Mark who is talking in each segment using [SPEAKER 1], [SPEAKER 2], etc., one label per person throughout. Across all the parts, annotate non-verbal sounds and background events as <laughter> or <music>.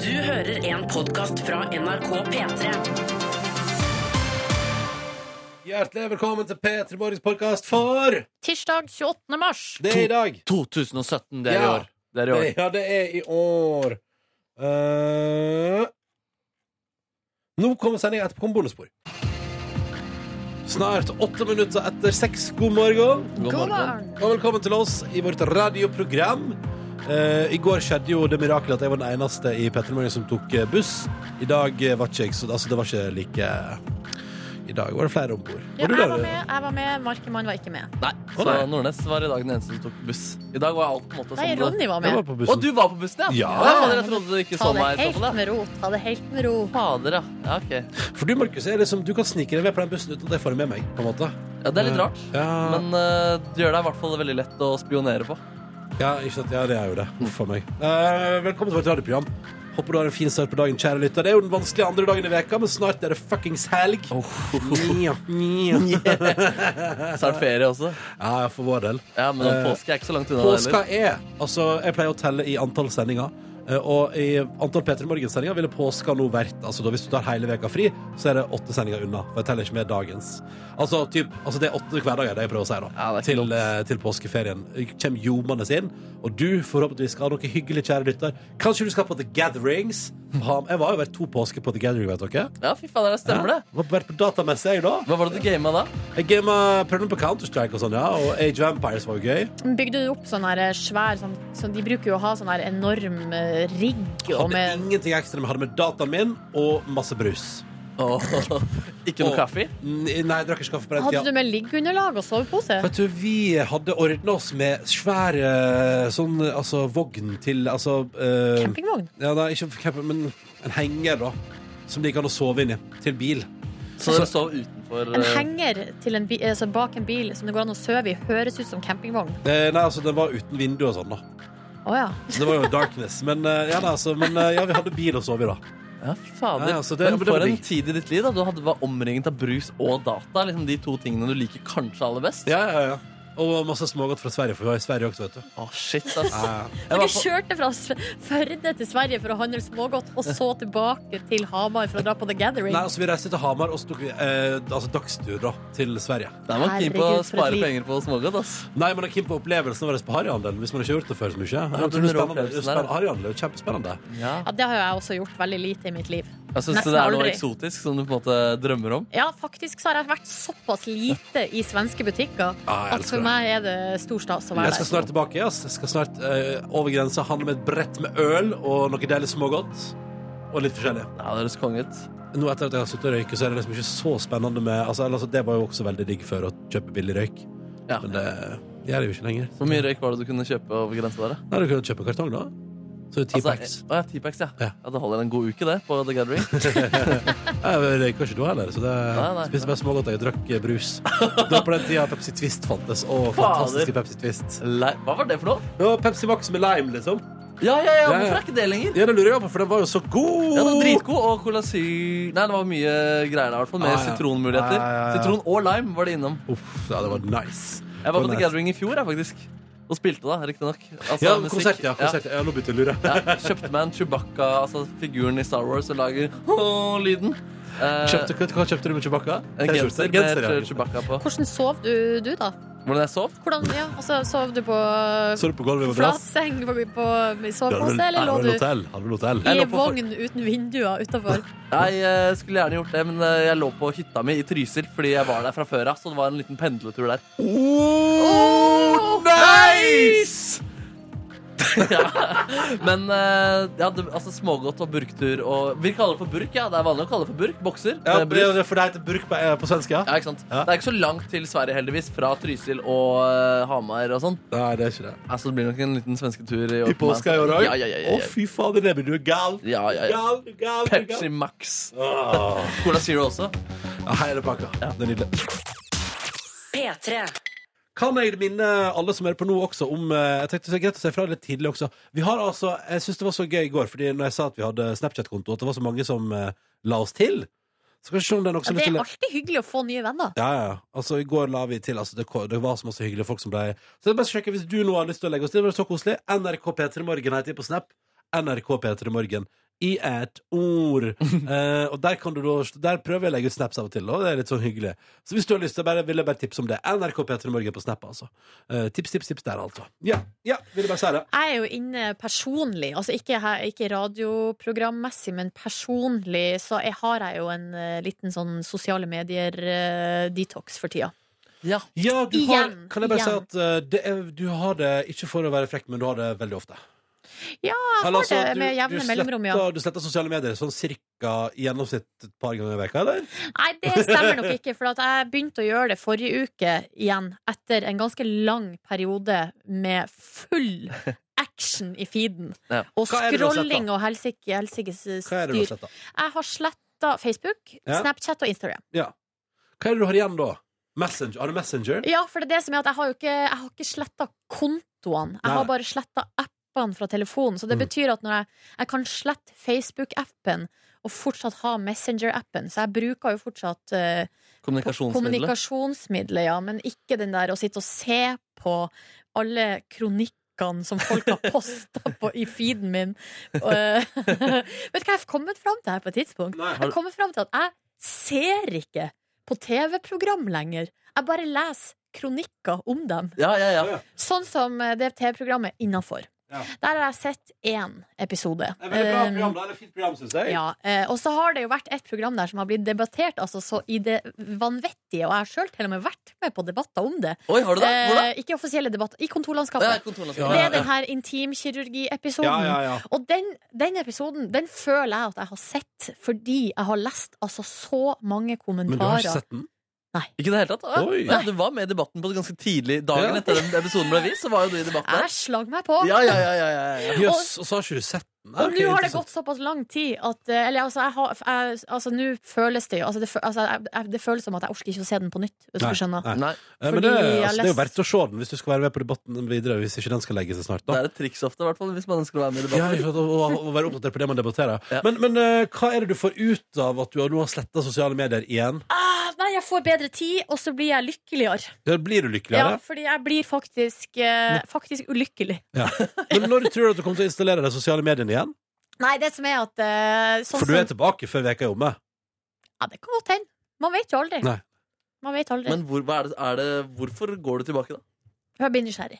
[SPEAKER 1] Du hører en podkast fra NRK P3.
[SPEAKER 2] Hjertelig velkommen til P3 Morgens podkast for
[SPEAKER 3] Tirsdag 28. mars.
[SPEAKER 2] Det er i dag.
[SPEAKER 4] 2017, det
[SPEAKER 2] Ja.
[SPEAKER 4] er i år. Det er i
[SPEAKER 2] Det,
[SPEAKER 4] år.
[SPEAKER 2] ja, det er i år. Eh, nå kommer sendinga etterpå kommer bonusspor. Snart åtte minutter etter seks. God morgen.
[SPEAKER 4] God morgen.
[SPEAKER 3] morgen.
[SPEAKER 2] Og velkommen til oss i vårt radioprogram. Eh, I går skjedde jo det mirakelet at jeg var den eneste i Petter Morgen som tok eh, buss. I dag eh, var ikke jeg, så altså, det var ikke like I dag var eh? det flere om bord.
[SPEAKER 3] Ja, jeg var med, jeg var med. Markemann var ikke med.
[SPEAKER 4] Nei,
[SPEAKER 2] Å,
[SPEAKER 4] så
[SPEAKER 2] nei.
[SPEAKER 4] Nordnes var i dag den eneste som tok buss. I dag var alt på en måte
[SPEAKER 3] Nei,
[SPEAKER 4] sånn
[SPEAKER 3] Ronny var
[SPEAKER 2] Jeg
[SPEAKER 3] med.
[SPEAKER 2] var på
[SPEAKER 4] Å,
[SPEAKER 2] bussen.
[SPEAKER 4] du var på bussen, ja?
[SPEAKER 2] Ja.
[SPEAKER 4] fader, jeg trodde du ikke sånn,
[SPEAKER 3] Ta
[SPEAKER 4] så
[SPEAKER 3] det
[SPEAKER 4] meg. i så
[SPEAKER 3] helt
[SPEAKER 4] fall, ja.
[SPEAKER 3] med ro. Ta det helt med ro.
[SPEAKER 4] Fader, ja. ja. Ok.
[SPEAKER 2] For du, Markus, er liksom, du kan snike deg med på den bussen uten at jeg får det med meg. på en måte
[SPEAKER 4] Ja, det er litt rart.
[SPEAKER 2] Ja,
[SPEAKER 4] Men eh, det gjør deg i hvert fall veldig lett å spionere på.
[SPEAKER 2] ja, ikke sant? ja det er jo det. Uff for meg. Eh, velkommen til vårt radioprogram. Håper du har en fin start på dagen, kjære lytter. Det er jo den vanskelige andre dagen i veka, men snart er det fuckings helg.
[SPEAKER 4] <laughs>
[SPEAKER 2] Nja, nja.
[SPEAKER 4] Snart ferie også.
[SPEAKER 2] <laughs> Ja, for vår del.
[SPEAKER 4] Ja, Men
[SPEAKER 2] Eh,
[SPEAKER 4] påske er ikke så langt unna. det
[SPEAKER 2] Påska
[SPEAKER 4] heller.
[SPEAKER 2] er Altså, jeg pleier å telle i antall sendinger. eh, Og i antall P3 Morgen-sendinger ville påska nå vært Altså, da Hvis du tar hele veka fri, så er det åtte sendinger unna. For jeg teller ikke med dagens. Altså, typ, altså det er åtte hverdager, det jeg prøver å si, da.
[SPEAKER 4] Ja, det er
[SPEAKER 2] til,
[SPEAKER 4] klokt.
[SPEAKER 2] eh, til påskeferien. Kjem ljomende inn. Og du forhåpentligvis skal ha noe hyggelig, kjære lytter. Kanskje du skal på The Gatherings? Ha- Jeg var jo vært to påsker på The Gathering, vet dere.
[SPEAKER 4] Ja, fy fader, det stemmer det.
[SPEAKER 2] Var vært på datamesse, jeg, da.
[SPEAKER 4] Hva var det du gama da?
[SPEAKER 2] Jeg gamet- prøvde meg på Counter-Strike og sånn, ja. Og Age of Empires var jo gøy.
[SPEAKER 3] Bygde du opp sånn her svær sånn, sånn, De bruker jo å ha sånn her enorm eh, rigg og
[SPEAKER 2] Hadde
[SPEAKER 3] med
[SPEAKER 2] ingenting ekstra, men hadde med dataen min og masse brus.
[SPEAKER 4] Åh, <laughs> ikke noe
[SPEAKER 2] Åh.
[SPEAKER 4] kaffe?
[SPEAKER 2] N- Nei, jeg drakk ikke kaffe på den
[SPEAKER 3] Hadde du
[SPEAKER 2] tida.
[SPEAKER 3] med liggeunderlag og sovepose?
[SPEAKER 2] Vet du, vi hadde ordna oss med svær eh, sånn altså vogn til altså eh,
[SPEAKER 3] Campingvogn?
[SPEAKER 2] ja, nei, ikke camping, men en henger, da. Som de gikk an å sove inni. Til bil.
[SPEAKER 4] Så dere sov utenfor
[SPEAKER 3] En
[SPEAKER 4] eh,
[SPEAKER 3] henger til en bi, altså bak en bil som det går an å sove i, høres ut som campingvogn.
[SPEAKER 2] Eh, nei, altså, den var uten vindu og sånn, da.
[SPEAKER 3] Å ja.
[SPEAKER 2] Så det var jo darkness. <laughs> Men, eh, ja, nei, altså, men eh, ja, vi hadde bil å sove i, da.
[SPEAKER 4] Ja, fy fader.
[SPEAKER 2] Ja, ja, så det- men
[SPEAKER 4] men
[SPEAKER 2] det
[SPEAKER 4] for
[SPEAKER 2] var
[SPEAKER 4] en
[SPEAKER 2] digg.
[SPEAKER 4] tid i ditt liv da du hadde, var omringet av brus og data. Liksom De to tingene du liker kanskje aller best.
[SPEAKER 2] Ja, ja, ja. Og masse smågodt fra Sverige, for vi var i Sverige også, vet du.
[SPEAKER 4] Åh, shit, ass. Jeg
[SPEAKER 3] Dere
[SPEAKER 4] var på,
[SPEAKER 3] kjørte fra S- Førde til Sverige for å handle smågodt, og så tilbake til Hamar for å dra på The Gathering.
[SPEAKER 2] Nei, altså, vi reiste til Hamar og så tok vi eh, altså, dagstur da, til Sverige.
[SPEAKER 4] der var keen på å
[SPEAKER 3] Herregud, for et
[SPEAKER 4] spare
[SPEAKER 3] liv.
[SPEAKER 4] penger på smågodt. ass
[SPEAKER 2] Nei, men det er keen på opplevelsen av å reise på harryhandel. Hvis man ikke har gjort det før så mye.
[SPEAKER 4] men
[SPEAKER 2] Jeg tror
[SPEAKER 4] den
[SPEAKER 2] det sånn er spennende.
[SPEAKER 4] opplevelsen der,
[SPEAKER 2] Spenn- Harryhandel er jo kjempespennende.
[SPEAKER 4] ja.
[SPEAKER 3] Ja, det har jo jeg også gjort veldig lite i mitt liv.
[SPEAKER 4] Jeg syns
[SPEAKER 3] Nesten
[SPEAKER 4] det er noe
[SPEAKER 3] aldri.
[SPEAKER 4] eksotisk som du på en måte drømmer om.
[SPEAKER 3] Ja, faktisk så har jeg vært såpass lite i svenske butikker
[SPEAKER 2] Ja, jeg
[SPEAKER 3] at
[SPEAKER 2] elsker
[SPEAKER 3] for
[SPEAKER 2] det.
[SPEAKER 3] meg er det stor stas å
[SPEAKER 2] Jeg
[SPEAKER 3] være
[SPEAKER 2] skal
[SPEAKER 3] der.
[SPEAKER 2] snart tilbake. Ass. Jeg skal snart eh, over grensa handle med et brett med øl og noe deilig smågodt. Og litt forskjellig.
[SPEAKER 4] Ja, det høres konge ut.
[SPEAKER 2] Nå etter at jeg har sluttet å røyke, så er det liksom ikke så spennende med altså, eller, altså, Det var jo også veldig digg før å kjøpe billig røyk,
[SPEAKER 4] Ja.
[SPEAKER 2] men det gjør jeg jo ikke lenger.
[SPEAKER 4] Hvor mye røyk var det du kunne kjøpe over grensa der? da?
[SPEAKER 2] Nei, du kan jo kjøpe kartong, da. Så ti packs.
[SPEAKER 4] Altså, å, ja, 10 packs, ja.
[SPEAKER 2] Ja.
[SPEAKER 4] ja. Det holder en god uke, det, på The Gathering.
[SPEAKER 2] <laughs> Jeg røyker ikke da heller, så det
[SPEAKER 4] Nei, nei,
[SPEAKER 2] spiste
[SPEAKER 4] nei.
[SPEAKER 2] bare smågodt. Jeg drakk eh, brus. Det var på den tida Pepsi Twist fantes, og fantastiske Pepsi Twist.
[SPEAKER 4] Lei- Hva var det for noe?
[SPEAKER 2] Det var Pepsi Max med lime, liksom.
[SPEAKER 4] Ja, ja, ja,
[SPEAKER 2] Ja, ja.
[SPEAKER 4] Hvorfor er ikke det lenger?
[SPEAKER 2] Ja, det lurer jeg på, for den var jo så god!
[SPEAKER 4] Ja, det var Dritgod og cola sy... Nei, det var mye greier der, i hvert fall.
[SPEAKER 2] Ah,
[SPEAKER 4] Med
[SPEAKER 2] ja.
[SPEAKER 4] sitronmuligheter.
[SPEAKER 2] Ja, ja, ja.
[SPEAKER 4] Sitron og lime var det innom.
[SPEAKER 2] Uff, ja, det var nice.
[SPEAKER 4] Jeg var på
[SPEAKER 2] Det var
[SPEAKER 4] The
[SPEAKER 2] nice.
[SPEAKER 4] Gathering i fjor, jeg, faktisk. Og spilte, da, riktignok. Altså,
[SPEAKER 2] Ja,
[SPEAKER 4] musikk.
[SPEAKER 2] konsert, ja. konsert. Ja, nå begynte jeg å lure.
[SPEAKER 4] Ja. Ja, Kjøpte meg en Chewbacca, altså figuren i Star Wars, og lager lyden. Eh,
[SPEAKER 2] Kjøpte, hva- hva kjøpte du med Chewbacca?
[SPEAKER 4] en
[SPEAKER 2] T-skjorte?
[SPEAKER 4] genser med
[SPEAKER 2] Genser, ja.
[SPEAKER 4] Chewbacca på.
[SPEAKER 3] Hvordan sov du, du da?
[SPEAKER 4] Hvordan jeg sov?
[SPEAKER 3] Hvordan, ja, altså, sov du på
[SPEAKER 2] Så du på gulvet i madrass?
[SPEAKER 3] flatseng på, på, i
[SPEAKER 2] Ja, det var-
[SPEAKER 3] sovepose,
[SPEAKER 2] Nei,
[SPEAKER 3] eller lå
[SPEAKER 2] det
[SPEAKER 3] du
[SPEAKER 2] var et hotell. Hadde du hotell?
[SPEAKER 4] Jeg
[SPEAKER 3] i
[SPEAKER 4] lå på for-
[SPEAKER 3] vogn uten vinduer utafor?
[SPEAKER 4] Nei, jeg skulle gjerne gjort det, men eh, jeg lå på hytta mi i Trysil fordi jeg var der fra før av, så det var en liten pendletur der.
[SPEAKER 2] Oh, nice!
[SPEAKER 4] Men eh, ja, det, altså smågodt og burktur og Vi kaller det for burk, ja. Det er vanlig å kalle det for burk. Bokser.
[SPEAKER 2] Ja,
[SPEAKER 4] eh, brus.
[SPEAKER 2] det- for det heter bruk på, eh, på svensk, ja?
[SPEAKER 4] Ja, ikke sant?
[SPEAKER 2] Ja.
[SPEAKER 4] Det er ikke så langt til Sverige, heldigvis, fra Trysil og eh, Hamar og sånn.
[SPEAKER 2] Nei, det er ikke det.
[SPEAKER 4] Altså, det blir nok en liten svensketur i år.
[SPEAKER 2] I
[SPEAKER 4] på meg,
[SPEAKER 2] påska i år
[SPEAKER 4] altså.
[SPEAKER 2] òg?
[SPEAKER 4] Ja, ja, ja, ja,
[SPEAKER 2] Å, fy fader, det blir du er gal.
[SPEAKER 4] ja, ja, ja.
[SPEAKER 2] Gal, du er gal, du er gal.
[SPEAKER 4] Pepsi Max.
[SPEAKER 2] Åh.
[SPEAKER 4] Cola Zero også.
[SPEAKER 2] Ja, hele pakka. Det er nydelig.
[SPEAKER 1] P3.
[SPEAKER 2] Kan jeg minne alle som hører på nå også om eh, Jeg tenkte det er greit å se fra litt tidlig også Vi har altså, jeg synes det var så gøy i går Fordi når jeg sa at vi hadde Snapchat-konto At det var så mange som eh, la oss til Så kanskje om det er noen
[SPEAKER 3] Ja,
[SPEAKER 2] som
[SPEAKER 3] det
[SPEAKER 2] har lyst
[SPEAKER 3] er
[SPEAKER 2] til å-
[SPEAKER 3] alltid hyggelig å få nye venner.
[SPEAKER 2] ja, ja. ja. Altså, I går la vi til altså, det, ko- det var så masse hyggelige folk som ble Så det er best å sjekke hvis du nå har lyst til å legge oss til. Det var så koselig. NRK P3 Morgen heter jeg på Snap. NRK P3 Morgen i et ord. Eh, og der, kan du, da- der prøver jeg å legge ut snaps av og til, og det er litt sånn hyggelig. Så hvis du har lyst til det, bare- vil jeg bare tipse om det. NRK P3 Morgen på Snap, altså. Eh, tips, tips, tips der, altså. Ja, ja, ville bare si det.
[SPEAKER 3] Jeg er jo inne personlig, altså ikke, her- ikke radioprogrammessig, men personlig, så jeg har jeg jo en eh, liten sånn sosiale medier-detox for tida.
[SPEAKER 4] Ja.
[SPEAKER 2] Ja, du har,
[SPEAKER 3] Igjen,
[SPEAKER 2] kan jeg bare si
[SPEAKER 3] igjen.
[SPEAKER 2] at eh, det er, du har det ikke for å være frekk, men du har det veldig ofte.
[SPEAKER 3] Ja, jeg har
[SPEAKER 2] Eller, altså,
[SPEAKER 3] det med jevne mellomrom, ja.
[SPEAKER 2] sletter- Du sletter sosiale medier sånn cirka i gjennomsnitt et par ganger i veka, eller?
[SPEAKER 3] Nei, det stemmer nok ikke, for at jeg begynte å gjøre det forrige uke igjen, etter en ganske lang periode med full action i feeden.
[SPEAKER 4] Ja.
[SPEAKER 3] Og
[SPEAKER 2] Hva er det du har sett,
[SPEAKER 3] scrolling
[SPEAKER 2] da?
[SPEAKER 3] og helsike, helsikes
[SPEAKER 2] Hva er det du
[SPEAKER 3] styr.
[SPEAKER 2] har sletta?
[SPEAKER 3] Jeg har sletta Facebook,
[SPEAKER 2] Ja.
[SPEAKER 3] Snapchat og Instagram.
[SPEAKER 2] Hva er det du har igjen da? Messenger? Har du Messenger?
[SPEAKER 3] Ja, for det er det som er at jeg har jo ikke, jeg har ikke sletta kontoene. Jeg
[SPEAKER 2] Nei.
[SPEAKER 3] har bare sletta appene fra telefonen. Så det
[SPEAKER 2] Mm.
[SPEAKER 3] betyr at når jeg, jeg kan slette Facebook-appen og fortsatt ha Messenger-appen, så jeg bruker jo fortsatt eh,
[SPEAKER 4] Kommunikasjonsmiddelet.
[SPEAKER 3] Kommunikasjonsmidler, ja, men ikke den der å sitte og se på alle kronikkene som folk har posta på- i feeden min. Og, eh, <laughs> vet du hva jeg har kommet fram til her på et tidspunkt?
[SPEAKER 2] Nei.
[SPEAKER 3] Jeg har kommet fram til at jeg ser ikke på TV-program lenger. Jeg bare leser kronikker om dem.
[SPEAKER 4] Ja, ja, ja.
[SPEAKER 3] Sånn som eh, det TV-programmet Innafor.
[SPEAKER 2] Ja.
[SPEAKER 3] Der har jeg sett én episode.
[SPEAKER 2] Det er veldig bra
[SPEAKER 3] Eh,
[SPEAKER 2] program, det er et fint program, synes jeg.
[SPEAKER 3] ja, eh, og så har det jo vært et program der som har blitt debattert altså, så i det vanvittige, og jeg har sjøl til og med vært med på debatter om det.
[SPEAKER 4] Oi, har du det? Hvor da?
[SPEAKER 3] Eh, ikke offisielle debatter, i
[SPEAKER 4] Ja,
[SPEAKER 3] kontorlandskapet.
[SPEAKER 4] kontorlandskapet.
[SPEAKER 3] Det
[SPEAKER 4] Ja,
[SPEAKER 3] er den
[SPEAKER 4] ja.
[SPEAKER 3] her intimkirurgiepisoden.
[SPEAKER 2] Ja, ja, ja.
[SPEAKER 3] Og den, den episoden den føler jeg at jeg har sett fordi jeg har lest altså, så mange
[SPEAKER 2] Men du har
[SPEAKER 3] kommentarer.
[SPEAKER 2] ikke sett den?
[SPEAKER 4] Ikke i det hele tatt? Ja.
[SPEAKER 2] Oi.
[SPEAKER 4] Ja, du var med i debatten på ganske tidlig dagen
[SPEAKER 2] Ja.
[SPEAKER 4] etter den episoden ble vist. Så var jo du i debatten der.
[SPEAKER 3] Jeg slang meg på.
[SPEAKER 4] Ja, ja, ja, ja, ja, ja.
[SPEAKER 2] Jøss, og så har ikke du sett den? Nei,
[SPEAKER 3] Og
[SPEAKER 2] ok,
[SPEAKER 3] nå har det
[SPEAKER 2] interessant.
[SPEAKER 3] gått såpass lang tid at eh, Eller altså, jeg har jeg, Altså, nå føles det jo altså, det, fø- altså, jeg, jeg, det føles som at jeg orker ikke å se den på nytt, hvis
[SPEAKER 2] Nei,
[SPEAKER 3] du skjønner.
[SPEAKER 2] nei.
[SPEAKER 4] Nei,
[SPEAKER 2] Eh, Men
[SPEAKER 3] fordi
[SPEAKER 2] det,
[SPEAKER 3] jeg
[SPEAKER 2] altså, det er jo
[SPEAKER 3] lest-
[SPEAKER 2] verdt å se den hvis du skal være med på debatten videre, hvis ikke den skal legge seg snart.
[SPEAKER 4] Det
[SPEAKER 2] da
[SPEAKER 4] er et triks ofte, i hvert fall, hvis man ønsker å være med i
[SPEAKER 2] ja,
[SPEAKER 4] debatten.
[SPEAKER 2] ikke sant, og, og, og være oppdatert på det man debatterer.
[SPEAKER 4] Ja.
[SPEAKER 2] Men, men eh, hva er det du får ut av at du har- nå har sletta sosiale medier igjen?
[SPEAKER 3] Ah, nei, jeg får bedre tid, og så blir jeg lykkeligere.
[SPEAKER 2] Ja, Blir du
[SPEAKER 3] Ja,
[SPEAKER 2] lykkeligere?
[SPEAKER 3] fordi jeg blir faktisk, eh, faktisk ulykkelig.
[SPEAKER 2] <laughs> Men når tror du at du kommer til å installere de sosiale mediene igjen?
[SPEAKER 3] Nei, det som er at eh, sånn
[SPEAKER 2] For du er
[SPEAKER 3] som,
[SPEAKER 2] tilbake før veka er omme.
[SPEAKER 3] Ja, det kan godt hende. Man vet jo aldri.
[SPEAKER 2] Nei.
[SPEAKER 3] Man vet aldri.
[SPEAKER 4] Men hvor, hva er det, er det, hvorfor går du tilbake, da?
[SPEAKER 3] Jeg blir nysgjerrig.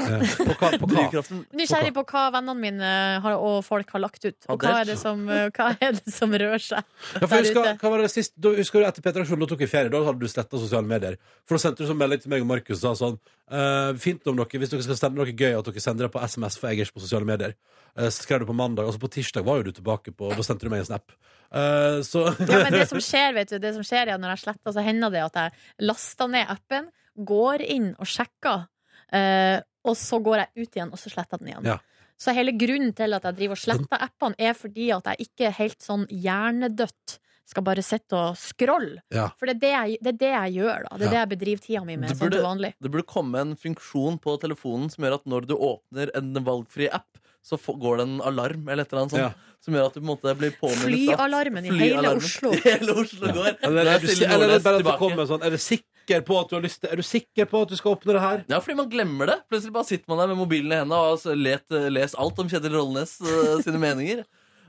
[SPEAKER 2] Eh, På hva? <laughs> På hva?
[SPEAKER 4] Drivkraften
[SPEAKER 3] Nysgjerrig på hva vennene mine eh, har, og folk har lagt ut. Og
[SPEAKER 4] Har
[SPEAKER 3] hva
[SPEAKER 4] delt.
[SPEAKER 3] er det som, eh, hva er det som rører seg.
[SPEAKER 2] Ja, for
[SPEAKER 3] der
[SPEAKER 2] husker,
[SPEAKER 3] ute.
[SPEAKER 2] hva var det sist? Da, husker du etter Peter Aksjon, da tok vi ferie. Da hadde du sletta sosiale medier. For da sendte du sånn melding til meg og Markus og sa sånn eh, Fint om dere, hvis dere skal sende noe gøy, at dere sender det på SMS, for jeg er ikke på sosiale medier. Eh, så skrev du på mandag, og så på tirsdag var jo du tilbake på Da sendte du meg en snap. Eh, så <laughs>
[SPEAKER 3] Ja, men det som skjer, vet du, det som skjer er at når jeg sletter, så hender det at jeg laster ned appen, går inn og sjekker, eh, og så går jeg ut igjen, og så sletter jeg den igjen.
[SPEAKER 2] Ja.
[SPEAKER 3] Så hele grunnen til at jeg driver og sletter appene, er fordi at jeg ikke helt sånn hjernedødt skal bare sitte og scrolle.
[SPEAKER 2] Ja.
[SPEAKER 3] For det er det, jeg, det er det jeg gjør, da. Det er
[SPEAKER 2] Ja.
[SPEAKER 3] det jeg bedriver tida mi med,
[SPEAKER 4] Det
[SPEAKER 3] sånn
[SPEAKER 4] burde-
[SPEAKER 3] til vanlig.
[SPEAKER 4] Det burde komme en funksjon på telefonen som gjør at når du åpner en valgfri app, så få- går det en alarm eller et eller annet sånt,
[SPEAKER 2] Ja.
[SPEAKER 4] som gjør at du på en måte blir påminnet at-
[SPEAKER 3] Flyalarmen i hele
[SPEAKER 4] Flyalarmen
[SPEAKER 3] Oslo.
[SPEAKER 4] <laughs> i hele Oslo går.
[SPEAKER 2] Eller
[SPEAKER 4] Da
[SPEAKER 2] er du,
[SPEAKER 4] Silje
[SPEAKER 2] eller er det
[SPEAKER 4] Nordnes
[SPEAKER 2] bare at du
[SPEAKER 4] tilbake.
[SPEAKER 2] kommer sånn Er du sikker på at du har lyst til Er du sikker på at du skal åpne det her?
[SPEAKER 4] Ja, fordi man glemmer det. Plutselig bare sitter man der med mobilen i hendene og har let, les alt om Kjetil Rollenes eh, sine meninger.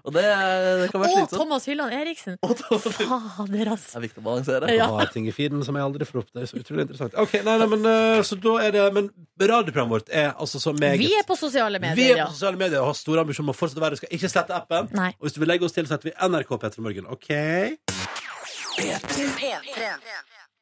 [SPEAKER 4] Og det, det kan
[SPEAKER 3] Å,
[SPEAKER 4] være slitsomt.
[SPEAKER 3] Thomas Hylland Eriksen!
[SPEAKER 4] Og Tom-
[SPEAKER 3] Fader,
[SPEAKER 4] <laughs> Det
[SPEAKER 3] altså.
[SPEAKER 4] er viktig å balansere.
[SPEAKER 2] Jeg
[SPEAKER 3] Ja.
[SPEAKER 2] har ting i feeden som jeg aldri får opp. Det er så utrolig interessant. Ok, nei, nei, men, eh, så da er det, men radioprogrammet vårt er altså så meget
[SPEAKER 3] Vi er på sosiale
[SPEAKER 2] Vi er
[SPEAKER 3] medier,
[SPEAKER 2] på sosiale medier og har store ambisjoner om å fortsette å være. Du skal ikke slette appen.
[SPEAKER 3] Nei.
[SPEAKER 2] Og hvis du vil legge oss til, så heter vi NRK Petter Morgen. OK?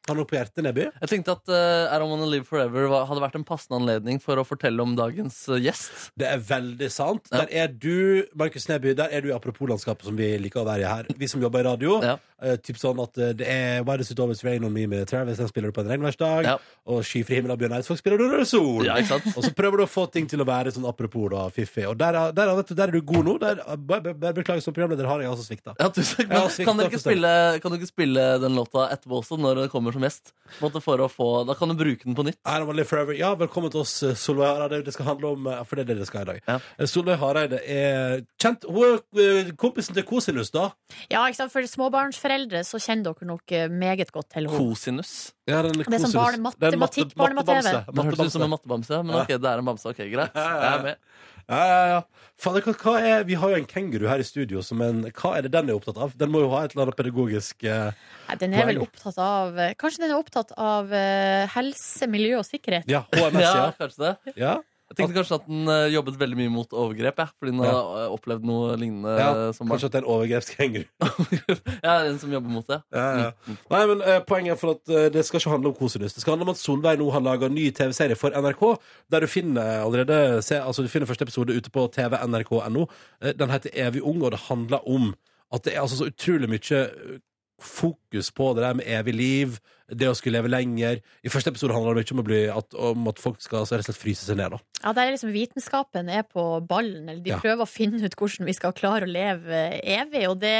[SPEAKER 2] Ta noe på hjertet, Neby.
[SPEAKER 4] Jeg tenkte at eh, I Don't Wanna Live Forever var- hadde vært en passende anledning for å fortelle om dagens eh, gjest.
[SPEAKER 2] Det er veldig sant.
[SPEAKER 4] Ja.
[SPEAKER 2] Der er du, Markus Neby, der er du i apropos-landskapet som vi liker å være i her. Vi som jobber i radio.
[SPEAKER 4] Ja.
[SPEAKER 2] eh, typ sånn at eh, det er Why Does It Always Rain On Me med Travis, den spiller du på en regnværsdag.
[SPEAKER 4] Ja.
[SPEAKER 2] Og Skyfri himmel av Bjørn Eidsvåg spiller du når det er sol.
[SPEAKER 4] Ja, ikke sant?
[SPEAKER 2] <laughs> Og så prøver du å få ting til å være sånn apropos da, fiffig. Og der, er- der, er- vet du, der er du god nå. Der, eh, bare- bare- bare beklager som programleder, har jeg altså svikta.
[SPEAKER 4] <laughs> Ja, tusen takk.
[SPEAKER 2] Ja,
[SPEAKER 4] Men
[SPEAKER 2] svikt
[SPEAKER 4] kan,
[SPEAKER 2] er
[SPEAKER 4] dere ikke
[SPEAKER 2] forståelig.
[SPEAKER 4] spille, kan dere ikke spille den låta etterpå også, når det kommer som gjest. på en måte, For å få, da kan du bruke den på nytt.
[SPEAKER 2] Her er Molly Forever. Ja, velkommen til oss, eh, Solveig Hareide. Det skal handle om eh, For det er det det skal i dag.
[SPEAKER 4] Ja.
[SPEAKER 2] Eh, Solveig Hareide er kjent Hun er eh, kompisen til Kosinus, da.
[SPEAKER 3] Ja, ikke sant? For småbarnsforeldre så kjenner dere nok eh, meget godt til
[SPEAKER 2] Oh.
[SPEAKER 3] henne.
[SPEAKER 4] Kosinus.
[SPEAKER 2] Ja, den
[SPEAKER 3] Det er sånn
[SPEAKER 2] Kosinus.
[SPEAKER 3] barne- matte-
[SPEAKER 2] Den matte-
[SPEAKER 3] matematikk- barne-matte-TV.
[SPEAKER 2] mattebamse.
[SPEAKER 4] Det hørtes ut som en
[SPEAKER 2] Mattebamse.
[SPEAKER 4] mattebamse, men
[SPEAKER 2] Ja.
[SPEAKER 4] ok, det er en bamse. Ok, Greit.
[SPEAKER 2] ja,
[SPEAKER 4] Jeg
[SPEAKER 2] ja.
[SPEAKER 4] er med.
[SPEAKER 2] Ja, ja, ja. Fader, hva, hva er, vi har jo en kenguru her i studio, som en, hva er det den er opptatt av? Den må jo ha et eller annet pedagogisk eh,
[SPEAKER 3] Nei, Den er vel
[SPEAKER 2] Poeng.
[SPEAKER 3] opptatt av eh, Kanskje den er opptatt av eh, helse, miljø og sikkerhet?
[SPEAKER 2] Ja, HMS,
[SPEAKER 4] <laughs> Ja,
[SPEAKER 2] ja.
[SPEAKER 4] kanskje det.
[SPEAKER 2] ja.
[SPEAKER 4] Jeg tenkte kanskje at den eh, jobbet veldig mye mot overgrep, jeg, fordi den
[SPEAKER 2] Ja.
[SPEAKER 4] har eh, opplevd noe lignende
[SPEAKER 2] ja.
[SPEAKER 4] eh, som barn.
[SPEAKER 2] Kanskje at det er en overgrepskenguru.
[SPEAKER 4] <laughs> Jeg er en som jobber mot det.
[SPEAKER 2] Ja, ja. Nei, men eh, Poenget er for at eh, det skal ikke handle om kosinus. Det skal handle om at Solveig nå har laga ny TV-serie for NRK, der du finner allerede se, Altså du finner første episode ute på tvnrk.no. Eh, Den heter Evig ung, og det handler om at det er altså så utrolig mye eh, fokus på det der med evig liv, det å skulle leve lenger. I første episode handler det mye om, å bli, at, om at folk skal altså, rett og slett fryse seg ned. da
[SPEAKER 3] Ja, der er liksom Vitenskapen er på ballen. Eller de
[SPEAKER 2] Ja.
[SPEAKER 3] prøver å finne ut hvordan vi skal klare å leve eh, evig, og det,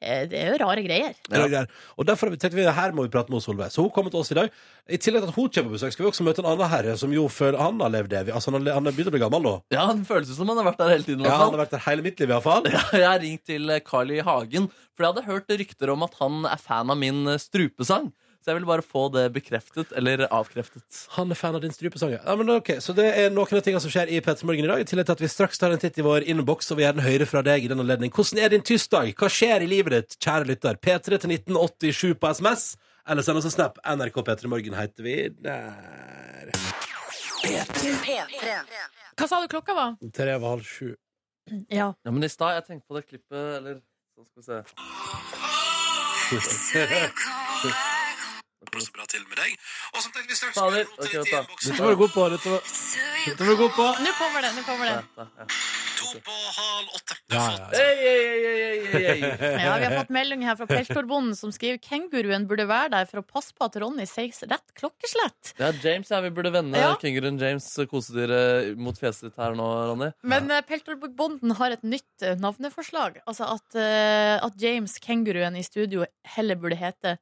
[SPEAKER 3] eh, det er jo rare greier.
[SPEAKER 2] Det er noe greier. Og derfor tenkte vi her må vi prate med Solveig. Så hun kommer til oss i dag. I tillegg til at hun kommer på besøk, skal vi også møte en annen herre som jo føler han har levd evig. Altså, han har- han har begynt å bli gammel nå.
[SPEAKER 4] Ja, Det føles ut som han har vært der hele tiden. i
[SPEAKER 2] Ja,
[SPEAKER 4] hvert
[SPEAKER 2] han
[SPEAKER 4] fall.
[SPEAKER 2] har vært der hele mitt liv, iallfall.
[SPEAKER 4] Ja, <laughs> jeg har ringt til eh, Carl I. Hagen, for jeg hadde hørt rykter om at han er fan av min eh, strupesang. Så jeg ville bare få det bekreftet eller avkreftet.
[SPEAKER 2] Han er fan av din strupesang, ja. ja. Men ok, Så det er noen av tingene som skjer i Petter Morgen i dag. I tillegg til at vi straks tar en titt i vår innboks og vil gjerne høre fra deg i den anledning. Hvordan er din tirsdag? Hva skjer i livet ditt, kjære lytter? P3 til 1987 på SMS. Eller send oss en snap. NRK P3 Morgen heter vi der.
[SPEAKER 3] Hva sa du klokka var?
[SPEAKER 2] Tre var halv sju.
[SPEAKER 3] Ja.
[SPEAKER 4] Ja, men i stad, jeg tenkte på det klippet, eller så skal vi se. Fader, ok, vent da.
[SPEAKER 2] Dette var du god på. Dette var, dette var du god på.
[SPEAKER 3] Nå kommer det! nå kommer det
[SPEAKER 4] Ja,
[SPEAKER 2] Ja,
[SPEAKER 4] ja, ja.
[SPEAKER 2] ja, ja.
[SPEAKER 4] Hey, hey, hey, hey, hey, hey, hey.
[SPEAKER 2] <laughs>
[SPEAKER 3] Ja, Vi har fått melding her fra Peltorbonden som skriver kenguruen burde være der for å passe på at Ronny sier rett klokkeslett.
[SPEAKER 4] Ja, James, ja, vi burde vende
[SPEAKER 3] Ja.
[SPEAKER 4] kenguruen James, kosedyret, mot fjeset ditt her nå, Ronny.
[SPEAKER 3] Men eh, Peltorbonden har et nytt eh, navneforslag. Altså at, eh, at James Kenguruen i studio heller burde hete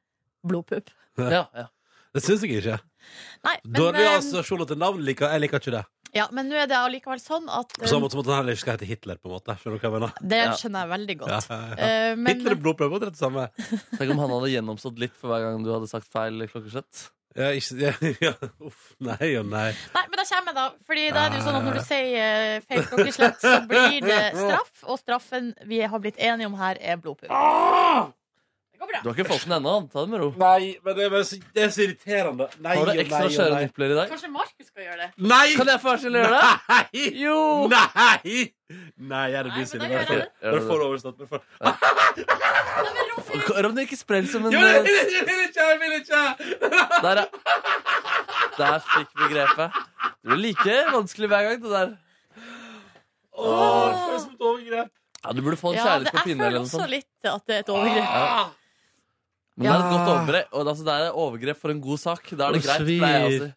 [SPEAKER 3] Blodpupp.
[SPEAKER 4] Ja, ja.
[SPEAKER 2] Det syns jeg ikke.
[SPEAKER 3] Nei, men,
[SPEAKER 2] Dårlige
[SPEAKER 3] eh,
[SPEAKER 4] altså-
[SPEAKER 2] assosiasjoner til navn. liker- Jeg liker ikke det.
[SPEAKER 3] ja, men nå er det allikevel sånn at eh,
[SPEAKER 2] På samme måte som at han heller ikke skal hete Hitler. på en måte Skjønner du hva jeg mener?
[SPEAKER 3] Det
[SPEAKER 4] Ja.
[SPEAKER 3] skjønner jeg veldig
[SPEAKER 2] Ja,
[SPEAKER 3] godt.
[SPEAKER 2] ja, ja.
[SPEAKER 3] Eh, men
[SPEAKER 2] Hitler og blodprøve det er det samme.
[SPEAKER 4] Tenk om han hadde gjennomstått litt for hver gang du hadde sagt feil klokkeslett.
[SPEAKER 2] Ja, ikke, ja, ja. Uff, nei og nei.
[SPEAKER 3] Nei, men da kommer jeg, da. Fordi da er det jo sånn at
[SPEAKER 4] Ah.
[SPEAKER 3] når du sier eh, feil klokkeslett, så
[SPEAKER 4] <laughs>
[SPEAKER 3] blir det straff. Og straffen vi har blitt enige om her, er blodpupp. Det går bra.
[SPEAKER 4] Du har ikke fått den ennå. Ta det med ro.
[SPEAKER 2] Ah! Nei, men det er, bare så, det er så irriterende. Nei
[SPEAKER 4] Har
[SPEAKER 2] og
[SPEAKER 4] du
[SPEAKER 2] nei
[SPEAKER 4] ekstra
[SPEAKER 2] og
[SPEAKER 4] skjøre
[SPEAKER 2] nei.
[SPEAKER 4] nipler i dag?
[SPEAKER 3] Kanskje Markus skal gjøre det?
[SPEAKER 2] Nei!
[SPEAKER 4] Kan jeg få være så snill å gjøre det?
[SPEAKER 2] Nei!
[SPEAKER 4] Jo!
[SPEAKER 2] Nei! Nei, jeg er det blir
[SPEAKER 3] Nei, men
[SPEAKER 2] sinne.
[SPEAKER 3] da
[SPEAKER 2] Bare
[SPEAKER 3] gjør
[SPEAKER 2] få-
[SPEAKER 3] jeg det.
[SPEAKER 2] bare få det overstått. Bare få det.
[SPEAKER 3] Nei, men Ronny,
[SPEAKER 4] Ronny, ikke sprell som en
[SPEAKER 2] Jo, jeg
[SPEAKER 4] eh,
[SPEAKER 2] vil ikke! Jeg vil ikke! Jeg vil ikke.
[SPEAKER 4] Der, ja. Der fikk vi grepet. Det blir like vanskelig hver gang, det der.
[SPEAKER 2] Åh, det føles som et overgrep.
[SPEAKER 4] Ja, Du burde få en
[SPEAKER 3] ja, det,
[SPEAKER 4] kjærlighet på
[SPEAKER 3] jeg
[SPEAKER 4] pinne
[SPEAKER 3] føler
[SPEAKER 4] eller noe
[SPEAKER 3] også
[SPEAKER 4] sånt. Ah,
[SPEAKER 3] litt at det er et overgrep.
[SPEAKER 4] Ja. Men det er et godt overgrep, og, altså, det er et overgrep for en god sak. Da er det
[SPEAKER 2] Å,
[SPEAKER 4] greit.
[SPEAKER 2] svir.
[SPEAKER 4] pleier jeg å si.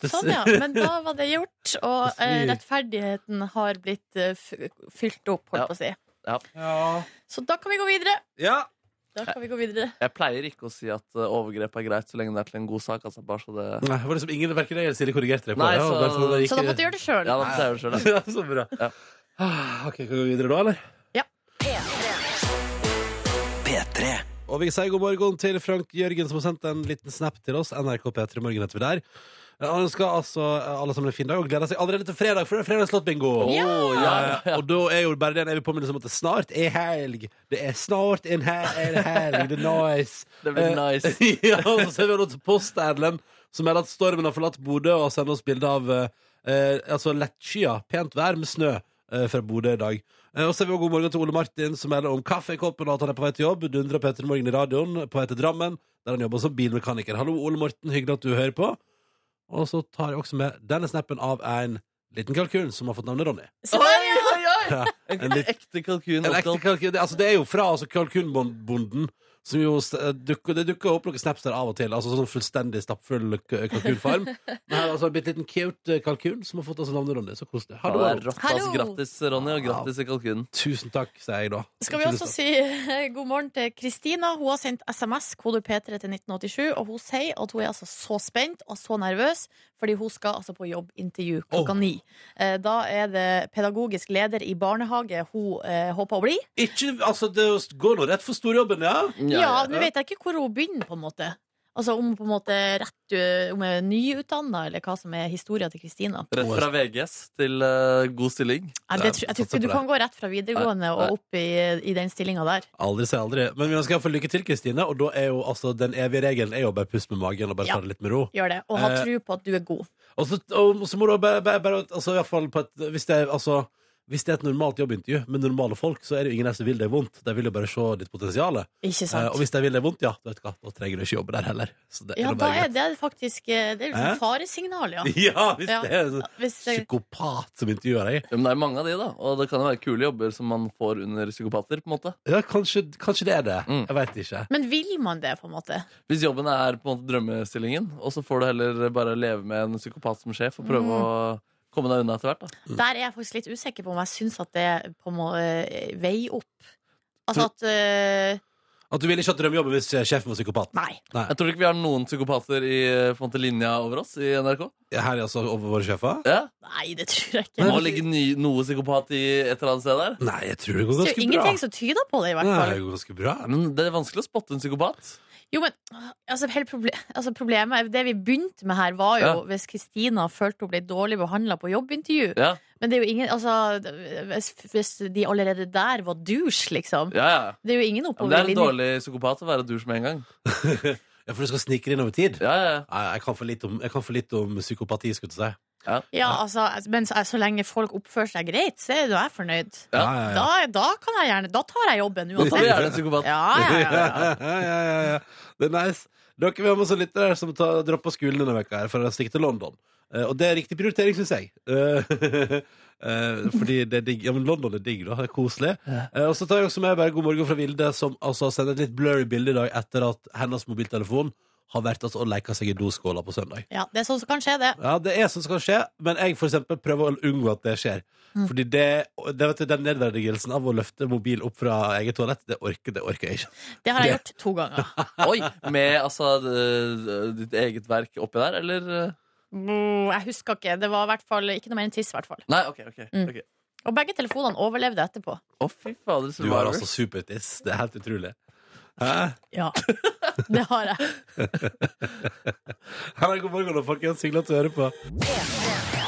[SPEAKER 2] Det-
[SPEAKER 3] Sånn, ja. Men da var det gjort, og eh, rettferdigheten har blitt eh, f- fylt opp, holdt
[SPEAKER 4] Ja.
[SPEAKER 3] på å si.
[SPEAKER 2] Ja.
[SPEAKER 3] Så da kan vi gå videre.
[SPEAKER 2] ja.
[SPEAKER 3] Da kan vi gå videre.
[SPEAKER 4] Jeg pleier ikke å si at eh, overgrep er greit så lenge det er til en god sak. Altså, bare så det...
[SPEAKER 2] Nei, det var liksom ingen verken deg eller Silje korrigerte deg på
[SPEAKER 4] Nei,
[SPEAKER 2] det.
[SPEAKER 4] så-
[SPEAKER 2] og bare sånn, det gikk-
[SPEAKER 3] Så da måtte du gjøre det sjøl.
[SPEAKER 4] Ja, da sier du selv, da.
[SPEAKER 2] <laughs> Ja, så bra.
[SPEAKER 4] Ja.
[SPEAKER 2] Ah, Ok, Kan vi gå videre da, eller?
[SPEAKER 3] Ja.
[SPEAKER 2] Og vi sier god morgen til Frank Jørgen, som har sendt en liten snap til oss. NRK P3 Morgen heter vi der. Han ønsker altså alle sammen en fin dag og gleder seg allerede til fredag, for det er fredagslåtbingo!
[SPEAKER 4] Å, ja, ja,
[SPEAKER 2] Eh,
[SPEAKER 4] ja.
[SPEAKER 2] Og da er jo bare det en evig påminnelse om at det snart er helg. Det er snart en hel- en helg, det er nice.
[SPEAKER 4] Det blir nice.
[SPEAKER 2] Eh, <laughs> ja, og så ser vi nå til Post-Erlend, som melder at stormen har forlatt Bodø, og sender oss bilde av eh, eh, altså lettskya, pent vær med snø eh, fra Bodø i dag. Eh, og så ser vi også god morgen til Ole Martin, som melder om kaffekoppen og at han er på vei til jobb. Dundrer Petter Morgen i radioen på vei til Drammen, der han jobber som bilmekaniker. Hallo, Ole Morten, hyggelig at du hører på. Og så tar jeg også med denne snappen av en liten kalkun som har fått navnet
[SPEAKER 4] <laughs>
[SPEAKER 2] Ronny.
[SPEAKER 3] Så
[SPEAKER 4] Oi,
[SPEAKER 3] der, ja.
[SPEAKER 4] oi, oi!
[SPEAKER 2] Ja, en
[SPEAKER 4] En
[SPEAKER 2] litt-
[SPEAKER 4] ekte kalkun
[SPEAKER 2] En ekte
[SPEAKER 4] oppkalt
[SPEAKER 2] kalkun, det, altså det er jo fra altså, kalkunbonden Som jo, st- eh, dukker, det dukker opp noen snaps der av og til. Altså sånn fullstendig stappfull k- eh,
[SPEAKER 3] <laughs>
[SPEAKER 2] kalkunfarm. Men her er altså en bitte liten cute eh, kalkun som har fått altså navnet Ronny. Så koselig.
[SPEAKER 4] Ja,
[SPEAKER 2] Hallo,
[SPEAKER 4] det er
[SPEAKER 2] Ronny.
[SPEAKER 4] rått, ass.
[SPEAKER 3] Hallo.
[SPEAKER 4] altså, Grattis, Ronny, og grattis til kalkunen.
[SPEAKER 2] Tusen takk, sier jeg da.
[SPEAKER 3] Skal vi
[SPEAKER 2] Ikke
[SPEAKER 3] også
[SPEAKER 2] lyst
[SPEAKER 3] si eh, god morgen til Kristina. Hun har sendt SMS, kode P3 til 1987, og hun sier at hun er altså så spent og så nervøs, fordi hun skal altså på jobbintervju klokka
[SPEAKER 2] Oh.
[SPEAKER 3] ni. Eh, Da er det pedagogisk leder i barnehage hun eh, håper å bli.
[SPEAKER 2] til- Ikke, altså, det går nå rett for storjobben, ja.
[SPEAKER 3] Ja, Nå vet jeg ikke hvor hun begynner, på en måte. Altså om på en måte rett eh, Om hun er nyutdanna, eller hva som er historia til Kristina.
[SPEAKER 4] Rett fra VGS til eh, god stilling.
[SPEAKER 3] Jeg,
[SPEAKER 2] Nei,
[SPEAKER 3] jeg, tror- jeg tror
[SPEAKER 2] satser
[SPEAKER 3] ikke
[SPEAKER 2] på
[SPEAKER 3] du
[SPEAKER 2] det.
[SPEAKER 3] kan gå rett fra videregående
[SPEAKER 4] Nei, nei.
[SPEAKER 3] og opp i, i den stillinga der.
[SPEAKER 2] Aldri si aldri. Men vi ønsker iallfall lykke til, Kristine. Og da er jo altså den evige regelen er jo bare puste med magen og bare
[SPEAKER 3] Ja.
[SPEAKER 2] ta det litt med ro.
[SPEAKER 3] Gjør det. Og ha
[SPEAKER 2] Eh,
[SPEAKER 3] tro på at du er god.
[SPEAKER 2] Og så, og så må du bare, bare, bare altså, i hvert fall på et, hvis, det er, altså, hvis det er et normalt jobbintervju med normale folk, så er det jo ingen der som vil deg vondt. De vil jo bare se ditt potensial.
[SPEAKER 3] Ikke
[SPEAKER 2] Eh,
[SPEAKER 3] sant?
[SPEAKER 2] og hvis de vil deg vondt, ja, du vet hva, da trenger du ikke jobbe der heller. Så det
[SPEAKER 3] Ja,
[SPEAKER 2] nå
[SPEAKER 3] da
[SPEAKER 2] bare
[SPEAKER 3] er det faktisk eh, Det er jo
[SPEAKER 2] Hæ?
[SPEAKER 3] sånn faresignal, ja.
[SPEAKER 4] <laughs>
[SPEAKER 2] greit. <laughs> Ja, hvis
[SPEAKER 3] Ja.
[SPEAKER 2] det er en sånn
[SPEAKER 3] Hvis det,
[SPEAKER 2] psykopat som intervjuer deg.
[SPEAKER 4] Ja, men det er mange av de, da. Og det kan jo være kule jobber som man får under psykopater. på en måte
[SPEAKER 2] Ja, kanskje, kanskje det er det.
[SPEAKER 4] Mm.
[SPEAKER 2] Jeg veit ikke.
[SPEAKER 3] men vil man det, på en måte?
[SPEAKER 4] Hvis jobben er på en måte drømmestillingen, og så får du heller bare leve med en psykopat som sjef og prøve å komme deg unna etter hvert. da
[SPEAKER 3] Der er jeg faktisk litt usikker på om jeg syns at det på en måte eh, veier opp. Altså at eh,
[SPEAKER 2] At du ville ikke hatt drømmejobben hvis sjefen var psykopat.
[SPEAKER 3] Nei.
[SPEAKER 2] Nei.
[SPEAKER 4] Jeg tror ikke vi har noen psykopater i eh, på en måte, linja over oss i NRK.
[SPEAKER 2] Her er altså over våre sjefer?
[SPEAKER 4] Ja.
[SPEAKER 3] Nei, det tror jeg
[SPEAKER 4] Må
[SPEAKER 3] ikke.
[SPEAKER 4] ligge ny, noe psykopat i et eller annet sted der.
[SPEAKER 2] Nei, jeg tror det går
[SPEAKER 3] Det er jo
[SPEAKER 2] ganske bra.
[SPEAKER 3] ingenting som tyder på det, i hvert
[SPEAKER 2] Nei,
[SPEAKER 3] fall.
[SPEAKER 2] det går ganske bra.
[SPEAKER 4] Ja, Men det er vanskelig å spotte en psykopat.
[SPEAKER 3] Jo, men altså, hele proble altså, problemet er- Det vi begynte med her, var jo
[SPEAKER 4] Ja.
[SPEAKER 3] hvis Kristina følte hun ble dårlig behandla på jobbintervju.
[SPEAKER 4] Ja,
[SPEAKER 3] Men det er jo ingen Altså, hvis, hvis de allerede der var douche, liksom.
[SPEAKER 4] ja, ja.
[SPEAKER 3] Det er jo ingen
[SPEAKER 4] Ja, men det
[SPEAKER 3] oppover
[SPEAKER 4] er en
[SPEAKER 3] linje.
[SPEAKER 4] dårlig psykopat å være dusj med en gang.
[SPEAKER 2] Ja, for du skal snike det inn over tid.
[SPEAKER 4] Ja, ja, ja.
[SPEAKER 2] Nei, jeg kan for litt om, jeg kan for litt om psykopati, skulle jeg til å si.
[SPEAKER 3] Ja, altså, men så, så lenge folk oppfører seg greit, så er jo jeg fornøyd.
[SPEAKER 4] Ja.
[SPEAKER 2] ja,
[SPEAKER 3] Da, da kan jeg gjerne Da tar jeg jobben
[SPEAKER 4] Da tar vi
[SPEAKER 3] uansett.
[SPEAKER 4] gjerne en psykopat.
[SPEAKER 3] Ja,
[SPEAKER 2] <laughs>
[SPEAKER 3] ja, ja, ja.
[SPEAKER 2] ja, ja, ja, ja. Det er nice. Dere vi har med oss en lytter her som tar- dropper skolen denne veka her for å stikke til London. Eh, og det er riktig prioritering, syns jeg. Eh, <laughs> eh, fordi det er digg. Ja, men London er digg, da. Det er koselig. Eh, og så tar jeg også med bare god morgen fra Vilde, som altså sender et litt blurry bilde i dag etter at hennes mobiltelefon har vært altså, og leka seg i doskåla på søndag.
[SPEAKER 3] ja, det er sånn som kan skje, det.
[SPEAKER 2] Ja, det er sånt som kan skje, men jeg for eksempel prøver å unngå at det skjer. Fordi det, det vet du, den nedverdigelsen av å løfte mobil opp fra eget toalett, det orker, det orker jeg ikke.
[SPEAKER 3] Det har jeg
[SPEAKER 2] Det-
[SPEAKER 3] gjort to ganger.
[SPEAKER 4] Oi, Med altså d- ditt eget verk oppi der, eller? eh?
[SPEAKER 3] Mm, Jeg husker ikke. Det var i hvert fall ikke noe mer enn tiss. i hvert fall.
[SPEAKER 4] Nei, OK. ok,
[SPEAKER 3] Mm.
[SPEAKER 4] ok.
[SPEAKER 3] Og begge telefonene overlevde etterpå.
[SPEAKER 4] Å, fy fader.
[SPEAKER 2] Du har
[SPEAKER 4] survivor.
[SPEAKER 2] altså supertiss. Det er helt utrolig. Hæ?
[SPEAKER 3] Ja, <laughs> det har jeg.
[SPEAKER 2] Her er god morgen, da, folkens. Hyggelig at du hører på.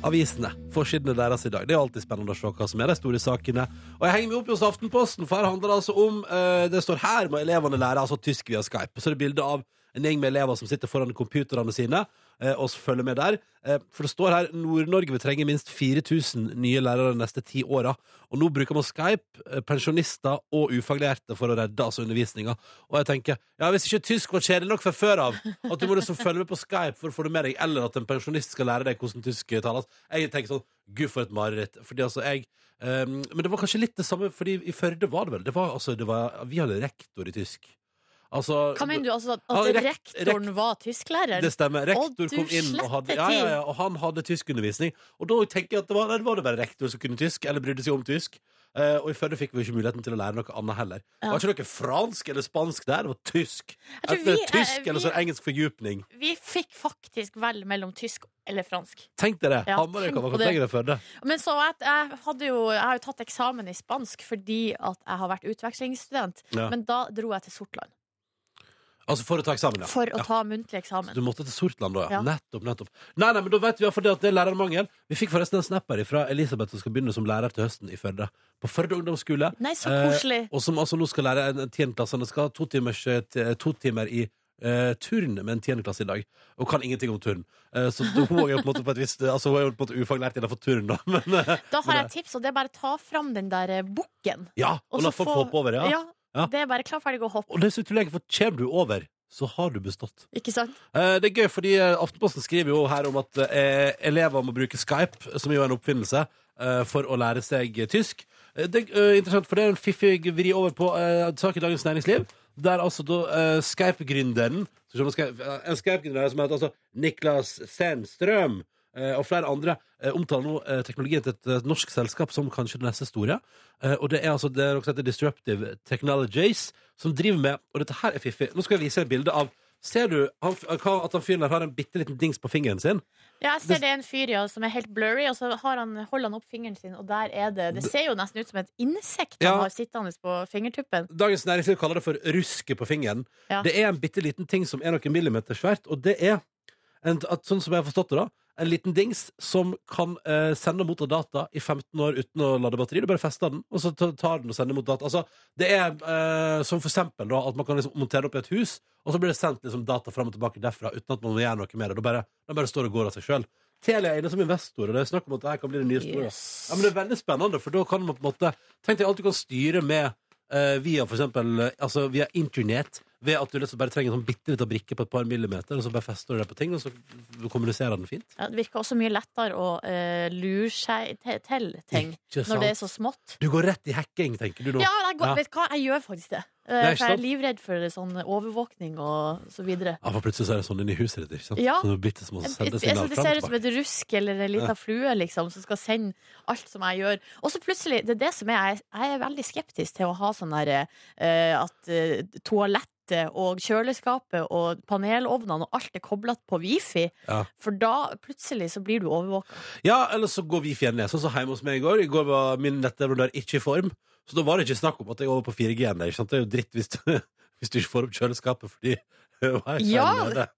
[SPEAKER 2] Avisene. Forsidene deres i dag. Det er alltid spennende å se hva som er de store sakene. Og jeg henger meg opp i hos Aftenposten, for her handler det altså om eh, Det står her må elevene lære altså tysk via Skype. Og så er det bilde av en gjeng med elever som sitter foran computerne sine eh, og følger med der. Eh, for det står her Nord-Norge vil trenge minst 4000 nye lærere de neste ti åra. Og nå bruker man Skype, eh, pensjonister og ufaglærte for å redde altså undervisninga. Og jeg tenker ja, hvis ikke tysk var kjedelig nok fra før av, at du må liksom følge med på Skype for å få det med deg, eller at en pensjonist skal lære deg hvordan tysk tales Jeg tenker sånn Gud, for et mareritt. Fordi altså, jeg eh, Men det var kanskje litt det samme, fordi i Førde var det vel det var, altså, det var, Vi hadde rektor i tysk. Altså
[SPEAKER 3] Hva mener du? Altså,
[SPEAKER 2] Ja,
[SPEAKER 3] at
[SPEAKER 2] rekt-
[SPEAKER 3] rektoren var tysklærer?
[SPEAKER 2] det stemmer.
[SPEAKER 3] Å,
[SPEAKER 2] Rektor
[SPEAKER 3] du
[SPEAKER 2] kom inn, og, hadde,
[SPEAKER 3] slette
[SPEAKER 2] ja, ja,
[SPEAKER 3] ting.
[SPEAKER 2] ja, og han hadde tyskundervisning. Og da tenker jeg at det var, nei, det var det bare rektor som kunne tysk, eller brydde seg om tysk. Eh, og i Førde fikk vi ikke muligheten til å lære noe annet heller. Det
[SPEAKER 3] Ja.
[SPEAKER 2] var ikke noe fransk eller spansk der, det var tysk.
[SPEAKER 3] tror
[SPEAKER 2] Enten er det
[SPEAKER 3] vi-
[SPEAKER 2] tysk
[SPEAKER 3] eh, vi-
[SPEAKER 2] eller så er det engelsk fordypning.
[SPEAKER 3] Vi fikk faktisk vel mellom tysk eller fransk.
[SPEAKER 2] Tenk dere,
[SPEAKER 3] Ja,
[SPEAKER 2] Hamarøy kan være
[SPEAKER 3] tenk på
[SPEAKER 2] godt
[SPEAKER 3] det.
[SPEAKER 2] lenger enn Førde.
[SPEAKER 3] Men så jeg, jeg, hadde jo, jeg har jo tatt eksamen i spansk fordi at jeg har vært utvekslingsstudent.
[SPEAKER 2] Ja.
[SPEAKER 3] Men da dro jeg til Sortland
[SPEAKER 2] Altså for å ta eksamen, ja.
[SPEAKER 3] for å
[SPEAKER 2] ja.
[SPEAKER 3] ta muntlig eksamen.
[SPEAKER 2] Du måtte til Sortland da, ja.
[SPEAKER 3] Ja.
[SPEAKER 2] Nettopp, nettopp. Nei, nei, men da vet vi i hvert fall det at det er lærermangel. Vi fikk forresten en snap her fra Elisabeth som skal begynne som lærer til høsten i Førde. På Førde ungdomsskole.
[SPEAKER 3] Nei, så
[SPEAKER 2] Eh,
[SPEAKER 3] koselig.
[SPEAKER 2] Og som altså nå skal lære en- en tiendeklasse. Han skal ha to, timers, eh, t- to timer i eh, turn med en tiendeklasse i dag. Og kan ingenting om turn. Eh, så hun er jo på en måte på et vis, altså, hun er jo på en måte ufaglært innenfor turn, da. <laughs> Men eh,
[SPEAKER 3] Da har jeg et tips, og det er bare ta fram den der eh, bukken.
[SPEAKER 2] ja, og
[SPEAKER 3] så
[SPEAKER 2] la folk
[SPEAKER 3] få-
[SPEAKER 2] få hoppe over, ja. Ja.
[SPEAKER 3] Det er bare klar, ferdig, gå, hopp.
[SPEAKER 2] Og det er så utrolig, for kommer du over, så har du bestått.
[SPEAKER 3] Ikke sant?
[SPEAKER 2] Eh, Det er gøy, fordi eh, Aftenposten skriver jo her om at eh, elever må bruke Skype, som jo er en oppfinnelse, eh, for å lære seg eh, tysk. Eh, Det er eh, interessant, for det er en fiffig vri over på eh, en sak i Dagens Næringsliv. Der altså da eh, Skype-gründeren skal vi se om Skype- eh, En Skype-gründer som heter altså Niklas Senstrøm eh, og flere andre eh, omtaler nå eh, teknologien til et eh, norsk selskap som kanskje det neste store. Eh, Og det er altså det dere heter Disruptive Technologies, som driver med Og dette her er fiffig. Nå skal jeg vise et bilde av Ser du han, f- hva- at han fyren der har en bitte liten dings på fingeren sin?
[SPEAKER 3] Ja, jeg ser det er en fyr ja, som er helt blurry, og så har han, holder han opp fingeren sin, og der er det Det ser jo nesten ut som et insekt
[SPEAKER 2] Ja.
[SPEAKER 3] han har sittende på fingertuppen.
[SPEAKER 2] Dagens Næringsliv kaller det for ruske på fingeren.
[SPEAKER 3] Ja.
[SPEAKER 2] Det er en bitte liten ting som er noen millimeter svært, og det er, en, at, sånn som jeg har forstått det da, en liten dings som kan eh, sende mot data i 15 år uten å lade batteri. Du bare fester den, og så ta- tar den og sender mot data. Altså, det er eh, som for eksempel da, at man kan liksom montere det opp i et hus, og så blir det sendt liksom, data fram og tilbake derfra uten at man må gjøre noe med det. Da bare, da bare står det og går av seg sjøl. Telia er inne som investor, og det er snakk om at dette kan bli det nye store. Ja, men Det er veldig spennende, for da kan man på en måte Tenk deg alt du kan styre med eh, via for eksempel, eh, altså via internett, ved at du liksom bare trenger en sånn bitte liten brikke på et par millimeter, og så bare fester du det på ting, og så kommuniserer den fint.
[SPEAKER 3] Ja, det virker også mye lettere å eh, lure seg te- til ting
[SPEAKER 2] Ikke
[SPEAKER 3] når det er
[SPEAKER 2] sant?
[SPEAKER 3] så smått.
[SPEAKER 2] Du går rett i hacking, tenker du nå.
[SPEAKER 3] Ja, jeg går,
[SPEAKER 2] Ja.
[SPEAKER 3] vet du hva, jeg gjør faktisk det. Eh,
[SPEAKER 2] Nei, ikke
[SPEAKER 3] for jeg
[SPEAKER 2] sant?
[SPEAKER 3] er livredd for sånn overvåkning og så videre.
[SPEAKER 2] Ja, for plutselig så er det sånn inne i huset ditt, ikke sant?
[SPEAKER 3] Ja.
[SPEAKER 2] Sånne bittesmå
[SPEAKER 3] Jeg, jeg, jeg,
[SPEAKER 2] sendesignaler
[SPEAKER 3] det
[SPEAKER 2] fram
[SPEAKER 3] ser
[SPEAKER 2] og
[SPEAKER 3] ut som
[SPEAKER 2] tilbake.
[SPEAKER 3] et rusk eller en lita flue liksom, som skal sende alt som jeg gjør. Og så plutselig, det er det som er, jeg, jeg er veldig skeptisk til å ha sånn der eh, at eh, toalettet og kjøleskapet og panelovnene og alt er koblet på wifi.
[SPEAKER 2] Ja.
[SPEAKER 3] For da plutselig så blir du overvåka.
[SPEAKER 2] Ja, eller så går vi fjern ned, sånn som hjemme hos meg i går. I går var min nettleverandør ikke i form, så da var det ikke snakk om at jeg er over på 4G ennå. ikke sant? Det er jo dritt hvis du, <laughs> hvis du ikke får opp kjøleskapet fordi <laughs> Hva er
[SPEAKER 3] Ja.
[SPEAKER 2] det?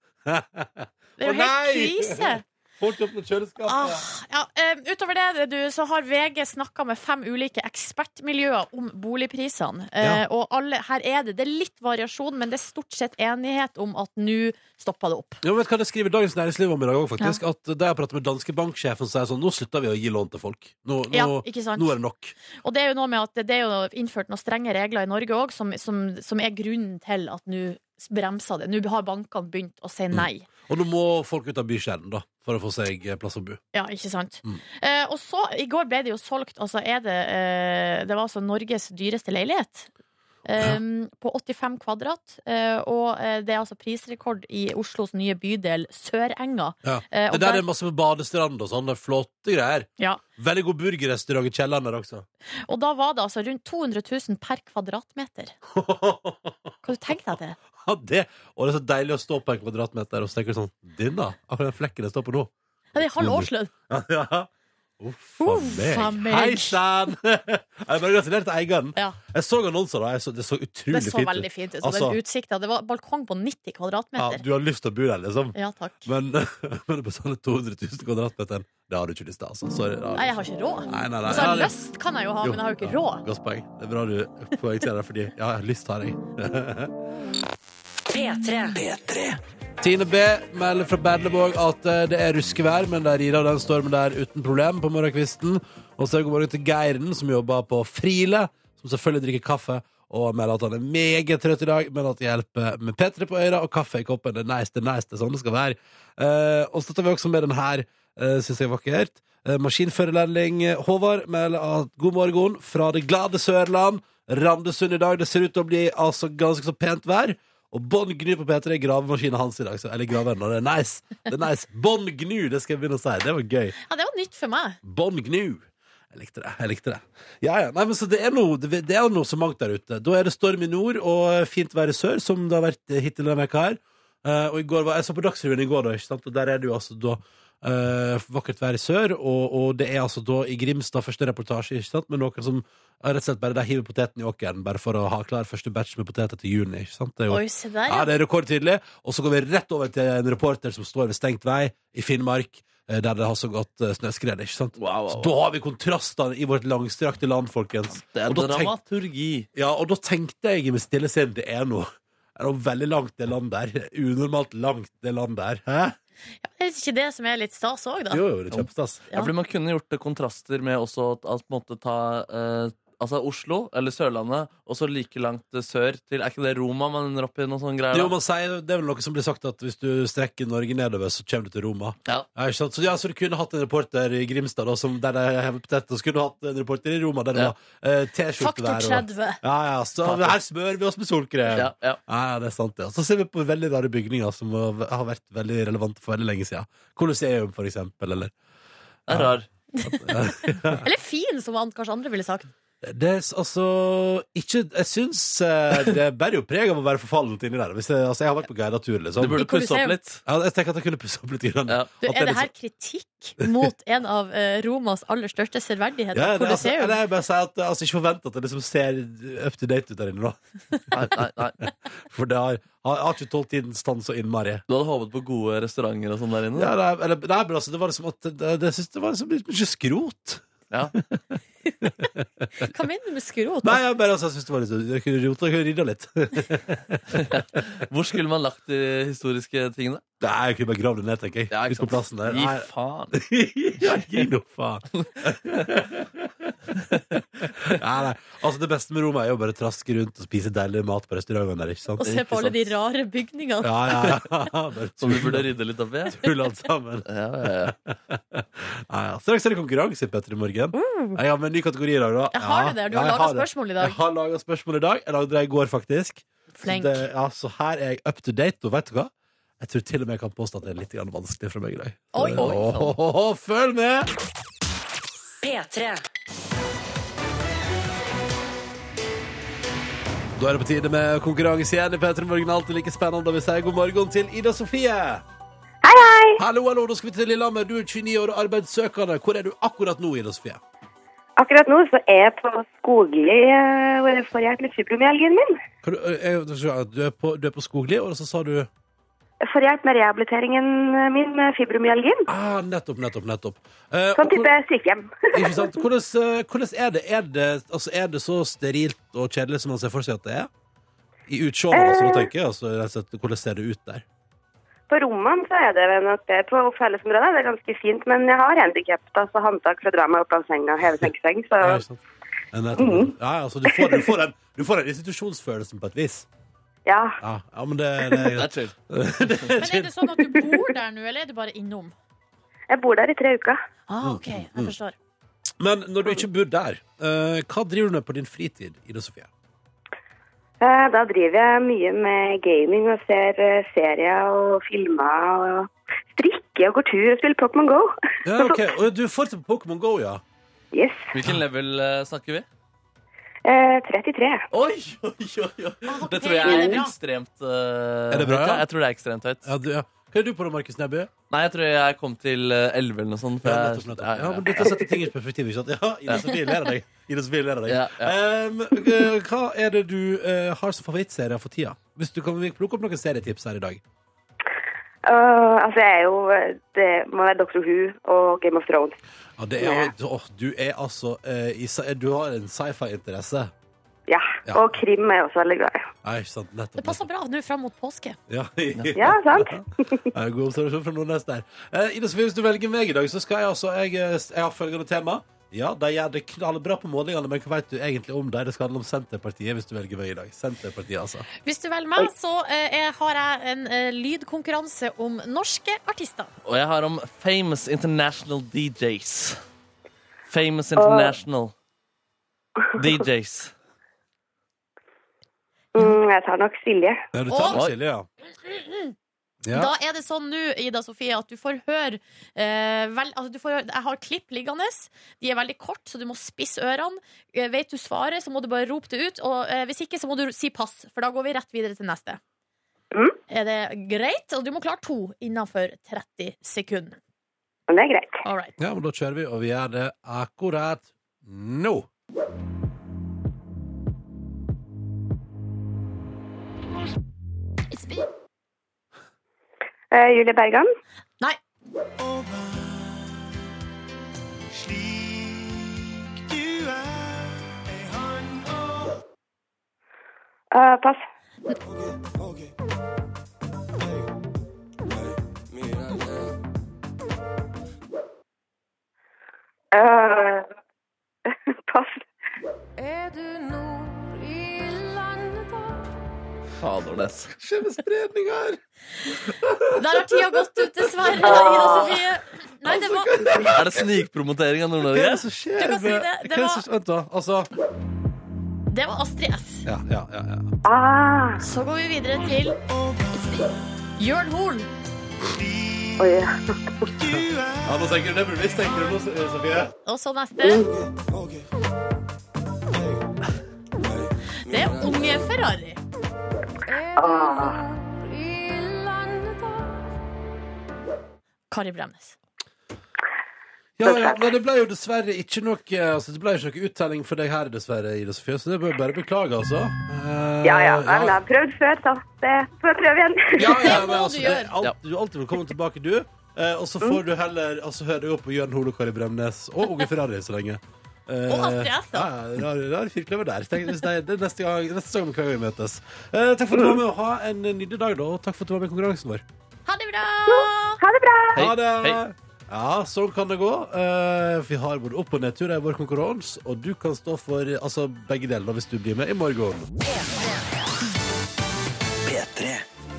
[SPEAKER 3] Det er
[SPEAKER 2] Å,
[SPEAKER 3] jo helt
[SPEAKER 2] nei!
[SPEAKER 3] krise!
[SPEAKER 2] Får ikke opp noe kjøleskap.
[SPEAKER 3] Ah, ja, eh, utover det du, så har VG snakka med fem ulike ekspertmiljøer om boligprisene. Eh,
[SPEAKER 2] Ja.
[SPEAKER 3] Og alle, her er det, det er litt variasjon, men det er stort sett enighet om at nå stopper det opp.
[SPEAKER 2] Ja, men vet du hva det skriver Dagens Næringsliv om i dag òg, faktisk? At der jeg prater med danske banksjefen, så er det sånn Nå slutter vi å gi lån til folk. Nå, nå,
[SPEAKER 3] Ja, ikke sant?
[SPEAKER 2] nå er det nok.
[SPEAKER 3] Og det er jo noe med at det- det er jo innført noen strenge regler i Norge òg, som, som, som er grunnen til at nå bremser det. Nå har bankene begynt å
[SPEAKER 2] Mm.
[SPEAKER 3] si nei.
[SPEAKER 2] Og nå må folk ut av bykjernen, da, for å få seg eh, plass å bo.
[SPEAKER 3] Ja, ikke sant.
[SPEAKER 2] Mm.
[SPEAKER 3] Eh, og så, i går ble det jo solgt, altså er det eh, Det var altså Norges dyreste leilighet. eh, På 85 kvadrat. eh, og eh, det er altså prisrekord i Oslos nye bydel Sørenga.
[SPEAKER 2] Ja.
[SPEAKER 3] Eh, og
[SPEAKER 2] Det der er masse badestrand og sånn. Det er flotte greier.
[SPEAKER 3] ja.
[SPEAKER 2] Veldig god burgerrestaurant i kjelleren der også. <laughs>
[SPEAKER 3] og da var det altså rundt 200 000 per kvadratmeter. Hva du tenker deg det?
[SPEAKER 2] Ja, det, og det er så deilig å stå på en kvadratmeter og så tenker du sånn Din, da? Akkurat den flekken jeg står på nå. <laughs>
[SPEAKER 3] Ja, det er halv årslønn.
[SPEAKER 2] Ja. Uff
[SPEAKER 3] Uff,
[SPEAKER 2] a
[SPEAKER 3] a meg.
[SPEAKER 2] meg. Hei sann! <laughs> Jeg bare gratulerer til eieren.
[SPEAKER 3] Ja,
[SPEAKER 2] Jeg så annonser, da. Jeg så, det så utrolig
[SPEAKER 3] det så
[SPEAKER 2] fint ut.
[SPEAKER 3] veldig fint ut.
[SPEAKER 2] Altså-
[SPEAKER 3] og den utsikta. Det var balkong på
[SPEAKER 2] Ja,
[SPEAKER 3] 90 kvadratmeter.
[SPEAKER 2] du har lyst til å bo der, liksom.
[SPEAKER 3] Ja, takk.
[SPEAKER 2] Men, <laughs> men å betale 200 000 kvadratmeter, det har du ikke lyst til, altså. Sorry. det har du
[SPEAKER 3] Nei,
[SPEAKER 2] ikke.
[SPEAKER 3] jeg har ikke råd.
[SPEAKER 2] Nei, nei, nei.
[SPEAKER 3] Altså,
[SPEAKER 2] Ja, det-
[SPEAKER 3] lyst kan jeg jo ha,
[SPEAKER 2] Jo,
[SPEAKER 3] men jeg har jo ikke
[SPEAKER 2] ja,
[SPEAKER 3] råd.
[SPEAKER 2] Godt poeng. Det er bra du poengterer det, fordi ja, lyst har jeg.
[SPEAKER 1] P3.
[SPEAKER 2] Tine B melder fra Berleborg at eh, det er ruskevær, men de rir av den stormen der uten problem på morgenkvisten. Og så god morgen til Geiren, som jobber på Friele, som selvfølgelig drikker kaffe. Og melder at han er meget trøtt i dag, men at det hjelper med P3 på øra og kaffe i koppen. Det er nice, det er nice, det er sånn det skal være. Eh, og så tar vi også med den her, uh, syns jeg er vakkert. Eh, maskinførerlærling Håvard melder at god morgen fra det glade Sørland. Randesund i dag. Det ser ut til å bli altså ganske så pent vær. Og Bånn Gnu på P3 er gravemaskinen hans i dag. Så, eller graveren, og det er nice. Det er nice. Bånn Gnu, det skal jeg begynne å si. Det var gøy.
[SPEAKER 3] Ja, det var nytt for meg.
[SPEAKER 2] Bånn Gnu. Jeg likte det. jeg likte det Ja, ja, nei, men så Det er noe det, det er noe så mangt der ute. Da er det storm i nord og fint vær i sør, som det har vært hittil denne veka her. Eh, og i går var, Jeg så på Dagsrevyen i går, da, ikke sant? og der er det jo altså da eh, vakkert vær i sør. Og, og det er altså da i Grimstad første reportasje ikke sant? med noen som ja, rett og slett bare de hiver poteten i åkeren bare for å ha klar første batch med poteter til juni. ikke sant? Det er jo
[SPEAKER 3] Oi, se der,
[SPEAKER 2] ja,
[SPEAKER 3] ja.
[SPEAKER 2] det er rekordtydelig. Og så går vi rett over til en reporter som står ved stengt vei i Finnmark, eh, der det har så godt eh, snøskred. ikke sant?
[SPEAKER 4] Wow, wow, wow.
[SPEAKER 2] Så da har vi kontrastene i vårt langstrakte land, folkens.
[SPEAKER 4] Det er
[SPEAKER 2] Og da tenk-
[SPEAKER 4] dramaturgi.
[SPEAKER 2] ja, og da tenkte jeg i mitt stille sinn det er noe. Det er noe veldig langt, det landet der. Unormalt langt, det landet der. Hæ?
[SPEAKER 3] Er det ikke det som er litt stas òg, da?
[SPEAKER 2] Jo, jo, det er kjempestas.
[SPEAKER 4] Ja.
[SPEAKER 3] Ja.
[SPEAKER 4] fordi Man kunne gjort det kontraster med også at, at på en måte ta eh, Altså Oslo, eller Sørlandet, og så like langt eh, sør til Er ikke det Roma man ender opp i? noen sånne greier?
[SPEAKER 2] Jo,
[SPEAKER 4] da?
[SPEAKER 2] man sier, det er vel noe som blir sagt at hvis du strekker Norge nedover, så kommer du til Roma.
[SPEAKER 4] Ja.
[SPEAKER 2] Ja, ikke sant? Så, ja, så du kunne hatt en reporter i Grimstad da, som, der de hever poteter, og så kunne du hatt en reporter i Roma der det
[SPEAKER 4] Ja.
[SPEAKER 2] var eh, T-skjorte
[SPEAKER 3] Faktor
[SPEAKER 2] der. Og, <laughs>
[SPEAKER 3] 30.
[SPEAKER 2] ja, ja, så
[SPEAKER 4] Faktor.
[SPEAKER 2] her smører vi oss med solkrem.
[SPEAKER 4] Ja,
[SPEAKER 2] Ja.
[SPEAKER 4] ja.
[SPEAKER 2] Ja, det er sant det. Og så ser vi på veldig rare bygninger som har har vært veldig relevante for veldig lenge siden. Colosseum, for eksempel, eller...
[SPEAKER 4] Det er rar.
[SPEAKER 3] Eller fin, som an- kanskje andre ville sagt.
[SPEAKER 2] Det er s- altså ikke Jeg syns eh, det bærer jo preg av å være forfallent inni der. Hvis jeg, altså, jeg har vært på guidet tur, liksom.
[SPEAKER 4] Du
[SPEAKER 3] I
[SPEAKER 4] burde pusse
[SPEAKER 3] Colosseum.
[SPEAKER 4] opp litt.
[SPEAKER 2] Ja, jeg tenker at jeg kunne pusse opp litt. Grann.
[SPEAKER 4] Ja.
[SPEAKER 3] Du,
[SPEAKER 2] At
[SPEAKER 3] er
[SPEAKER 2] det
[SPEAKER 3] det her kritikk mot en av eh, Romas aller største severdigheter,
[SPEAKER 2] Ja, det, altså,
[SPEAKER 3] Colosseum?
[SPEAKER 2] eller jeg bare sier at eh, altså, Ikke forvent at det liksom ser up to date ut der inne, da.
[SPEAKER 4] Nei, nei, nei.
[SPEAKER 2] For det har, har, har ikke tålt tidens tann så innmari.
[SPEAKER 4] Du hadde håpet på gode restauranter og sånn der inne?
[SPEAKER 2] Ja, det, er- eller, nei, men altså, det var liksom at det, det, jeg synes det var liksom litt mye skrot.
[SPEAKER 4] Ja.
[SPEAKER 3] Hva mener du med skrot?
[SPEAKER 2] Nei, jeg bare altså, jeg synes det var litt Jeg kunne rota jeg kunne rydda litt. <laughs>
[SPEAKER 4] Hvor skulle man lagt de historiske tingene?
[SPEAKER 2] Nei, jeg kunne bare gravd det ned, tenker jeg.
[SPEAKER 4] Ja, ikke
[SPEAKER 2] Ut på plassen der.
[SPEAKER 4] Gi
[SPEAKER 2] Nei,
[SPEAKER 4] faen.
[SPEAKER 2] ja, gi nå faen. <laughs> nei, nei. Altså, det beste med Roma er jo bare å traske rundt og spise deilig mat på restaurantene der, ikke sant?
[SPEAKER 3] Og se
[SPEAKER 4] ikke
[SPEAKER 3] på alle de
[SPEAKER 4] sant.
[SPEAKER 3] rare bygningene.
[SPEAKER 2] Ja, ja, <laughs> ja. Bare
[SPEAKER 4] Som du
[SPEAKER 2] tull-
[SPEAKER 4] burde rydde litt opp i?
[SPEAKER 2] tull alt sammen.
[SPEAKER 4] Ja, ja, ja.
[SPEAKER 2] Ja, ja. Straks er det konkurranse i Petter i morgen. Jeg har med en ny kategori i dag, da.
[SPEAKER 3] Mm. Jeg har det der. Du har
[SPEAKER 2] Ja, jeg
[SPEAKER 3] laga
[SPEAKER 2] det.
[SPEAKER 3] spørsmål i
[SPEAKER 2] Jeg
[SPEAKER 3] dag.
[SPEAKER 2] har laga spørsmål i dag. Jeg lagde det i går, faktisk.
[SPEAKER 3] Flink.
[SPEAKER 2] Så, det, ja, så her er jeg up to date, og vet du hva? Jeg tror til og med jeg kan påstå at det er litt grann vanskelig for meg i dag. Så-
[SPEAKER 3] Oi.
[SPEAKER 2] Åh, <laughs> åh, åh, følg med!
[SPEAKER 1] P3.
[SPEAKER 2] Da er det på tide med konkurranse igjen i P3 Morgen. Alltid like spennende. Og vi sier god morgen til Ida Sofie.
[SPEAKER 5] Hei, hei!
[SPEAKER 2] Hallo, hallo, da skal vi til Lillehammer. Du er 29 år og arbeidssøkende. Hvor er du akkurat nå, Ida Sofie?
[SPEAKER 5] Akkurat nå så er jeg på Skogli, eh, hvor jeg får hjelp med fibromyalgien min.
[SPEAKER 2] Kan du, eh, jeg- du, er på, du er på Skogli, og så sa du
[SPEAKER 5] Jeg får hjelp med rehabiliteringen eh, min med fibromyalgien.
[SPEAKER 2] ah, Nettopp, nettopp, nettopp. Eh,
[SPEAKER 5] Sånn
[SPEAKER 2] og hvor-
[SPEAKER 5] type sykehjem. <laughs>
[SPEAKER 2] ikke sant? Hvordan, eh, hvordan er det? Er det, altså, er det så sterilt og kjedelig som man ser for seg at det er? I utseendet, altså, nå tenker jeg. Altså, rett og slett, hvordan ser det ut der?
[SPEAKER 5] På rommene så er det vel nok det på fellesområdet. Det er ganske fint, men jeg har handikap, altså håndtak for å dra meg opp av senga og heve sengeseng, så
[SPEAKER 2] Ja, ikke sant? Ja, nettopp. Ja, altså, du, får, du, får en, du får en institusjonsfølelse på et vis.
[SPEAKER 5] ja.
[SPEAKER 2] Ja, ja men det, det er
[SPEAKER 4] Det
[SPEAKER 2] greit.
[SPEAKER 4] er chill.
[SPEAKER 3] Men er det sånn at du bor der nå, eller er du bare innom?
[SPEAKER 5] Jeg bor der i tre uker.
[SPEAKER 2] Mm,
[SPEAKER 3] Ah, OK, jeg forstår.
[SPEAKER 2] Men når du ikke bor der, eh, hva driver du med på din fritid, Ida Sofie?
[SPEAKER 5] Eh, Da driver jeg mye med gaming og ser eh, serier og filmer og strikker og går tur og spiller Pokémon Go. <laughs>
[SPEAKER 2] Ja, ok, og Du er fortsatt på Pokémon GO, ja?
[SPEAKER 5] Yes.
[SPEAKER 4] Hvilken level eh, snakker vi?
[SPEAKER 5] Eh, 33.
[SPEAKER 4] Oi, oi, oi, oi. Det tror jeg
[SPEAKER 3] Er Ah, det
[SPEAKER 4] er
[SPEAKER 3] bra?
[SPEAKER 4] ekstremt eh,
[SPEAKER 2] Er det bra,
[SPEAKER 4] høyt,
[SPEAKER 2] ja?
[SPEAKER 4] ja? Jeg tror det er ekstremt høyt.
[SPEAKER 2] ja, du, ja. Hva er du på da, Markus Neby?
[SPEAKER 4] Nei, jeg tror jeg kom til eh, 11 eller noe sånt. for
[SPEAKER 2] Ja,
[SPEAKER 4] jeg-
[SPEAKER 2] nettopp, nettopp.
[SPEAKER 4] Ja, ja,
[SPEAKER 2] ja,
[SPEAKER 4] ja.
[SPEAKER 2] men Dette setter ting i perspektiv. ikke sant? Ja, Ida Sofie ler av deg. Ida Sofie ler av deg.
[SPEAKER 4] Ja,
[SPEAKER 2] Em, eh, hva er det du eh, har som favorittserier for tida? Hvis du kan plukke opp noen serietips her i dag.
[SPEAKER 5] Åh, altså, jeg er jo Det må være Doctor Who og Game of Thrones.
[SPEAKER 2] Ja, det er, åh, du er altså eh, i, sci- Du har en sci-fi-interesse.
[SPEAKER 5] Ja.
[SPEAKER 2] Ja.
[SPEAKER 5] Og krim er jeg også veldig glad i.
[SPEAKER 2] Ja, ikke sant? Nettopp.
[SPEAKER 3] Det passer bra nå fram mot påske.
[SPEAKER 2] Ja, <laughs>
[SPEAKER 5] Ja, sant?
[SPEAKER 2] Ja, god observasjon fra Nordnes der. Eh, Ida Sofie, hvis du velger meg i dag, så skal jeg altså Jeg, eh, jeg har følgende tema. Ja, de gjør det knallbra på målingene, men hva vet du egentlig om dem? Det skal handle om Senterpartiet hvis du velger meg i dag. Senterpartiet, altså.
[SPEAKER 3] Hvis du velger meg, så eh, jeg har jeg en eh, lydkonkurranse om norske artister.
[SPEAKER 4] Og jeg har om Famous International DJs. Famous International
[SPEAKER 2] <laughs>
[SPEAKER 4] DJs.
[SPEAKER 5] Mm, jeg tar nok Silje.
[SPEAKER 2] Ja, du
[SPEAKER 3] tar
[SPEAKER 2] tar
[SPEAKER 3] det,
[SPEAKER 2] det, Silje, ja. Ja.
[SPEAKER 3] Da er det sånn nå, Ida Sofie, at du får høre eh, vel, altså du får, høre- Jeg har klipp liggende. De er veldig kort, så du må spisse ørene. Eh, vet du svaret, så må du bare rope det ut. Og eh, hvis ikke, så må du si pass, for da går vi rett videre til neste.
[SPEAKER 5] Mm.
[SPEAKER 3] Er det greit? Og du må klare to innenfor 30 sekunder.
[SPEAKER 5] Men det er greit.
[SPEAKER 3] All right.
[SPEAKER 2] ja, men da kjører vi, og vi gjør det akkurat nå.
[SPEAKER 5] Eh, Julie Bergan.
[SPEAKER 3] Nei.
[SPEAKER 5] Eh, <laughs> pass. Eh, pass.
[SPEAKER 6] Er du nord i landet da?
[SPEAKER 4] Fadernes.
[SPEAKER 2] Skjevespredning her!
[SPEAKER 3] Der har tida gått ut, dessverre. Ida Sofie. Nei, det var
[SPEAKER 4] Er det snikpromotering av
[SPEAKER 2] Hva er
[SPEAKER 4] Nord-Norge?
[SPEAKER 2] det som skjer?
[SPEAKER 3] Du kan si
[SPEAKER 2] med-
[SPEAKER 3] det. Det
[SPEAKER 2] Hva er
[SPEAKER 3] var-
[SPEAKER 2] som- Vent, da. Altså
[SPEAKER 3] Det var Astrid S.
[SPEAKER 2] Ja, ja, ja. ja.
[SPEAKER 5] Ah,
[SPEAKER 3] Så går vi videre til Jørn Horn.
[SPEAKER 5] oi.
[SPEAKER 2] ja nå tenker du nebulvis, tenker du nå, Sofie?
[SPEAKER 3] Og så neste. Det er Unge Ferrari.
[SPEAKER 6] Er du nord i landet da?
[SPEAKER 3] Kari Bremnes.
[SPEAKER 2] Ja, ja, nei, det ble jo dessverre ikke noe altså, Det ble jo ikke noe uttelling for deg her, dessverre, Ida Sofie, så det bør jeg bare beklage, altså. Eh,
[SPEAKER 5] Ja, ja. Nei, men jeg har prøvd før, så det får jeg prøve igjen.
[SPEAKER 2] Ja, ja,
[SPEAKER 3] <laughs>
[SPEAKER 2] men
[SPEAKER 3] Det må du
[SPEAKER 2] altså, det er
[SPEAKER 3] gjøre.
[SPEAKER 2] alt,
[SPEAKER 4] Ja.
[SPEAKER 2] du er alltid velkommen tilbake, du. Eh, og så
[SPEAKER 5] Mm.
[SPEAKER 2] får du heller altså, høre deg opp på Jørn Hole og Kari Bremnes og Unge Ferrari så lenge. Eh,
[SPEAKER 3] Og Astrid S, da.
[SPEAKER 2] Ja, ja, rar, rar firkløver der. Tenk, hvis det, er- det er neste gang, neste gang vi møtes. Eh, takk for at du var med, og ha en nydelig dag, da. Og takk for at du var med i konkurransen vår.
[SPEAKER 3] Ha det bra!
[SPEAKER 5] <laughs> Ha det bra!
[SPEAKER 4] Hei,
[SPEAKER 2] Ha det!
[SPEAKER 4] hei.
[SPEAKER 2] Ja, sånn kan det gå. Eh, vi har både opp- og nedturer i vår konkurranse, og du kan stå for eh, altså, begge deler hvis du blir med i morgen.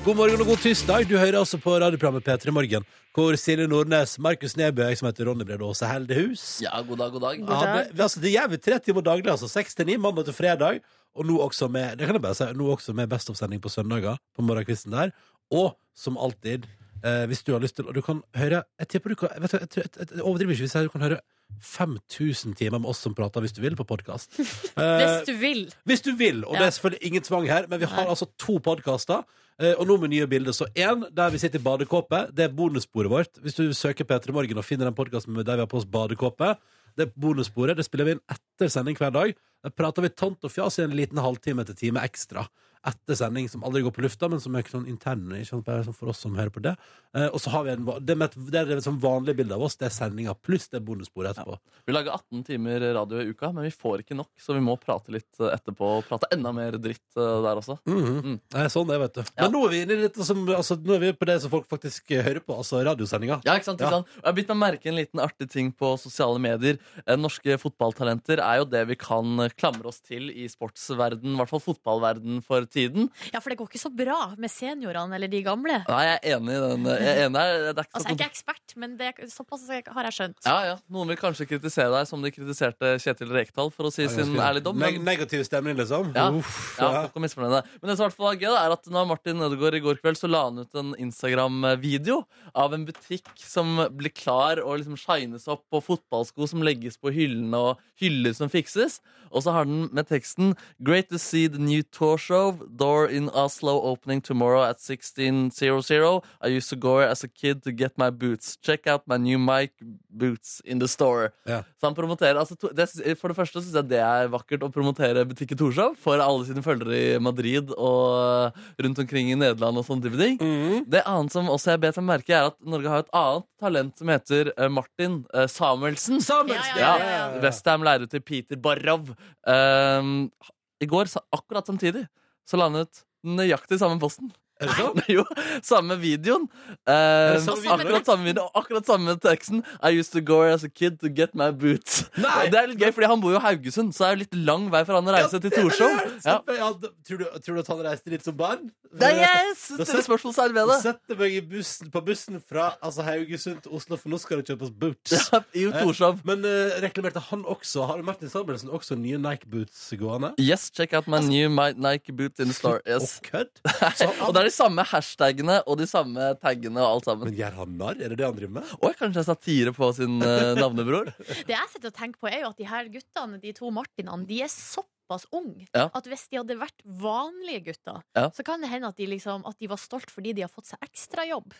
[SPEAKER 2] God morgen og god tirsdag. Du hører altså på radioprogrammet P3 Morgen, hvor Silje Nordnes, Markus Neby og jeg som heter Ronny Brede Aase holder hus.
[SPEAKER 4] Ja, god dag, god dag.
[SPEAKER 2] Ja, det, vi- altså, det gjør vi tre timer daglig, altså. Seks til ni, mandag til fredag. Og nå også med det kan jeg bare si, nå også med Best of-sending på søndager, på morgenkvisten der. Og som alltid, eh, hvis du har lyst til Og du kan høre Jeg tipper du kan vet du, jeg, tror- jeg, jeg overdriver ikke hvis jeg sier du kan høre 5000 timer med oss som prater, hvis du vil, på Eh, podkast.
[SPEAKER 3] Hvis du vil.
[SPEAKER 2] Hvis du vil, og
[SPEAKER 3] Ja.
[SPEAKER 2] det er selvfølgelig ingen tvang her, men vi har
[SPEAKER 3] Nei.
[SPEAKER 2] altså to podkaster. Og nå med nye bilder. Så én der vi sitter i badekåpe, det er bonussporet vårt. Hvis du søker P3 Morgen og finner den podkasten der vi har på oss badekåpe, det er bonussporet. Det spiller vi inn etter sending hver dag. Der prater vi tant og fjas i en liten halvtime til time ekstra. Etter sending som aldri går på lufta, men som er sånn interne. Ikke sant? Bare sånn for oss som hører på det. Eh, Og så har vi en, va- det, med, et- det er det sånn vanlige bildet av oss, det er sendinga pluss det er bonussporet etterpå.
[SPEAKER 4] Vi lager 18 timer radio i uka, men vi får ikke nok, så vi må prate litt eh, etterpå. Og prate enda mer dritt eh, der også.
[SPEAKER 2] Mhm.
[SPEAKER 4] Mm.
[SPEAKER 2] Nei, sånn det, vet du.
[SPEAKER 4] Ja.
[SPEAKER 2] Men nå er vi inne i dette som altså, Nå er vi på det som folk faktisk eh, hører på, altså radiosendinga.
[SPEAKER 4] Ja, ikke sant, ikke
[SPEAKER 2] Ja.
[SPEAKER 4] sant? Og Jeg har bitt meg merke en liten artig ting på sosiale medier. Eh, Norske fotballtalenter er jo det vi kan eh, klamre oss til i sportsverden, i hvert fall fotballverden for tiden.
[SPEAKER 3] Ja, for det går ikke så bra med seniorene eller de gamle.
[SPEAKER 4] Nei, jeg er enig i den. Jeg er enig her. Det er ikke
[SPEAKER 3] Altså,
[SPEAKER 4] så
[SPEAKER 3] jeg er ikke ekspert, men det er såpass har jeg skjønt.
[SPEAKER 4] ja, ja. Noen vil kanskje kritisere deg som de kritiserte Kjetil Rekdal for å si sin ærligdom.
[SPEAKER 2] Neg
[SPEAKER 4] men-
[SPEAKER 2] negativ stemning, liksom.
[SPEAKER 4] Ja.
[SPEAKER 2] Uff,
[SPEAKER 4] Ja,
[SPEAKER 2] ja.
[SPEAKER 4] folk er misfornøyde. Men det som i hvert fall var gøy, da, er at når Martin Ødegaard i går kveld så la han ut en Instagram-video av en butikk som blir klar og liksom shines opp, og fotballsko som legges på hyllene, og hyller som fikses. Og så har den med teksten Great to see the new tour show. Door in Oslo opening tomorrow at 16.00. I used to go here as a kid to get my boots. Check out my new Mike boots in the store.
[SPEAKER 2] Ja.
[SPEAKER 4] Så han promoterer altså, to- det, synes- For det første syns jeg det er vakkert å promotere butikken Torshov for alle sine følgere i Madrid og rundt omkring i Nederland og sånn type ting.
[SPEAKER 2] Mhm.
[SPEAKER 4] Det annet som også jeg bet meg merke, er at Norge har et annet talent som heter eh, Martin eh, Samuelsen.
[SPEAKER 2] Samuelsen!
[SPEAKER 4] Ja,
[SPEAKER 3] ja, ja.
[SPEAKER 4] Westham lærer til Peter Barrov. Ehm, I går, sa- akkurat samtidig, så landet nøyaktig samme posten.
[SPEAKER 2] Er det sånn?
[SPEAKER 4] <laughs> jo, samme videoen. Ehm,
[SPEAKER 2] det samme video?
[SPEAKER 4] akkurat samme video, akkurat samme teksten. I used to go as a kid to get my boots.
[SPEAKER 2] Nei!
[SPEAKER 4] Og Det er litt gøy, fordi han bor jo i Haugesund, så det er jo litt lang vei for han å reise til Torshov. Ja.
[SPEAKER 2] Ja, d- tror, du, tror du at han reiste dit som barn?
[SPEAKER 4] Det er jeg stiller spørsmålstegn ved
[SPEAKER 2] Jeg
[SPEAKER 4] det.
[SPEAKER 2] setter meg i bussen, på bussen fra altså, Haugesund til Oslo, for nå skal det kjøpes boots.
[SPEAKER 4] Ja, I Torshov.
[SPEAKER 2] Men eh, reklamerte han også? Har Martin Samuelsen også nye Nike-boots gående?
[SPEAKER 4] Yes, check out my new Mi- Nike boot in the
[SPEAKER 2] <laughs>
[SPEAKER 4] store. Yes.
[SPEAKER 2] Og
[SPEAKER 4] <laughs>
[SPEAKER 2] kødd? Så han-
[SPEAKER 4] Og det er de samme hashtagene og de samme taggene og alt sammen.
[SPEAKER 2] Men gjør han narr? Er det det han driver med?
[SPEAKER 4] Oi, kanskje det er satire på sin
[SPEAKER 2] <laughs>
[SPEAKER 4] eh, navnebror?
[SPEAKER 3] Det jeg sitter og tenker på, er jo at de her guttene, de to Martinene, de er såpass unge
[SPEAKER 4] Ja.
[SPEAKER 3] at hvis de hadde vært vanlige gutter,
[SPEAKER 4] Ja.
[SPEAKER 3] så kan det hende at de, liksom, at de var stolt fordi de har fått seg ekstrajobb.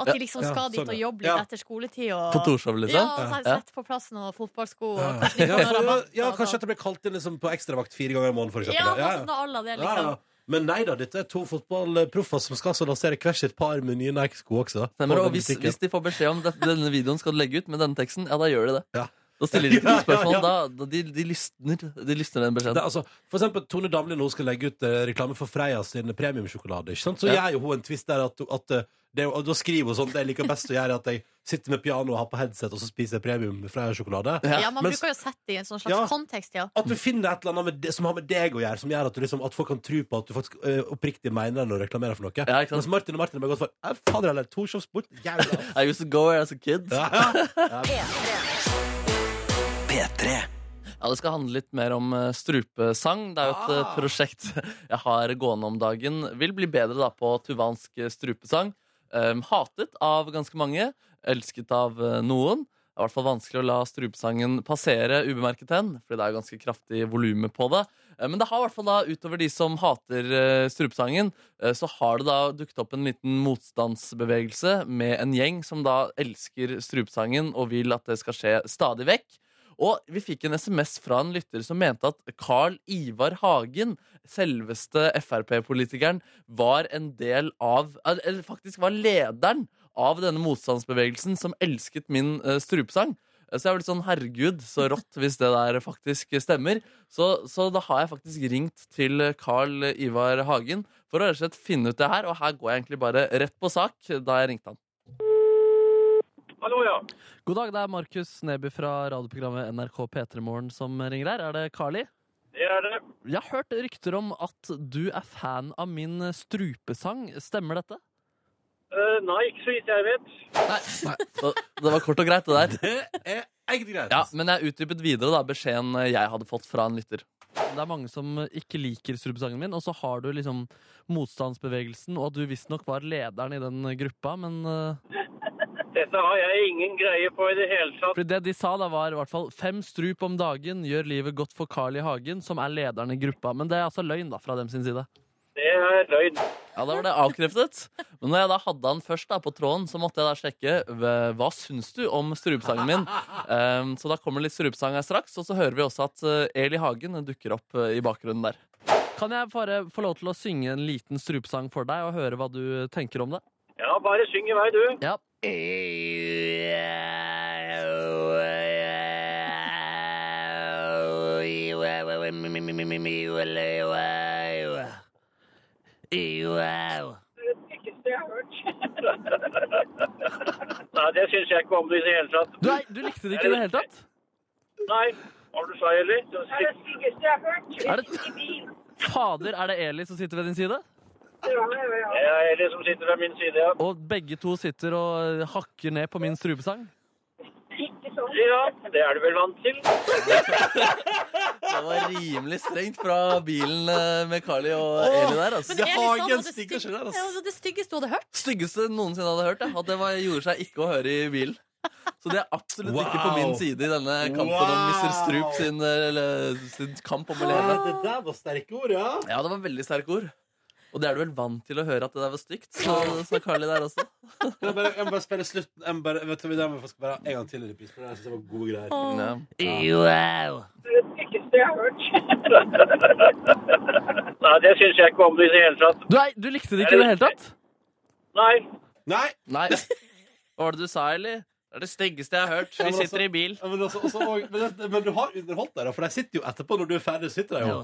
[SPEAKER 3] At
[SPEAKER 4] Ja.
[SPEAKER 3] de liksom
[SPEAKER 2] Ja,
[SPEAKER 3] skal dit
[SPEAKER 2] sånn,
[SPEAKER 3] og
[SPEAKER 2] ja.
[SPEAKER 3] jobbe litt
[SPEAKER 2] Ja.
[SPEAKER 3] etter skoletid. Og...
[SPEAKER 4] På Torshov,
[SPEAKER 3] Ja,
[SPEAKER 4] liksom?
[SPEAKER 3] og så er
[SPEAKER 4] Ja.
[SPEAKER 3] det sett på plassen og fotballsko. Og
[SPEAKER 2] Ja, <laughs>
[SPEAKER 3] kanskje de kan ha
[SPEAKER 2] for-
[SPEAKER 3] rabatt,
[SPEAKER 2] ja,
[SPEAKER 3] og
[SPEAKER 2] kanskje
[SPEAKER 3] sånn.
[SPEAKER 2] at det ble kalt inn liksom, på ekstravakt fire ganger i måneden. For eksempel.
[SPEAKER 3] Ja,
[SPEAKER 2] Ja,
[SPEAKER 3] noe
[SPEAKER 2] ja.
[SPEAKER 3] sånt av alle det,
[SPEAKER 2] Ja,
[SPEAKER 3] liksom.
[SPEAKER 2] ja. Men nei da, dette er to fotballproffer som skal så lansere hvert sitt par med nye Nike-sko også.
[SPEAKER 4] Stemmer,
[SPEAKER 2] På
[SPEAKER 4] det.
[SPEAKER 2] den
[SPEAKER 4] og hvis,
[SPEAKER 2] butikken.
[SPEAKER 4] hvis de får beskjed om det, denne videoen skal du legge ut med denne teksten, ja, da gjør de det.
[SPEAKER 2] Ja.
[SPEAKER 4] Da stiller de ikke noe
[SPEAKER 2] Ja, ja,
[SPEAKER 4] spørsmål.
[SPEAKER 2] ja.
[SPEAKER 4] Da, da de, de, lystner, de lystner den
[SPEAKER 2] Det, er
[SPEAKER 4] beskjeden.
[SPEAKER 2] altså, for eksempel Tone Damli nå skal legge ut eh, reklame for Freia sin premiumsjokolade. Ikke sant? Så
[SPEAKER 4] Ja.
[SPEAKER 2] gjør jo hun en twist der at, at eh, det, og da skriver hun sånn Det jeg liker best å gjøre, er at jeg sitter med piano og har på headset, og så spiser jeg premium
[SPEAKER 4] <laughs>
[SPEAKER 2] Freia-sjokolade.
[SPEAKER 4] Ja.
[SPEAKER 3] Ja, man
[SPEAKER 2] Men-
[SPEAKER 3] bruker jo å sette det i en sånn slags
[SPEAKER 2] Ja.
[SPEAKER 3] kontekst, ja.
[SPEAKER 2] At du finner et eller annet med det, som har med deg å gjøre, som gjør at, du liksom, at folk kan tro på at du faktisk eh, oppriktig mener det når du reklamerer for noe.
[SPEAKER 4] Ja, ikke
[SPEAKER 2] Mens
[SPEAKER 4] sant?
[SPEAKER 2] Martin og Martin har bare gått for «Eh, Fader heller, Torshov Sport.
[SPEAKER 4] <laughs>
[SPEAKER 2] Jævla.
[SPEAKER 4] I used to go where as a kid.
[SPEAKER 2] Ja.
[SPEAKER 4] Ja, Det skal handle litt mer om eh, strupesang. Det er jo et eh,
[SPEAKER 2] Ah.
[SPEAKER 4] prosjekt <laughs> jeg har gående om dagen. Vil bli bedre da på tuvansk eh, strupesang. Em, hatet av ganske mange, elsket av eh, noen. Det er i hvert fall vanskelig å la strupesangen passere ubemerket hen, fordi det er jo ganske kraftig volume på det. Eh, Men det har i hvert fall da, utover de som hater eh, strupesangen, eh, så har det da dukket opp en liten motstandsbevegelse med en gjeng som da elsker strupesangen og vil at det skal skje stadig vekk. Og vi fikk en SMS fra en lytter som mente at Carl Ivar Hagen, selveste Frp-politikeren, var en del av eh, Eller faktisk var lederen av denne motstandsbevegelsen som elsket min eh, strupesang. Eh, Så jeg var litt sånn herregud, så rått hvis det der faktisk stemmer. Så, så da har jeg faktisk ringt til Carl Ivar Hagen for å rett og slett finne ut det her. Og her går jeg egentlig bare rett på sak da jeg ringte han.
[SPEAKER 7] Hallo, ja.
[SPEAKER 4] God dag, det er Markus Neby fra radioprogrammet NRK P3 Morgen som ringer her. Er det Carly?
[SPEAKER 7] Det er det.
[SPEAKER 4] Jeg har hørt rykter om at du er fan av min strupesang. Stemmer dette?
[SPEAKER 7] Eh, nei, ikke så vidt jeg vet.
[SPEAKER 4] Nei. Så, det var kort og greit, det der.
[SPEAKER 2] Det er egentlig greit. altså.
[SPEAKER 4] Ja, Men jeg utdypet videre da, beskjeden jeg hadde fått fra en lytter. Det er mange som ikke liker strupesangen min, og så har du liksom motstandsbevegelsen, og at du visstnok var lederen i den gruppa, men eh,
[SPEAKER 7] Dette har jeg ingen greie på i det hele tatt.
[SPEAKER 4] Fordi det de sa da var i hvert fall fem strup om dagen gjør livet godt for Carl I. Hagen, som er lederen i gruppa. Men det er altså løgn da, fra dem sin side.
[SPEAKER 7] Det er løgn.
[SPEAKER 4] Ja, da var det avkreftet. Men når jeg da hadde han først da på tråden, så måtte jeg da sjekke hva- hva syns du om strupesangen min. Ehm, så da kommer litt strupesang her straks, og så hører vi også at eh, Eli Hagen dukker opp eh, i bakgrunnen der. Kan jeg bare få lov til å synge en liten strupesang for deg, og høre hva du tenker om det?
[SPEAKER 7] Ja, bare syng i vei, du.
[SPEAKER 4] Ja.
[SPEAKER 7] Nei, det syns jeg ikke om i det hele tatt.
[SPEAKER 4] Du, nei, du likte det ikke i det hele tatt?
[SPEAKER 7] Nei. Hva var det du sa, Eli? Det var stygt.
[SPEAKER 4] Er det... Fader, er det Eli som sitter ved din side?
[SPEAKER 7] Det er Eli som sitter ved min side, ja.
[SPEAKER 4] Og begge to sitter og eh, hakker ned på min strupesang?
[SPEAKER 7] Ja, det er du vel vant til?
[SPEAKER 4] Det var rimelig strengt fra bilen eh, med Carly og Eli der. Altså.
[SPEAKER 2] Det
[SPEAKER 3] er litt
[SPEAKER 2] Hagen
[SPEAKER 3] sånn at det
[SPEAKER 2] stikker
[SPEAKER 3] stygg-
[SPEAKER 2] seg der, ass.
[SPEAKER 3] Ja, det styggeste du hadde hørt.
[SPEAKER 4] Styggeste noensinne hadde hørt. Ja. At det var, gjorde seg ikke å høre i bilen. Så det er absolutt ikke på
[SPEAKER 2] Wow.
[SPEAKER 4] min side i denne kampen om
[SPEAKER 2] Wow.
[SPEAKER 4] Mr. Strup sin, eh, eller, sin kamp om å leve.
[SPEAKER 2] Det der var sterke ord, ja.
[SPEAKER 4] Ja, det var veldig sterke ord. Og det er du vel vant til å høre at det der var stygt, så sa Carly der også.
[SPEAKER 2] Jeg, bare, jeg må bare spille slutten. Jeg må bare, vet du, hva, det må jeg faktisk bare ha en gang til i reprise. for Jeg synes det var gode greier.
[SPEAKER 4] Ja.
[SPEAKER 7] <laughs> Nei, det syns jeg ikke om i det hele tatt.
[SPEAKER 4] Du, nei, du likte det ikke i det hele tatt?
[SPEAKER 7] Nei.
[SPEAKER 2] Nei!
[SPEAKER 4] Nei. Hva var det du sa, Eli? Det er det styggeste jeg har hørt.
[SPEAKER 2] Ja, men altså-
[SPEAKER 4] i bil.
[SPEAKER 2] Ja, Men, også, også, og, men, det- men du har underholdt deg, da, for de sitter jo etterpå når du er ferdig. sitter de jo.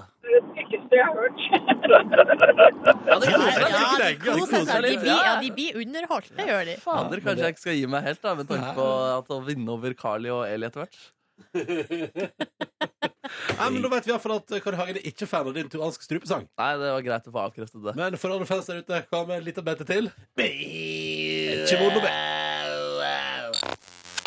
[SPEAKER 4] Ja, det koser deg.
[SPEAKER 2] Ja,
[SPEAKER 3] de
[SPEAKER 2] det er altså.
[SPEAKER 3] koser seg. altså. De
[SPEAKER 4] koselig.
[SPEAKER 3] blir, ja, de blir underholdt, det gjør de.
[SPEAKER 4] Fader, kanskje jeg ikke skal gi meg helt, da, med tanke på at å vinne over Carly og Eli etter hvert.
[SPEAKER 2] Nei, men Da vet vi i hvert fall at Kari Hagen er ikke fan av din tuanske strupesang.
[SPEAKER 4] Nei, det var greit å få avkreftet det.
[SPEAKER 2] Men for alle fans der ute, hva med litt av bete til? Ikke vondt å be.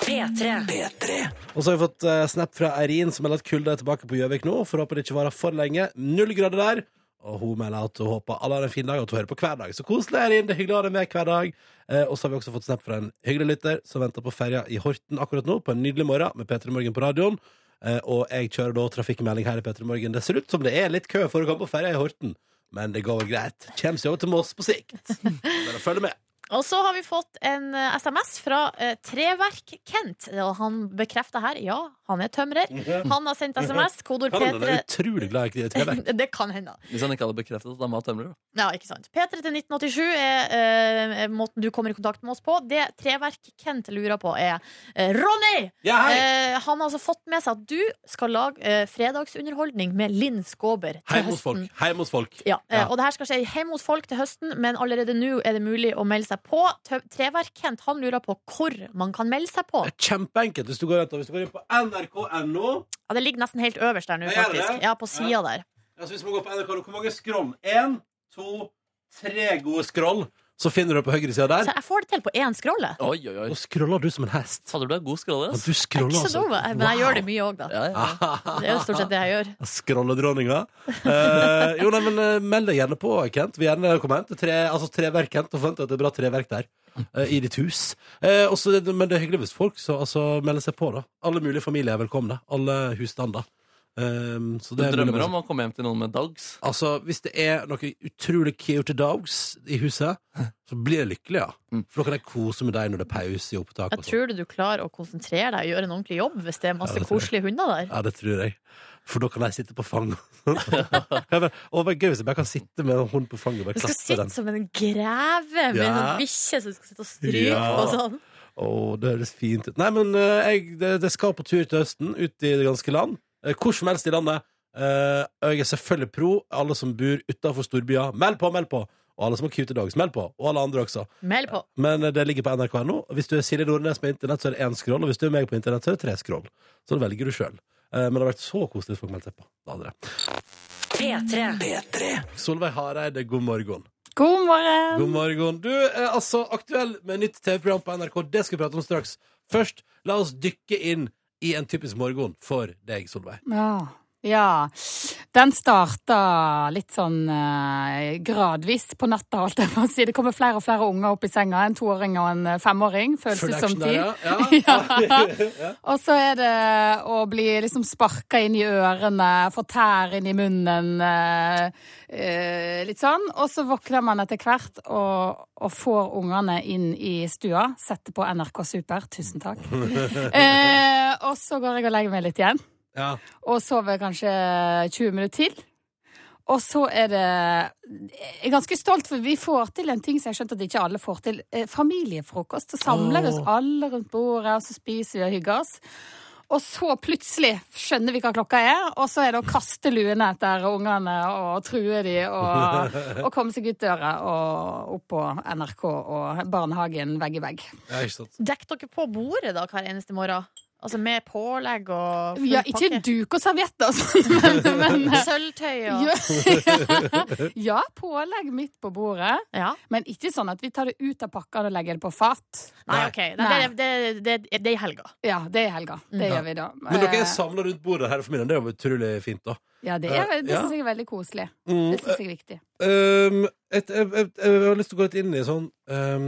[SPEAKER 1] P3.
[SPEAKER 2] Og så har vi fått eh, snap fra Eirin, som melder at kulda er tilbake på Gjøvik nå. For håper det ikke varer for lenge. Null grader der. Og hun melder at hun håper alle har en fin dag, og at hun hører på hver dag. Så koselig, Eirin. Det er hyggelig å ha deg med hver dag. Eh, og så har vi også fått snap fra en hyggelig lytter som venter på ferja i Horten akkurat nå, på en nydelig morgen med P3 Morgen på radioen. Eh, og jeg kjører da trafikkmelding her i P3 Morgen. Det ser ut som det er litt kø for å komme på ferja i Horten, men det går vel greit. Kjem seg over til Moss på sikt. Bare følg med.
[SPEAKER 3] Og så har vi fått en eh, SMS fra eh, Treverk Kent. Og han bekrefter her ja, han er tømrer. Han har sendt SMS. Kodord
[SPEAKER 2] Han er
[SPEAKER 3] P3
[SPEAKER 2] utrolig glad i treverk.
[SPEAKER 3] <laughs> Det kan hende.
[SPEAKER 4] Hvis han ikke hadde bekreftet at han var tømrer. da.
[SPEAKER 3] Ja, ikke sant. P3 til 1987 er eh, måten du kommer i kontakt med oss på. Det Treverk Kent lurer på, er eh, Ronny! Eh, han har altså fått med seg at du skal lage eh, fredagsunderholdning med Linn Skåber til
[SPEAKER 2] Heim hos
[SPEAKER 3] høsten.
[SPEAKER 2] folk. Heim hos folk.
[SPEAKER 3] Ja, eh,
[SPEAKER 2] Ja.
[SPEAKER 3] Og det her skal skje hjemme hos folk til høsten, men allerede nå er det mulig å melde seg på. Tø- Treverk Kent han lurer på hvor man kan melde seg på.
[SPEAKER 2] Det er kjempeenkelt hvis du går, vent, da. hvis du går inn på nrk.no.
[SPEAKER 3] Ja, Det ligger nesten helt øverst der nå,
[SPEAKER 2] Jeg gjør det.
[SPEAKER 3] faktisk. Ja, på sida der.
[SPEAKER 2] Altså, hvis man går på nrk.no, hvor mange skroll? Én, to, tre gode skroll. Så finner du det på høyre side
[SPEAKER 3] Så
[SPEAKER 2] der.
[SPEAKER 3] jeg får det til på én skrolle.
[SPEAKER 4] Oi, oi, oi.
[SPEAKER 2] Nå scroller du som en hest.
[SPEAKER 4] Hadde du en god skrolle?
[SPEAKER 2] Ja,
[SPEAKER 4] ass?
[SPEAKER 2] du Ah, scroller,
[SPEAKER 3] Ikke så
[SPEAKER 2] altså.
[SPEAKER 3] dum, jeg, men jeg gjør det mye òg, da.
[SPEAKER 4] Ja, ja.
[SPEAKER 3] Det er jo stort sett det jeg gjør.
[SPEAKER 2] Scrolledronninga. Eh, jo, nei, men eh, meld deg gjerne på, Kent. Vi vil gjerne komme hen til tre, altså, treverk, Kent, og forventer at det er bra treverk der. eh, I ditt hus. Eh, også, det- men det er hyggelig hvis folk så, altså, melder seg på, da. Alle mulige familier er velkomne. Alle husstander. Um, så
[SPEAKER 4] Du
[SPEAKER 2] det er mulig å melde
[SPEAKER 4] drømmer
[SPEAKER 2] seg
[SPEAKER 4] om å komme hjem til noen med dogs.
[SPEAKER 2] Altså, hvis det er noen utrolig cute dogs i huset, så blir jeg lykkelig, ja.
[SPEAKER 4] Mm.
[SPEAKER 2] For da kan jeg kose med deg når det er pause i opptak.
[SPEAKER 3] Jeg
[SPEAKER 2] og sånt.
[SPEAKER 3] tror du du klarer å konsentrere deg og gjøre en ordentlig jobb hvis det er masse
[SPEAKER 2] Ja, det tror jeg.
[SPEAKER 3] koselige hunder der.
[SPEAKER 2] Ja, det tror jeg. For da kan jeg sitte på fanget. <laughs> og det er gøy hvis jeg bare kan sitte med en hund på fanget og bare
[SPEAKER 3] Du skal
[SPEAKER 2] klappe
[SPEAKER 3] sitte
[SPEAKER 2] den.
[SPEAKER 3] som en greve med en
[SPEAKER 2] Ja.
[SPEAKER 3] sånn bikkje som du skal sitte og stryke
[SPEAKER 2] Ja.
[SPEAKER 3] på og sånn.
[SPEAKER 2] Å, det høres fint ut. Nei, men eh, jeg det, det skal på tur til høsten, ut i det ganske land. Eh, Hvor som helst i landet. Eh, og jeg er selvfølgelig pro alle som bor utafor storbyer. Meld på, meld på! Og alle som har cute dogs, meld på. Og alle andre også.
[SPEAKER 3] Meld på.
[SPEAKER 2] Men eh, det ligger på nrk.no. Og Hvis du er Silje Nordnes på internett, så er det én scroll. Og hvis du er meg på internett, så er det tre scroll. Så det velger du sjøl. Men det har vært så koselig hvis folk meldte seg på. Det hadde det.
[SPEAKER 1] P3.
[SPEAKER 2] Solveig Hareide, god morgen.
[SPEAKER 8] God morgen.
[SPEAKER 2] God morgen. Du er altså aktuell med nytt TV-program på NRK. Det skal vi prate om straks. Først, la oss dykke inn i en typisk morgen for deg, Solveig.
[SPEAKER 8] Ja. ja. Den starta litt sånn eh, gradvis på natta, holdt jeg på å si. Det kommer flere og flere unger opp i senga. En toåring og en eh, femåring, føles det som
[SPEAKER 2] Følg action
[SPEAKER 8] tid.
[SPEAKER 2] der,
[SPEAKER 8] <laughs>
[SPEAKER 2] ja. ja.
[SPEAKER 8] Og så er det å bli liksom sparka inn i ørene, få tær inn i munnen, eh, eh, litt sånn. Og så våkner man etter hvert og, og får ungene inn i stua. Setter på NRK Super, tusen takk. Eh, og så går jeg og legger meg litt igjen.
[SPEAKER 2] ja.
[SPEAKER 8] Og sover kanskje 20 minutter til. Og så er det Jeg er ganske stolt, for vi får til en ting som jeg skjønte at ikke alle får til. Eh, Familiefrokost. Så samler vi oss alle rundt bordet, og så spiser vi og hygger oss. Og så plutselig skjønner vi hva klokka er, og så er det å kaste luene etter ungene og true de og,
[SPEAKER 3] <laughs>
[SPEAKER 8] og komme seg ut døra og opp på NRK og barnehagen vegg i vegg.
[SPEAKER 2] ja, ikke sant.
[SPEAKER 3] Dekk dere på bordet da hver eneste morgen. Altså med pålegg og full
[SPEAKER 8] Ja, ikke
[SPEAKER 3] pakke.
[SPEAKER 8] duk og servietter og sånn, <laughs> men, men
[SPEAKER 3] Sølvtøy og
[SPEAKER 8] Ja.
[SPEAKER 2] <laughs>
[SPEAKER 8] ja, pålegg midt på bordet,
[SPEAKER 3] Ja.
[SPEAKER 8] men ikke sånn at vi tar det ut av pakka og legger det på fat.
[SPEAKER 3] Nei, OK. Nei,
[SPEAKER 8] Nei.
[SPEAKER 3] Det, det, det, det er i helga.
[SPEAKER 8] Ja, det er i helga. Det
[SPEAKER 2] Mm. Ja.
[SPEAKER 8] gjør vi da.
[SPEAKER 2] Men dere
[SPEAKER 8] Eh,
[SPEAKER 2] er samla rundt bordet her i familien. Det er jo utrolig fint, da.
[SPEAKER 8] Ja, det, er, det
[SPEAKER 2] Ja.
[SPEAKER 8] syns jeg er veldig koselig.
[SPEAKER 2] Mm.
[SPEAKER 8] Det syns jeg er viktig.
[SPEAKER 2] Um, et, jeg, jeg, jeg har lyst til å gå litt inn i sånn um,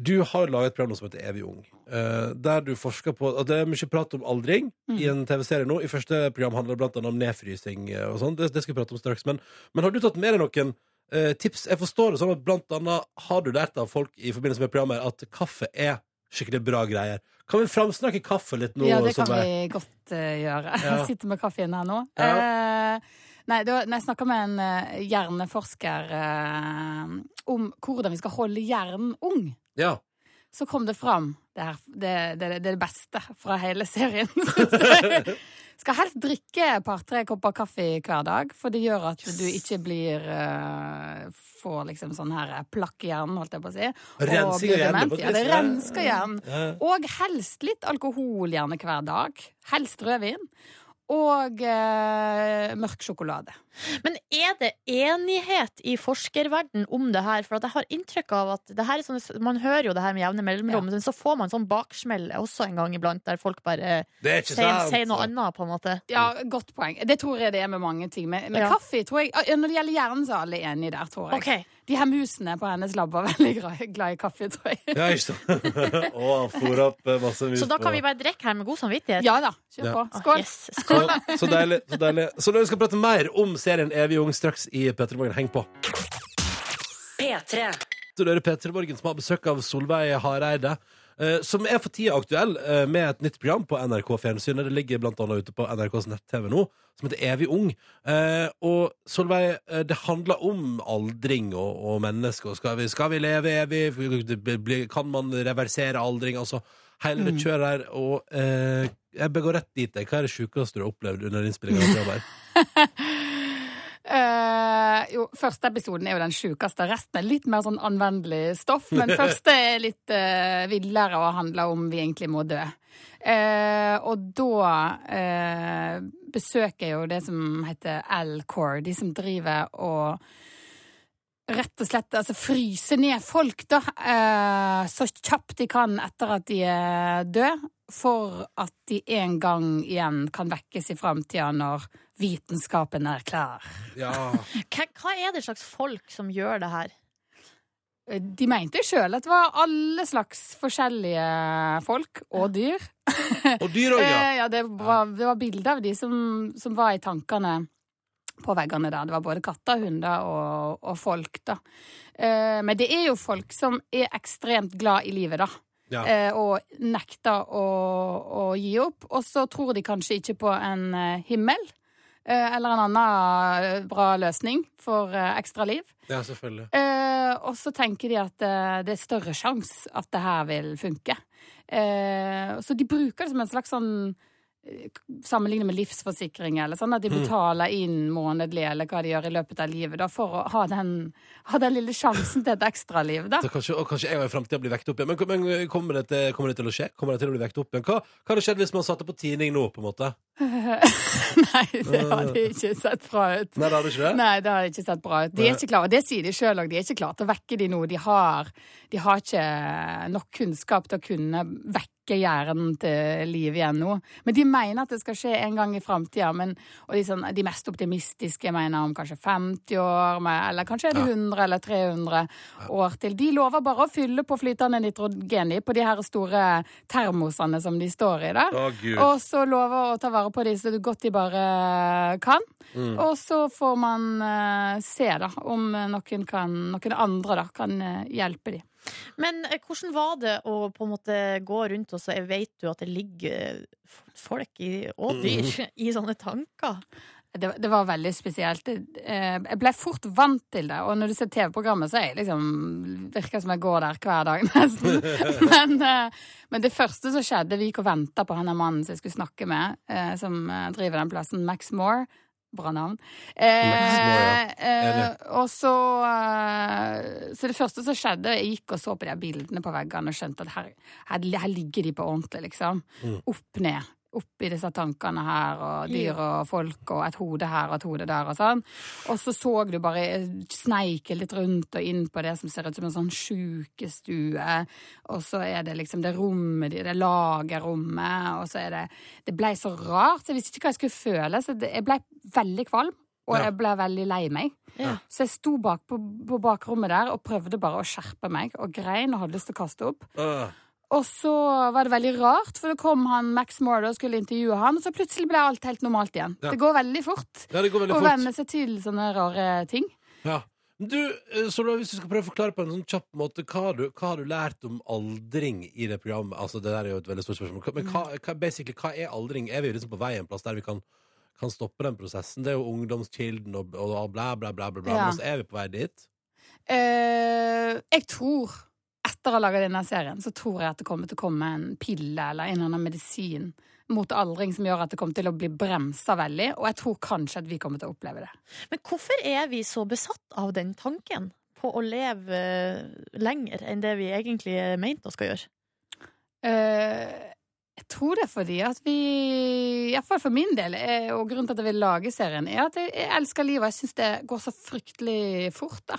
[SPEAKER 2] Du har laget et program nå som heter Evig ung, eh, der du forsker på at Det er mye prat om aldring
[SPEAKER 8] Mm.
[SPEAKER 2] i en TV-serie nå. I første program handler det blant annet om nedfrysing eh, og sånn. Det, det skal vi prate om straks. Men, men har du tatt med deg noen eh, tips? Jeg forstår det sånn at blant annet har du lært av folk i forbindelse med programmet at kaffe er skikkelig bra greier. Kan vi framsnakke kaffe litt nå?
[SPEAKER 8] ja, det kan
[SPEAKER 2] Solveig?
[SPEAKER 8] vi godt eh, gjøre.
[SPEAKER 2] Ja.
[SPEAKER 8] <laughs> Jeg Sitter med kaffen her nå.
[SPEAKER 2] Ja.
[SPEAKER 8] Eh, nei, det var, når jeg snakka med en eh, hjerneforsker eh, om hvordan vi skal holde hjernen ung,
[SPEAKER 2] Ja.
[SPEAKER 8] så kom det fram det, her, det, det, det er det beste fra hele serien. <laughs> synes jeg. Skal helst drikke et par-tre kopper kaffe hver dag, for det gjør at du ikke blir eh, Får liksom sånn her plakk i hjernen, holdt jeg på å si. og
[SPEAKER 2] Renser
[SPEAKER 8] blir
[SPEAKER 2] hjernen,
[SPEAKER 8] dement.
[SPEAKER 2] på et
[SPEAKER 8] Ja, det
[SPEAKER 2] vis.
[SPEAKER 8] rensker hjernen.
[SPEAKER 2] Ja.
[SPEAKER 8] Og helst litt alkohol gjerne hver dag. Helst rødvin. Og eh, mørk sjokolade.
[SPEAKER 3] Men er det enighet i forskerverden om det her? For at jeg har inntrykk av at det her er sånne, man hører jo det her med jevne mellomrom, men så får man sånn baksmell også en gang iblant, der folk bare eh,
[SPEAKER 2] Det er ikke
[SPEAKER 3] sier
[SPEAKER 2] sant!
[SPEAKER 3] sier noe annet, på en måte.
[SPEAKER 8] Ja, godt poeng. Det tror jeg det er med mange ting. Med, med
[SPEAKER 3] Ja.
[SPEAKER 8] kaffe, tror jeg. Når det gjelder hjernen, så er alle enige der, tror jeg.
[SPEAKER 3] OK.
[SPEAKER 8] De her musene på hennes lab var veldig glad, glad i kaffe, tror jeg.
[SPEAKER 2] Ja, ikke sant? <laughs> Å, han fôrer opp eh, masse mus
[SPEAKER 3] Så da kan
[SPEAKER 2] på-
[SPEAKER 3] vi bare drikke her med god samvittighet?
[SPEAKER 8] Ja da, kjør
[SPEAKER 2] Ja.
[SPEAKER 8] på.
[SPEAKER 3] Ah,
[SPEAKER 8] Skål.
[SPEAKER 3] yes.
[SPEAKER 2] Så, så deilig. Så deilig Så når vi skal prate mer om serien Evig ung straks i Petter Morgen, heng på.
[SPEAKER 1] P3.
[SPEAKER 2] du hører Peter Morgen, som har besøk av Solveig Hareide. eh, Som er for tida aktuell eh, med et nytt program på NRK Fjernsynet. Det ligger blant annet ute på NRKs nett-TV nå, som heter Evig ung. Eh, Og Solveig, eh, det handler om aldring og, og mennesker. Skal vi, skal vi leve evig? Det blir- Kan man reversere aldring? Altså hele det kjøret der. Og eh, jeg bør gå rett dit. jeg. Hva er det sjukeste du har opplevd under innspillinga av programmet?
[SPEAKER 8] <laughs> Eh, jo, første episoden er jo den sjukeste. Resten er litt mer sånn anvendelig stoff. Men første er litt eh, villere og handler om vi egentlig må dø. Eh, og da eh, besøker jeg jo det som heter Alcor, de som driver og rett og slett altså fryser ned folk, da, eh, så kjapt de kan etter at de er døde. For at de en gang igjen kan vekkes i framtida når vitenskapen er klar.
[SPEAKER 2] Ja.
[SPEAKER 3] Hva, hva er det slags folk som gjør det her?
[SPEAKER 8] De mente sjøl at det var alle slags forskjellige folk og dyr.
[SPEAKER 2] Og dyr òg, ja.
[SPEAKER 8] Eh, <laughs> ja, det var, det var bilder av de som, som var i tankene på veggene der. Det var både katter, hunder og, og folk, da. Eh, men det er jo folk som er ekstremt glad i livet, da.
[SPEAKER 2] Ja.
[SPEAKER 8] Eh, og nekter å, å gi opp. Og så tror de kanskje ikke på en eh, himmel. eh, Eller en annen eh, bra løsning for eh, ekstra liv.
[SPEAKER 2] ja. Selvfølgelig.
[SPEAKER 8] Eh, og så tenker de at eh, det er større sjanse at det her vil funke. Eh, så de bruker det som en slags sånn eh, Sammenlignet med livsforsikring, eller sånn, at de betaler inn månedlig eller hva de gjør i løpet av livet, da, for å ha den, ha den lille sjansen til et ekstraliv, da.
[SPEAKER 2] <laughs> Så kanskje, og kanskje jeg og i fremtiden blir vekt opp igjen. Men, men kommer, det til, kommer det til å skje? Kommer det til å bli vekt opp igjen? Hva, hva hadde skjedd hvis man satte på tidning nå, på en måte?
[SPEAKER 8] <laughs> Nei, det har de ikke sett bra ut.
[SPEAKER 2] Nei, det hadde ikke det?
[SPEAKER 8] Nei, det har ikke sett bra ut. De er ikke klare, og det sier de sjøl òg. De er ikke klare til å vekke de nå. De har, de har ikke nok kunnskap til å kunne vekke hjernen til liv igjen nå. Men de mener at det skal skje en gang i framtida. Og de, sånn, de mest optimistiske mener om kanskje 50 år, med, eller kanskje er det 100 eller 300 år til. De lover bare å fylle på flytende nitrogen i på de her store termosene som de står i. da. Og så love å ta vare på de så godt de bare kan. Og så får man eh, se da, om noen, kan, noen andre da, kan eh, hjelpe de.
[SPEAKER 3] Men eh, hvordan var det å på en måte gå rundt og så vet du at det ligger eh, f- folk i, og dyr i sånne tanker?
[SPEAKER 8] Det, det var veldig spesielt. Det, eh, Jeg ble fort vant til det. Og når du ser TV-programmet, så er jeg liksom, virker det som jeg går der hver dag, <laughs> nesten. Men, eh, men det første som skjedde Vi gikk og venta på han der mannen som jeg skulle snakke med, eh, som eh, driver den plassen, Max Moore. Bra navn.
[SPEAKER 2] Max Moore,
[SPEAKER 8] eh,
[SPEAKER 2] Enig.
[SPEAKER 8] og så eh, Så det første som skjedde, jeg gikk og så på de her bildene på veggene og skjønte at her, her, her ligger de på ordentlig, liksom. Opp ned. Opp i disse tankene her, og dyr og folk, og et hode her og et hode der og sånn. Og så så du bare sneike litt rundt og inn på det som ser ut som en sånn sjukestue. Og så er det liksom det rommet, de- det lagerrommet, og så er det Det blei så rart, så jeg visste ikke hva jeg skulle føle. Så det, jeg blei veldig kvalm, og
[SPEAKER 2] Ja.
[SPEAKER 8] jeg blei veldig lei meg.
[SPEAKER 3] Ja.
[SPEAKER 8] Så jeg sto bak på, på bakrommet der og prøvde bare å skjerpe meg, og grein og hadde lyst til å kaste opp.
[SPEAKER 2] Øh.
[SPEAKER 8] Og så var det veldig rart, for da kom han Max Moore og skulle intervjue han, og så plutselig ble alt helt normalt igjen.
[SPEAKER 2] Ja.
[SPEAKER 8] Det går veldig fort
[SPEAKER 2] Ja, det går
[SPEAKER 8] å
[SPEAKER 2] veldig
[SPEAKER 8] venne
[SPEAKER 2] fort.
[SPEAKER 8] seg til sånne rare ting.
[SPEAKER 2] Ja. Du, eh, Solveig, hvis du skal prøve å forklare på en sånn kjapp måte, hva har du, hva har du lært om aldring i det programmet? Altså, det der er jo et veldig stort spørsmål. Hva- Men hva, hva, basically, hva er aldring? Er vi liksom på vei en plass der vi kan, kan stoppe den prosessen? Det er jo ungdomskilden og, og bla, bla, bla, bla, bla.
[SPEAKER 8] Ja.
[SPEAKER 2] Men så er vi på vei dit.
[SPEAKER 8] Eh, jeg tror, etter å ha laga denne serien, så tror jeg at det kommer til å komme en pille eller en eller annen medisin mot aldring som gjør at det kommer til å bli bremsa veldig, og jeg tror kanskje at vi kommer til å oppleve det.
[SPEAKER 3] Men hvorfor er vi så besatt av den tanken på å leve eh, lenger enn det vi egentlig er meint å skal gjøre?
[SPEAKER 8] Eh, jeg tror det er fordi at vi, iallfall for min del, eh, og grunnen til at jeg vil lage serien, er at jeg, jeg elsker livet, og jeg syns det går så fryktelig fort, da.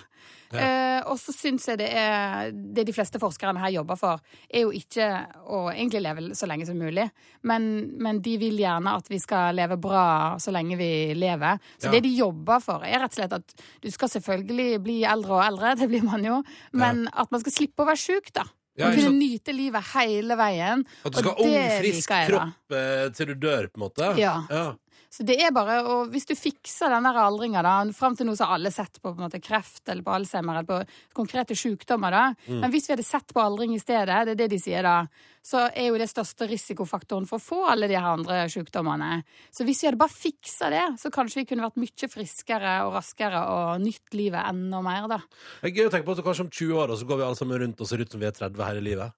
[SPEAKER 2] Ja.
[SPEAKER 8] Eh, og så syns jeg det er Det de fleste forskerne her jobber for, er jo ikke å egentlig leve så lenge som mulig, men, men de vil gjerne at vi skal leve bra så lenge vi lever. Så
[SPEAKER 2] Ja.
[SPEAKER 8] det de jobber for, er rett og slett at du skal selvfølgelig bli eldre og eldre, <laughs> det blir man jo, men at man skal slippe å være sjuk, da.
[SPEAKER 2] Ja,
[SPEAKER 8] Man
[SPEAKER 2] ikke
[SPEAKER 8] kunne
[SPEAKER 2] sant?
[SPEAKER 8] nyte livet hele veien.
[SPEAKER 2] At du skal
[SPEAKER 8] Og
[SPEAKER 2] ha ung,
[SPEAKER 8] det
[SPEAKER 2] frisk
[SPEAKER 8] liker jeg, da.
[SPEAKER 2] kropp eh, til du dør, på en måte?
[SPEAKER 8] Ja.
[SPEAKER 2] ja.
[SPEAKER 8] Så det er bare, og Hvis du fikser den der aldringa da, Fram til nå så har alle sett på, på en måte, kreft eller på Alzheimer eller på konkrete sykdommer. da,
[SPEAKER 2] Mm.
[SPEAKER 8] Men hvis vi hadde sett på aldring i stedet, det er det de sier da, så er jo det største risikofaktoren for å få alle de her andre sykdommene. Så hvis vi hadde bare fiksa det, så kanskje vi kunne vært mye friskere og raskere og nytt livet enda mer, da.
[SPEAKER 2] Det er gøy å tenke på at kanskje om 20 år og så går vi alle sammen rundt og ser ut som vi er 30 her i livet.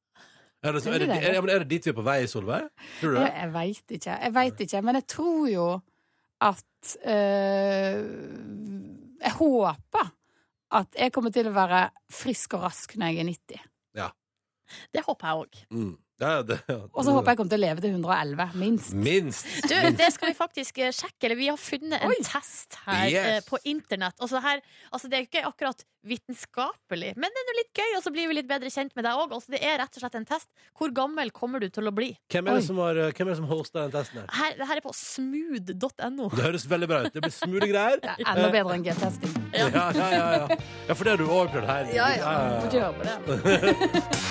[SPEAKER 2] Er det, så, er det, er, ja, men er det dit vi er på vei, Solveig? Tror du det?
[SPEAKER 8] Jeg, jeg veit ikke. Jeg vet ikke. Men jeg tror jo at øh, Jeg håper at jeg kommer til å være frisk og rask når jeg er 90.
[SPEAKER 3] Det håper jeg òg.
[SPEAKER 2] Mm. Ja, ja, det ja.
[SPEAKER 8] Og så håper jeg kommer til å leve til 111, minst.
[SPEAKER 2] Minst!
[SPEAKER 3] Du, det skal vi faktisk eh, sjekke. Eller vi har funnet en test her
[SPEAKER 2] Yes.
[SPEAKER 3] eh, på internett. Altså, her, altså, det er jo ikke akkurat vitenskapelig, men det er nå litt gøy, og så blir vi litt bedre kjent med deg òg. Altså, det er rett og slett en test. Hvor gammel kommer du til å bli?
[SPEAKER 2] Hvem er
[SPEAKER 8] Oi.
[SPEAKER 2] det som, har, hvem er det som hoster den testen her?
[SPEAKER 3] Her, det her er på smooth.no.
[SPEAKER 2] Det høres veldig bra ut. Det blir smule greier.
[SPEAKER 8] Det er Enda bedre enn G-testing.
[SPEAKER 2] Ja, ja, ja, ja. ja, for det har du òg prøvd her.
[SPEAKER 8] Må ikke høre på det.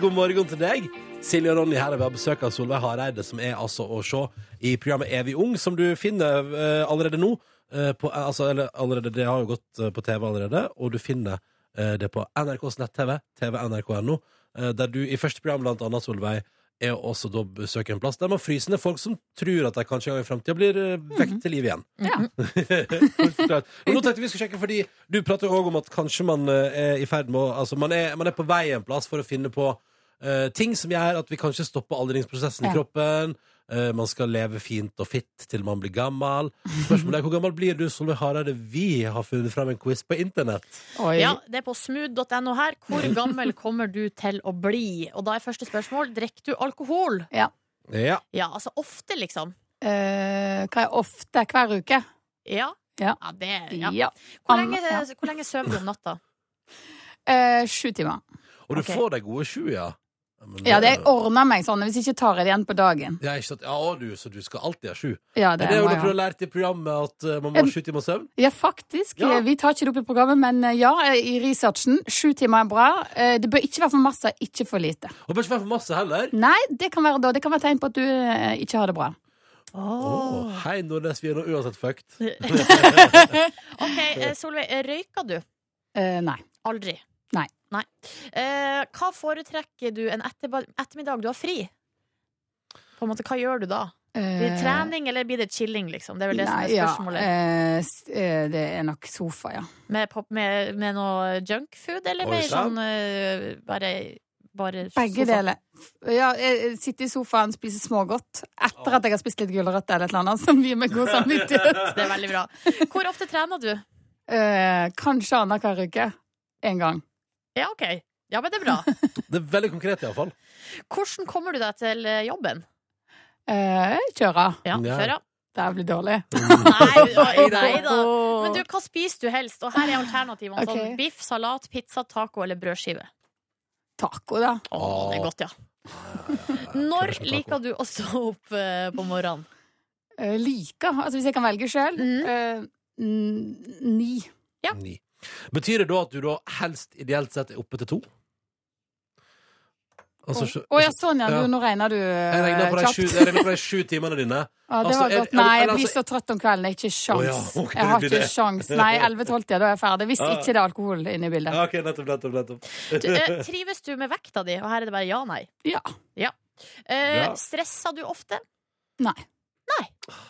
[SPEAKER 2] God morgen til deg. Silje og Ronny her er ved besøk av Solveig Hareide, som er altså å se i programmet Evig ung, som du finner eh, allerede nå. eh, på, eh, altså, eller allerede, det har jo gått eh, på TV allerede, og du finner eh, det på NRKs nett-TV, tv.nrk.no, eh, der du i første program, blant annet, Solveig, er å også da besøker en plass der man fryser ned folk som tror at de kanskje en gang i framtida blir eh, vekk til liv igjen. <laughs>
[SPEAKER 8] Ja.
[SPEAKER 2] Kort forklart. Men nå tenkte vi skulle sjekke, fordi du prater jo også om at kanskje man eh, er i ferd med å Altså, man er, man er på vei en plass for å finne på eh, ting som gjør at vi kanskje stopper aldringsprosessen i
[SPEAKER 8] Ja.
[SPEAKER 2] kroppen. Eh, man skal leve fint og fitt til man blir gammel. Spørsmålet er hvor gammel blir du, Solveig Hareide? Vi har funnet fram en quiz på internett.
[SPEAKER 8] Oi.
[SPEAKER 3] Ja, det er på smooth.no her. Hvor gammel kommer du til å bli? Og da er første spørsmål drikker du alkohol.
[SPEAKER 2] Ja.
[SPEAKER 3] Ja, altså ofte, liksom.
[SPEAKER 8] Eh, hva er ofte? Hver uke?
[SPEAKER 3] Ja.
[SPEAKER 8] Ja.
[SPEAKER 3] det, ja.
[SPEAKER 8] Ja.
[SPEAKER 3] Hvor,
[SPEAKER 8] Anna-
[SPEAKER 3] lenge,
[SPEAKER 8] ja.
[SPEAKER 3] hvor lenge sover du om natta?
[SPEAKER 8] Eh, sju timer.
[SPEAKER 2] Og du
[SPEAKER 3] Ok.
[SPEAKER 2] får de gode sju, ja. Men
[SPEAKER 8] Ja, det ordner meg sånn. Hvis ikke tar jeg det igjen på dagen.
[SPEAKER 2] Ja, ikke sant? ja, du, så du skal alltid ha sju.
[SPEAKER 8] Ja,
[SPEAKER 2] Det
[SPEAKER 8] det,
[SPEAKER 2] er det
[SPEAKER 8] må
[SPEAKER 2] Ola
[SPEAKER 8] jeg
[SPEAKER 2] Pro
[SPEAKER 8] ha.
[SPEAKER 2] har lært i programmet, at eh, man må
[SPEAKER 8] Em,
[SPEAKER 2] ha sju timer søvn.
[SPEAKER 8] Ja, faktisk.
[SPEAKER 2] Ja.
[SPEAKER 8] Eh, Vi tar ikke det opp i programmet, men eh, ja, eh, i researchen. Sju timer er bra. Eh, Det bør ikke være for masse, ikke for lite.
[SPEAKER 2] Og bør ikke være for masse heller.
[SPEAKER 8] Nei, det kan være da. Det kan være tegn på at du eh, ikke har det
[SPEAKER 3] <laughs>
[SPEAKER 8] bra.
[SPEAKER 2] Åh, hei, Nordnes, vi er nå uansett fucked.
[SPEAKER 3] OK,
[SPEAKER 8] <laughs>
[SPEAKER 3] eh, Solveig. eh, Røyker du?
[SPEAKER 8] Eh, nei.
[SPEAKER 3] Aldri.
[SPEAKER 8] Nei.
[SPEAKER 3] Eh, hva foretrekker du en etterba- ettermiddag du har fri? På en måte, Hva gjør du da? Blir det
[SPEAKER 8] Eh,
[SPEAKER 3] trening, eller blir det chilling, liksom? Det er vel det som
[SPEAKER 8] nei,
[SPEAKER 3] er
[SPEAKER 8] ja,
[SPEAKER 3] spørsmålet.
[SPEAKER 8] eh, s- eh, det er nok sofa, ja.
[SPEAKER 3] Med, pop, med, med noe junkfood, eller
[SPEAKER 2] Oi,
[SPEAKER 3] mer
[SPEAKER 2] sant.
[SPEAKER 3] sånn eh, bare, bare
[SPEAKER 8] Begge
[SPEAKER 3] sofa?
[SPEAKER 8] deler. Ja, jeg sitter i sofaen, spiser smågodt etter at jeg har spist litt gulrøtter eller et eller annet <laughs> som gir meg god samvittighet.
[SPEAKER 3] <laughs> Det er veldig bra. Hvor ofte trener du?
[SPEAKER 8] Eh, kanskje annenhver uke. En gang.
[SPEAKER 3] Ja, OK. Ja, men det er bra.
[SPEAKER 2] Det er veldig konkret, iallfall.
[SPEAKER 3] Hvordan kommer du deg til eh, jobben?
[SPEAKER 8] Eh, kjøre.
[SPEAKER 3] Ja,
[SPEAKER 2] Ja.
[SPEAKER 3] kjør, ja.
[SPEAKER 8] Det her blir dårlig.
[SPEAKER 3] Nei, oi, nei da.
[SPEAKER 8] <laughs>
[SPEAKER 3] Men du,
[SPEAKER 8] Åh.
[SPEAKER 3] hva spiser du helst? Og her er alternativene.
[SPEAKER 8] Ok.
[SPEAKER 3] Sånn biff, salat, pizza, taco eller brødskive.
[SPEAKER 8] Taco, da.
[SPEAKER 3] Å, det er godt, ja. Når liker du å stå opp eh, på morgenen?
[SPEAKER 8] Eh, like. Altså hvis jeg kan velge sjøl.
[SPEAKER 3] Mm.
[SPEAKER 8] ni.
[SPEAKER 3] Ja.
[SPEAKER 2] Ni. Betyr det da at du da helst ideelt sett er oppe til to?
[SPEAKER 8] Å
[SPEAKER 2] Altså, sjø-
[SPEAKER 8] ja, sånn ja.
[SPEAKER 2] Ja.
[SPEAKER 8] Du, nå regner du eh,
[SPEAKER 2] jeg regner på de
[SPEAKER 8] kjapt.
[SPEAKER 2] sju- jeg regner på de sju timene dine.
[SPEAKER 8] Ja, det
[SPEAKER 2] Altså,
[SPEAKER 8] var
[SPEAKER 2] er-
[SPEAKER 8] godt. Nei, jeg
[SPEAKER 2] eller
[SPEAKER 8] blir
[SPEAKER 2] altså-
[SPEAKER 8] så trøtt om kvelden. Det er ikke sjans.
[SPEAKER 2] Å ja, ok,
[SPEAKER 8] jeg har
[SPEAKER 2] det blir
[SPEAKER 8] ikke
[SPEAKER 2] det.
[SPEAKER 8] sjans. Nei, 11-12-tida, da er jeg ferdig. Hvis
[SPEAKER 2] Ja.
[SPEAKER 8] ikke det er alkohol inne i bildet.
[SPEAKER 2] Ja, ok, nettopp, nettopp, nettopp.
[SPEAKER 3] Du, eh, trives du med vekta di? Og her er det bare ja, nei.
[SPEAKER 8] Ja.
[SPEAKER 3] Eh,
[SPEAKER 2] Ja.
[SPEAKER 3] Stresser du ofte?
[SPEAKER 8] Nei.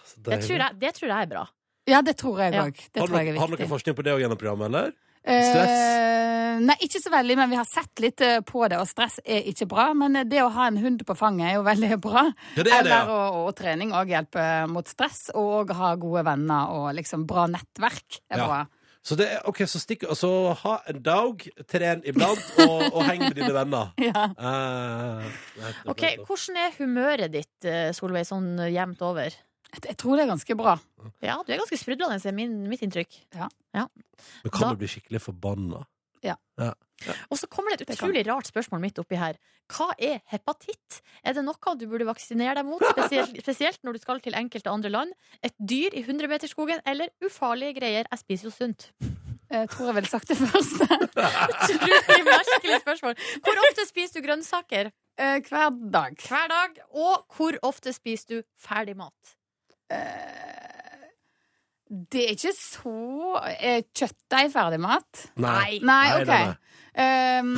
[SPEAKER 2] Så
[SPEAKER 3] Det
[SPEAKER 2] deilig.
[SPEAKER 3] tror jeg, det tror jeg er bra.
[SPEAKER 8] Ja, det tror jeg
[SPEAKER 3] Ja.
[SPEAKER 8] òg. Det
[SPEAKER 2] Har
[SPEAKER 8] tror jeg
[SPEAKER 2] dere,
[SPEAKER 8] er
[SPEAKER 2] har dere
[SPEAKER 8] viktig.
[SPEAKER 2] forskning på det òg gjennom programmet, eller?
[SPEAKER 8] Eh, nei, ikke så veldig, men vi har sett litt eh, på det, og stress er ikke bra. Men eh, det å ha en hund på fanget er jo veldig bra.
[SPEAKER 2] Ja, det er det,
[SPEAKER 8] Eller,
[SPEAKER 2] ja.
[SPEAKER 8] og, og trening òg hjelper mot stress, og å ha gode venner og liksom bra nettverk er
[SPEAKER 2] Ja.
[SPEAKER 8] bra. <laughs>
[SPEAKER 2] Så, det er, ok, så, stikk, og så ha en dag, tren iblant, og, og heng med dine venner.
[SPEAKER 8] Ja.
[SPEAKER 2] Eh, nettopp,
[SPEAKER 3] Ok,
[SPEAKER 2] nettopp.
[SPEAKER 3] Hvordan er humøret ditt, eh, Solveig, sånn eh, jevnt over?
[SPEAKER 8] Jeg tror det er ganske bra.
[SPEAKER 3] Ja, du er ganske sprudlende, er min, mitt inntrykk.
[SPEAKER 2] Men kan
[SPEAKER 3] Da-
[SPEAKER 2] du bli skikkelig forbanna?
[SPEAKER 3] Og så kommer det et
[SPEAKER 8] Det kan.
[SPEAKER 3] utrolig rart spørsmål midt oppi her. Hva er hepatitt? Er det noe du burde vaksinere deg mot, spesielt,
[SPEAKER 8] <laughs>
[SPEAKER 3] spesielt når du skal til enkelte andre land? Et dyr i 100-meterskogen, eller ufarlige greier? Jeg spiser jo sunt.
[SPEAKER 8] Jeg tror jeg ville sagt det <laughs> første. <laughs>
[SPEAKER 3] Utrolig merkelig spørsmål. Hvor ofte spiser du grønnsaker?
[SPEAKER 8] eh, hver dag.
[SPEAKER 3] Hver dag. Og hvor ofte spiser du ferdig mat?
[SPEAKER 8] Eh, det er ikke så Er kjøttdeig ferdigmat?
[SPEAKER 2] Nei.
[SPEAKER 8] <laughs> Nei,
[SPEAKER 2] Nei,
[SPEAKER 8] OK.
[SPEAKER 2] nei, nei. <laughs>
[SPEAKER 8] Um,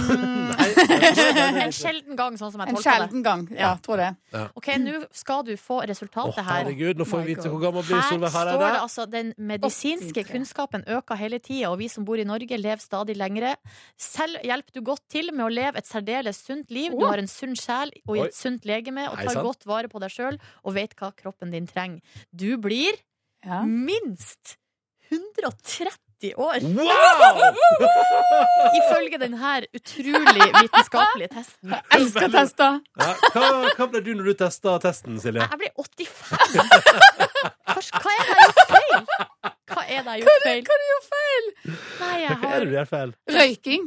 [SPEAKER 3] En sjelden gang, sånn som jeg
[SPEAKER 8] en
[SPEAKER 3] tolker det.
[SPEAKER 8] sjelden gang. Ja, tror det.
[SPEAKER 3] Ok, Nå skal du få
[SPEAKER 2] Å,
[SPEAKER 3] resultatet her.
[SPEAKER 2] herregud, nå får vi
[SPEAKER 8] My
[SPEAKER 2] vite
[SPEAKER 8] God.
[SPEAKER 2] hvor gammel blir
[SPEAKER 3] Her står
[SPEAKER 2] Solveig
[SPEAKER 3] det
[SPEAKER 2] Hareide.
[SPEAKER 3] altså den medisinske
[SPEAKER 8] 83.
[SPEAKER 3] kunnskapen øker hele tida, og vi som bor i Norge, lever stadig lengre. Selv hjelper du godt til med å leve et særdeles sunt liv. Du
[SPEAKER 8] Åh.
[SPEAKER 3] har en sunn sjel og
[SPEAKER 2] Oi.
[SPEAKER 3] et sunt legeme, og
[SPEAKER 2] Nei,
[SPEAKER 3] tar
[SPEAKER 2] sant.
[SPEAKER 3] godt vare på deg sjøl og vet hva kroppen din trenger. Du blir
[SPEAKER 8] Ja.
[SPEAKER 2] Mm.
[SPEAKER 3] minst 130 år,
[SPEAKER 2] Wow!
[SPEAKER 3] ifølge denne utrolig vitenskapelige testen.
[SPEAKER 8] Jeg elsker tester!
[SPEAKER 2] Ja, hva, hva ble du når du testa testen, Silje?
[SPEAKER 3] Jeg blir 85! Hva- Hva er det jeg har gjort feil? Hva er det jeg har gjort feil?
[SPEAKER 8] Hva er det jo feil?
[SPEAKER 3] Nei, jeg
[SPEAKER 2] Hva er
[SPEAKER 3] har
[SPEAKER 2] det du gjør feil?
[SPEAKER 8] Røyking.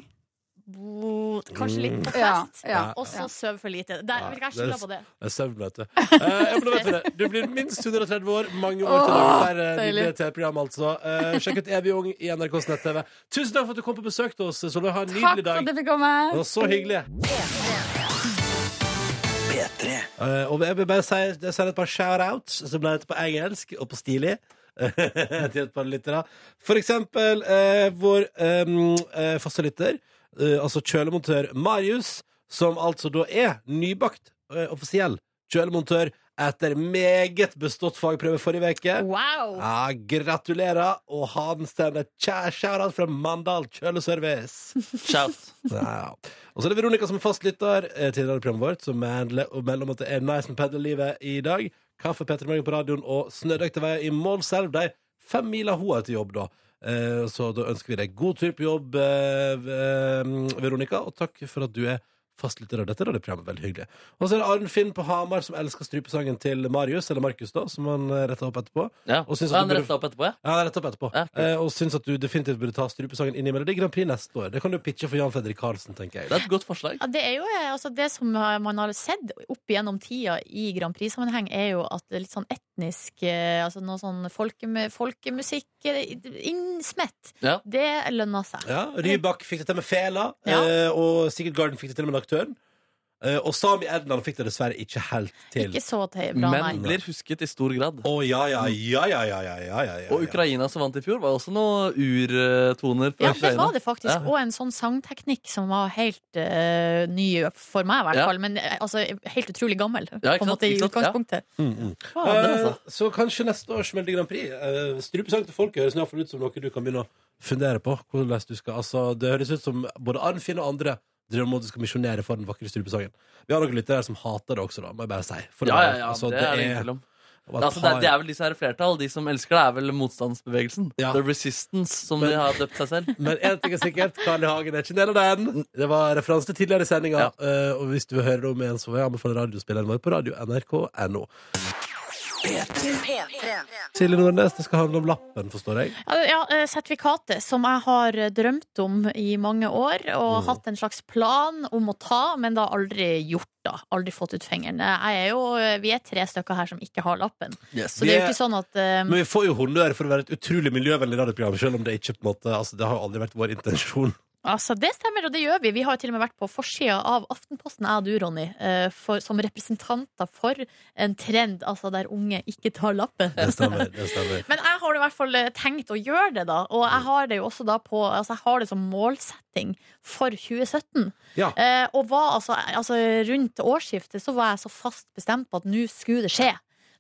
[SPEAKER 3] bo- Kanskje litt på
[SPEAKER 8] Mm. Ja,
[SPEAKER 3] fest.
[SPEAKER 8] ja.
[SPEAKER 2] Ja.
[SPEAKER 3] Og så sove for lite. Der,
[SPEAKER 2] Ja,
[SPEAKER 3] vet du hva, jeg
[SPEAKER 2] det er
[SPEAKER 3] skylder på det.
[SPEAKER 2] Det er søvn, vet du. Eh, jeg må vite det. Du blir minst 130 år, mange år til
[SPEAKER 8] Åh,
[SPEAKER 2] det er
[SPEAKER 8] deilig.
[SPEAKER 2] nydelige TV-program, altså. Eh, sjekk ut Evig ung i NRKs nett-TV. Tusen takk for at du kom på besøk til oss, Solveig. Ha en
[SPEAKER 8] Takk
[SPEAKER 2] nydelig
[SPEAKER 8] for
[SPEAKER 2] dag.
[SPEAKER 8] at jeg fikk komme.
[SPEAKER 2] Det var så hyggelig. Eh, og jeg vil bare si jeg sender et par shoutouts, som ble det på engelsk og på stilig. <laughs> til et par lyttere. For eksempel eh, vår um, eh, faste lytter, eh, altså kjølemontør Marius, som altså da er nybakt eh, offisiell kjølemontør etter meget bestått fagprøve forrige uke.
[SPEAKER 3] Wow!
[SPEAKER 2] Ja, gratulerer, og han sender kjær shout-out fra Mandal kjøleservice.
[SPEAKER 4] Shout.
[SPEAKER 2] Ja. Og så er det Veronica som er fastlytter eh, til radioprogrammet vårt, som handler og melder om at det er nice med peddellivet i dag. Kaffe, Petter Morgen på radioen og snødekte veier i Målselv. De fem mila hun har til jobb, da. Eh, Så da ønsker vi deg god tur på jobb, eh, v- eh, Veronica, og takk for at du er fastlytter av dette radioprogrammet. Veldig hyggelig. Og så er det Arn Finn på Hamar som elsker strupesangen til Marius, eller Markus, da, som han eh, retta opp etterpå.
[SPEAKER 4] Ja.
[SPEAKER 2] Og synes at
[SPEAKER 4] Han
[SPEAKER 2] du burde-
[SPEAKER 4] retta opp etterpå, ja.
[SPEAKER 2] Ja, rett opp etterpå.
[SPEAKER 4] Ja, kult.
[SPEAKER 2] eh, og syns at du definitivt burde ta strupesangen inn i Melodi Grand Prix neste år. Det kan du pitche for Jan Fredrik Karlsen, tenker jeg.
[SPEAKER 4] Det er et godt forslag.
[SPEAKER 3] Ja, det er jo eh, altså, det som eh, man har sett opp gjennom tida i Grand Prix-sammenheng, er jo at det er litt sånn etnisk eh, Altså noe sånn folkemu folkemusikk eh, innsmett.
[SPEAKER 4] Ja.
[SPEAKER 3] Det lønner seg.
[SPEAKER 2] Ja, Rybak fikk det til med fela,
[SPEAKER 3] Ja.
[SPEAKER 2] eh, og Sigurd Garden fikk det til med aktøren. Eh, og Sami Edland fikk det dessverre ikke helt til.
[SPEAKER 3] Ikke så te- bra,
[SPEAKER 4] Men
[SPEAKER 3] nei.
[SPEAKER 4] blir husket i stor grad.
[SPEAKER 2] Å ja, ja, ja, ja, ja, ja, ja, ja, ja.
[SPEAKER 4] Og Ukraina som vant i fjor, var også noen urtoner fra
[SPEAKER 3] Ja, det
[SPEAKER 4] Ukraina.
[SPEAKER 3] var det faktisk.
[SPEAKER 4] Ja.
[SPEAKER 3] Og en sånn sangteknikk som var helt eh, ny for meg, i hvert
[SPEAKER 4] Ja.
[SPEAKER 3] fall. Men eh, altså, helt utrolig gammel,
[SPEAKER 4] Ja, ikke
[SPEAKER 3] på en
[SPEAKER 4] sant,
[SPEAKER 3] måte, i
[SPEAKER 4] ikke sant, ja.
[SPEAKER 3] utgangspunktet.
[SPEAKER 2] Mm, mm.
[SPEAKER 4] Ja, det
[SPEAKER 2] Eh,
[SPEAKER 4] altså.
[SPEAKER 2] så kanskje neste års Melodi Grand Prix. Uh, strupesang til folket høres i hvert fall ut som noe du kan begynne å fundere på. Hvordan du skal, altså, det høres ut som både Arn Finn og andre drømmer om at du skal misjonere for den vakre strupesangen. Vi har noen lyttere her som hater det også, da, må jeg bare si. For
[SPEAKER 4] Ja, ja,
[SPEAKER 2] var-
[SPEAKER 4] ja,
[SPEAKER 2] altså,
[SPEAKER 4] det er det ingen tvil om.
[SPEAKER 2] var et
[SPEAKER 4] Altså, det, er, det
[SPEAKER 2] par-
[SPEAKER 4] er vel de som er i flertall. De som elsker det, er vel motstandsbevegelsen.
[SPEAKER 2] Ja.
[SPEAKER 4] The Resistance, som
[SPEAKER 2] Men-
[SPEAKER 4] de har døpt seg selv.
[SPEAKER 2] Men én ting er sikkert, Karl I. Hagen er ikke en del av den. Det var referanse til tidligere sendinger. eh, og hvis du vil høre det om igjen, så vil jeg anbefale radiospilleren vår på radio nrk.no. Silje Nordnes, det skal handle om lappen, forstår jeg.
[SPEAKER 3] Ja, ja, eh, sertifikatet som jeg har eh, drømt om i mange år, og
[SPEAKER 2] Mm.
[SPEAKER 3] hatt en slags plan om å ta, men da aldri gjort. da Aldri fått ut fingeren. Jeg er jo, eh, vi er tre stykker her som ikke har lappen. Så det er jo ikke sånn at eh,
[SPEAKER 2] Men vi får jo honnør for å være et utrolig miljøvennlig radioprogram, selv om det ikke på en måte Altså, det har jo aldri vært vår intensjon.
[SPEAKER 3] Altså, Det stemmer, og det gjør vi. Vi har jo til og med vært på forsida av Aftenposten, jeg og du, Ronny, eh, for, som representanter for en trend altså der unge ikke tar lappen.
[SPEAKER 2] Det stemmer. det stemmer
[SPEAKER 3] Men jeg har i hvert fall eh, tenkt å gjøre det, da. Og
[SPEAKER 2] Mm.
[SPEAKER 3] jeg har det jo også da på Altså, jeg har det som målsetting for 2017.
[SPEAKER 2] Ja.
[SPEAKER 3] Eh, og var altså, altså rundt årsskiftet så var jeg så fast bestemt på at nå skulle det skje.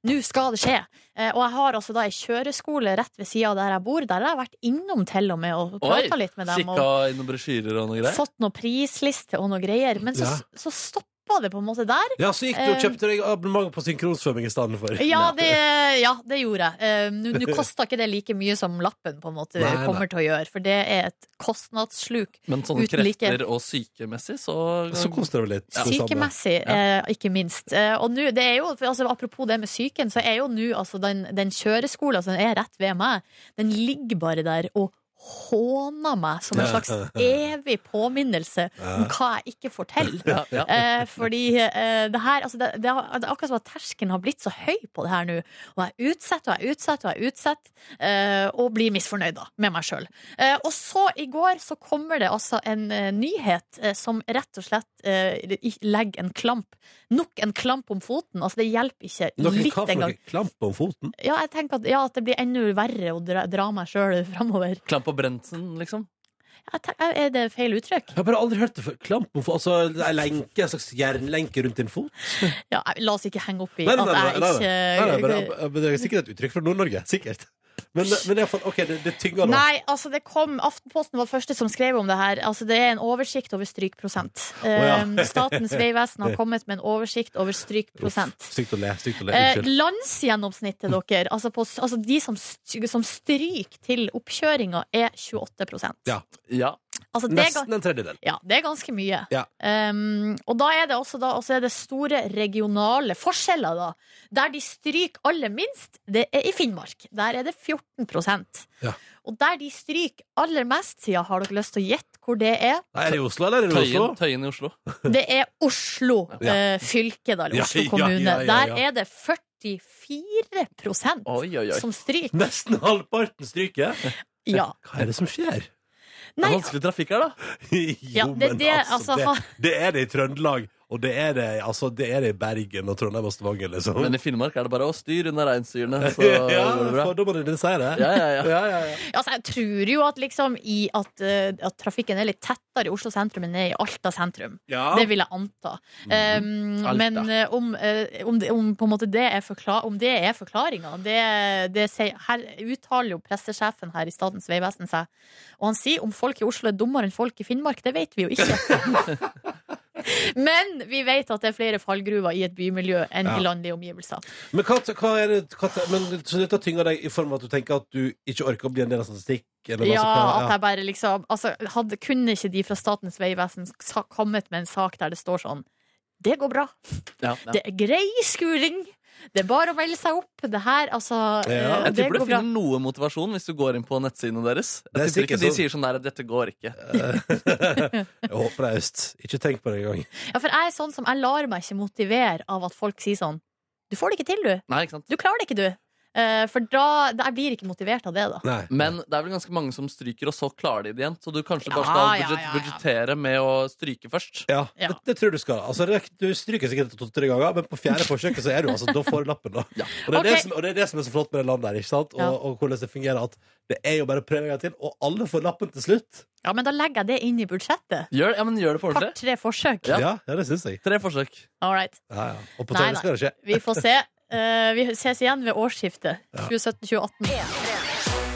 [SPEAKER 3] Nå skal det skje! Eh, og jeg har altså da ei kjøreskole rett ved sida av der jeg bor. Der har jeg vært innom til og med og
[SPEAKER 4] Oi,
[SPEAKER 3] prata litt med dem.
[SPEAKER 4] Kikka
[SPEAKER 3] Og
[SPEAKER 4] i noen brosjyrer og noe greier.
[SPEAKER 3] fått noen prisliste og noe greier. Men så,
[SPEAKER 2] Ja.
[SPEAKER 3] så stoppa det på en måte der.
[SPEAKER 2] Ja, så gikk du og kjøpte deg abonnement på synkronsvømming i stedet for.
[SPEAKER 3] Eh. <laughs> Ja, det, ja, det gjorde jeg. Eh, Nå nå kosta ikke det like mye som lappen på en måte
[SPEAKER 2] Nei, nei.
[SPEAKER 3] kommer til å gjøre, for det er et kostnadssluk.
[SPEAKER 4] Men sånn
[SPEAKER 3] Uten like.
[SPEAKER 4] krefter og sykemessig, så
[SPEAKER 2] Så koste det litt. det samme.
[SPEAKER 3] Sykemessig, eh, ikke minst. Eh, og nå, det er jo, for altså, apropos det med altså, psyken, så er jo nå altså, den, den kjøreskolen som er rett ved meg, den ligger bare der og håna meg som en slags
[SPEAKER 2] <laughs>
[SPEAKER 3] evig påminnelse om hva jeg ikke får til.
[SPEAKER 4] Ja, ja.
[SPEAKER 3] Eh, fordi eh, det her altså det, det, har- det er akkurat som at terskelen har blitt så høy på det her nå. Og jeg utsetter og jeg utsetter og jeg utsetter, eh, og blir misfornøyd da, med meg sjøl. Eh, og så i går så kommer det altså en eh, nyhet eh, som rett og slett eh, i- legger en klamp. Nok en klamp om foten. Altså det hjelper ikke
[SPEAKER 2] Dere
[SPEAKER 3] litt
[SPEAKER 2] kan få
[SPEAKER 3] engang.
[SPEAKER 2] noe klamp om foten.
[SPEAKER 3] Ja, jeg tenker at, ja, at det blir enda verre å dra, dra meg sjøl <laughs> framover.
[SPEAKER 4] Klamp og Brentsen, liksom.
[SPEAKER 3] Jeg tenker, er det feil uttrykk?
[SPEAKER 2] Jeg har bare aldri hørt det før. Klamp om foten. Altså det er en lenke, en slags jernlenke rundt din fot.
[SPEAKER 3] Ja, jeg- la oss ikke henge opp i
[SPEAKER 2] Nei,
[SPEAKER 3] at
[SPEAKER 2] nei, nei,
[SPEAKER 3] Altså, jeg
[SPEAKER 2] nei, nei. Nei, nei,
[SPEAKER 3] ikke
[SPEAKER 2] men, men det er sikkert et uttrykk fra Nord-Norge. Sikkert. Men, men jeg, ok, det, det tynger nå.
[SPEAKER 3] Nei, altså det kom Aftenposten var første som skrev om det her. Altså Det er en oversikt over strykprosent.
[SPEAKER 2] ja.
[SPEAKER 3] Um, Statens vegvesen har kommet med en oversikt over strykprosent.
[SPEAKER 2] Stygt å le. Stygt å le.
[SPEAKER 3] Eh,
[SPEAKER 2] Unnskyld.
[SPEAKER 3] landsgjennomsnittet dere, altså, på, altså de som, st- som stryker til oppkjøringa, er 28
[SPEAKER 2] Ja,
[SPEAKER 4] Ja.
[SPEAKER 3] altså, det er ga-
[SPEAKER 2] Nesten en tredjedel.
[SPEAKER 3] Ja, det er ganske mye.
[SPEAKER 2] Ja.
[SPEAKER 3] Um, og da er det også da, og så er det store regionale forskjeller, da. Der de stryker aller minst, det er i Finnmark. Der er det 14
[SPEAKER 2] Ja.
[SPEAKER 3] Og der de stryker aller mest, ja, har dere lyst til å gjette hvor det er?
[SPEAKER 2] Nei, er det i Oslo, eller er det i Oslo?
[SPEAKER 4] Tøyen, tøyen i Oslo.
[SPEAKER 3] Det er Oslo
[SPEAKER 2] <laughs> Ja.
[SPEAKER 3] eh, fylke, da, eller
[SPEAKER 2] Ja,
[SPEAKER 3] Oslo
[SPEAKER 2] ja,
[SPEAKER 3] kommune.
[SPEAKER 2] ja, ja, ja.
[SPEAKER 3] Der er det 44
[SPEAKER 4] Oi, oi, oi.
[SPEAKER 3] som
[SPEAKER 2] <laughs>
[SPEAKER 3] stryker.
[SPEAKER 2] Nesten halvparten stryker.
[SPEAKER 3] Ja.
[SPEAKER 2] Hva er det som skjer? <laughs>
[SPEAKER 4] Det er
[SPEAKER 3] Nei,
[SPEAKER 4] vanskelig trafikk her, da.
[SPEAKER 2] jo,
[SPEAKER 3] Ja, det er
[SPEAKER 2] men
[SPEAKER 3] det, altså, ha-
[SPEAKER 2] det, det er det i Trøndelag, og det er det, altså, det er det i Bergen og Trondheim og Stavanger, liksom.
[SPEAKER 4] Men i Finnmark er det bare å styre unna reinsdyrene, så
[SPEAKER 2] <laughs> ja,
[SPEAKER 4] går det bra.
[SPEAKER 2] fordommene dine sier det.
[SPEAKER 4] Ja, ja, ja.
[SPEAKER 3] Altså, jeg tror jo at, liksom, i at, eh, at trafikken er litt tettere i Oslo sentrum enn den er i Alta sentrum.
[SPEAKER 2] Ja. Mhm.
[SPEAKER 3] Det vil jeg anta. Um,
[SPEAKER 4] Alta.
[SPEAKER 3] men eh, om, eh, om, det, om, på en måte det er forkla- om det er forklaringa det, det sier- Her uttaler jo pressesjefen her i Statens vegvesen seg. Og han sier om folk i Oslo er dummere enn folk i Finnmark. Det vet vi jo ikke.
[SPEAKER 2] <laughs>
[SPEAKER 3] men vi vet at det er flere fallgruver i et bymiljø enn
[SPEAKER 2] Ja.
[SPEAKER 3] i landlige omgivelser.
[SPEAKER 2] Men, hva, hva er det, hva, men så dette tynger deg i form av at du tenker at du ikke orker å bli en del av statistikk? Eller
[SPEAKER 3] Ja,
[SPEAKER 2] hva,
[SPEAKER 3] at jeg bare liksom altså, hadde, Kunne ikke de fra Statens vegvesen sa- kommet med en sak der det står sånn Det går bra.
[SPEAKER 4] ja, ja.
[SPEAKER 3] Det er grei skuring. Det er bare å melde seg opp. Det her, altså
[SPEAKER 2] Ja.
[SPEAKER 3] eh,
[SPEAKER 4] Jeg
[SPEAKER 3] Det
[SPEAKER 4] tipper du
[SPEAKER 3] går bra.
[SPEAKER 4] finner noe motivasjon hvis du går inn på nettsidene deres.
[SPEAKER 2] Det er
[SPEAKER 4] Jeg tipper ikke
[SPEAKER 2] sikkert
[SPEAKER 4] de
[SPEAKER 2] sånn.
[SPEAKER 4] sier sånn der at dette går ikke.
[SPEAKER 2] <laughs> Jeg håper det er øst. Ikke tenk på det engang.
[SPEAKER 3] Ja, for jeg er sånn som Jeg lar meg ikke motivere av at folk sier sånn Du får det ikke til, du.
[SPEAKER 4] Nei, ikke sant?
[SPEAKER 3] Du klarer det ikke, du. Eh, For da da- Jeg blir ikke motivert av det, da.
[SPEAKER 2] Nei.
[SPEAKER 4] Men det er vel ganske mange som stryker, og så klarer de det igjen. Så du kanskje
[SPEAKER 3] Ja,
[SPEAKER 4] bare
[SPEAKER 3] ja,
[SPEAKER 4] skal budget
[SPEAKER 3] ja, ja.
[SPEAKER 4] budsjettere med å stryke først.
[SPEAKER 2] Ja,
[SPEAKER 3] Ja.
[SPEAKER 2] Det, det tror jeg du skal. Altså, det, du stryker sikkert to-tre ganger, men på fjerde forsøket så er du altså, da får du lappen. Da. Og, det er
[SPEAKER 3] Ok.
[SPEAKER 2] det som, og det er det som er så flott med det landet her, ikke sant? Og,
[SPEAKER 3] Ja.
[SPEAKER 2] og hvordan det fungerer, at det er jo bare å prøve en gang til, og alle får lappen til slutt.
[SPEAKER 3] Ja, Men da legger jeg det inn i budsjettet.
[SPEAKER 4] Gjør, ja, men gjør det på
[SPEAKER 3] Par
[SPEAKER 4] ordentlig.
[SPEAKER 3] tre forsøk.
[SPEAKER 2] Ja,
[SPEAKER 4] Ja.
[SPEAKER 2] ja, det syns jeg.
[SPEAKER 4] Tre forsøk.
[SPEAKER 3] All right.
[SPEAKER 2] Ja, ja. Og på
[SPEAKER 3] Nei,
[SPEAKER 2] tøyen skal det skje.
[SPEAKER 3] Vi får se. Eh, Vi ses igjen ved årsskiftet 2017-2018.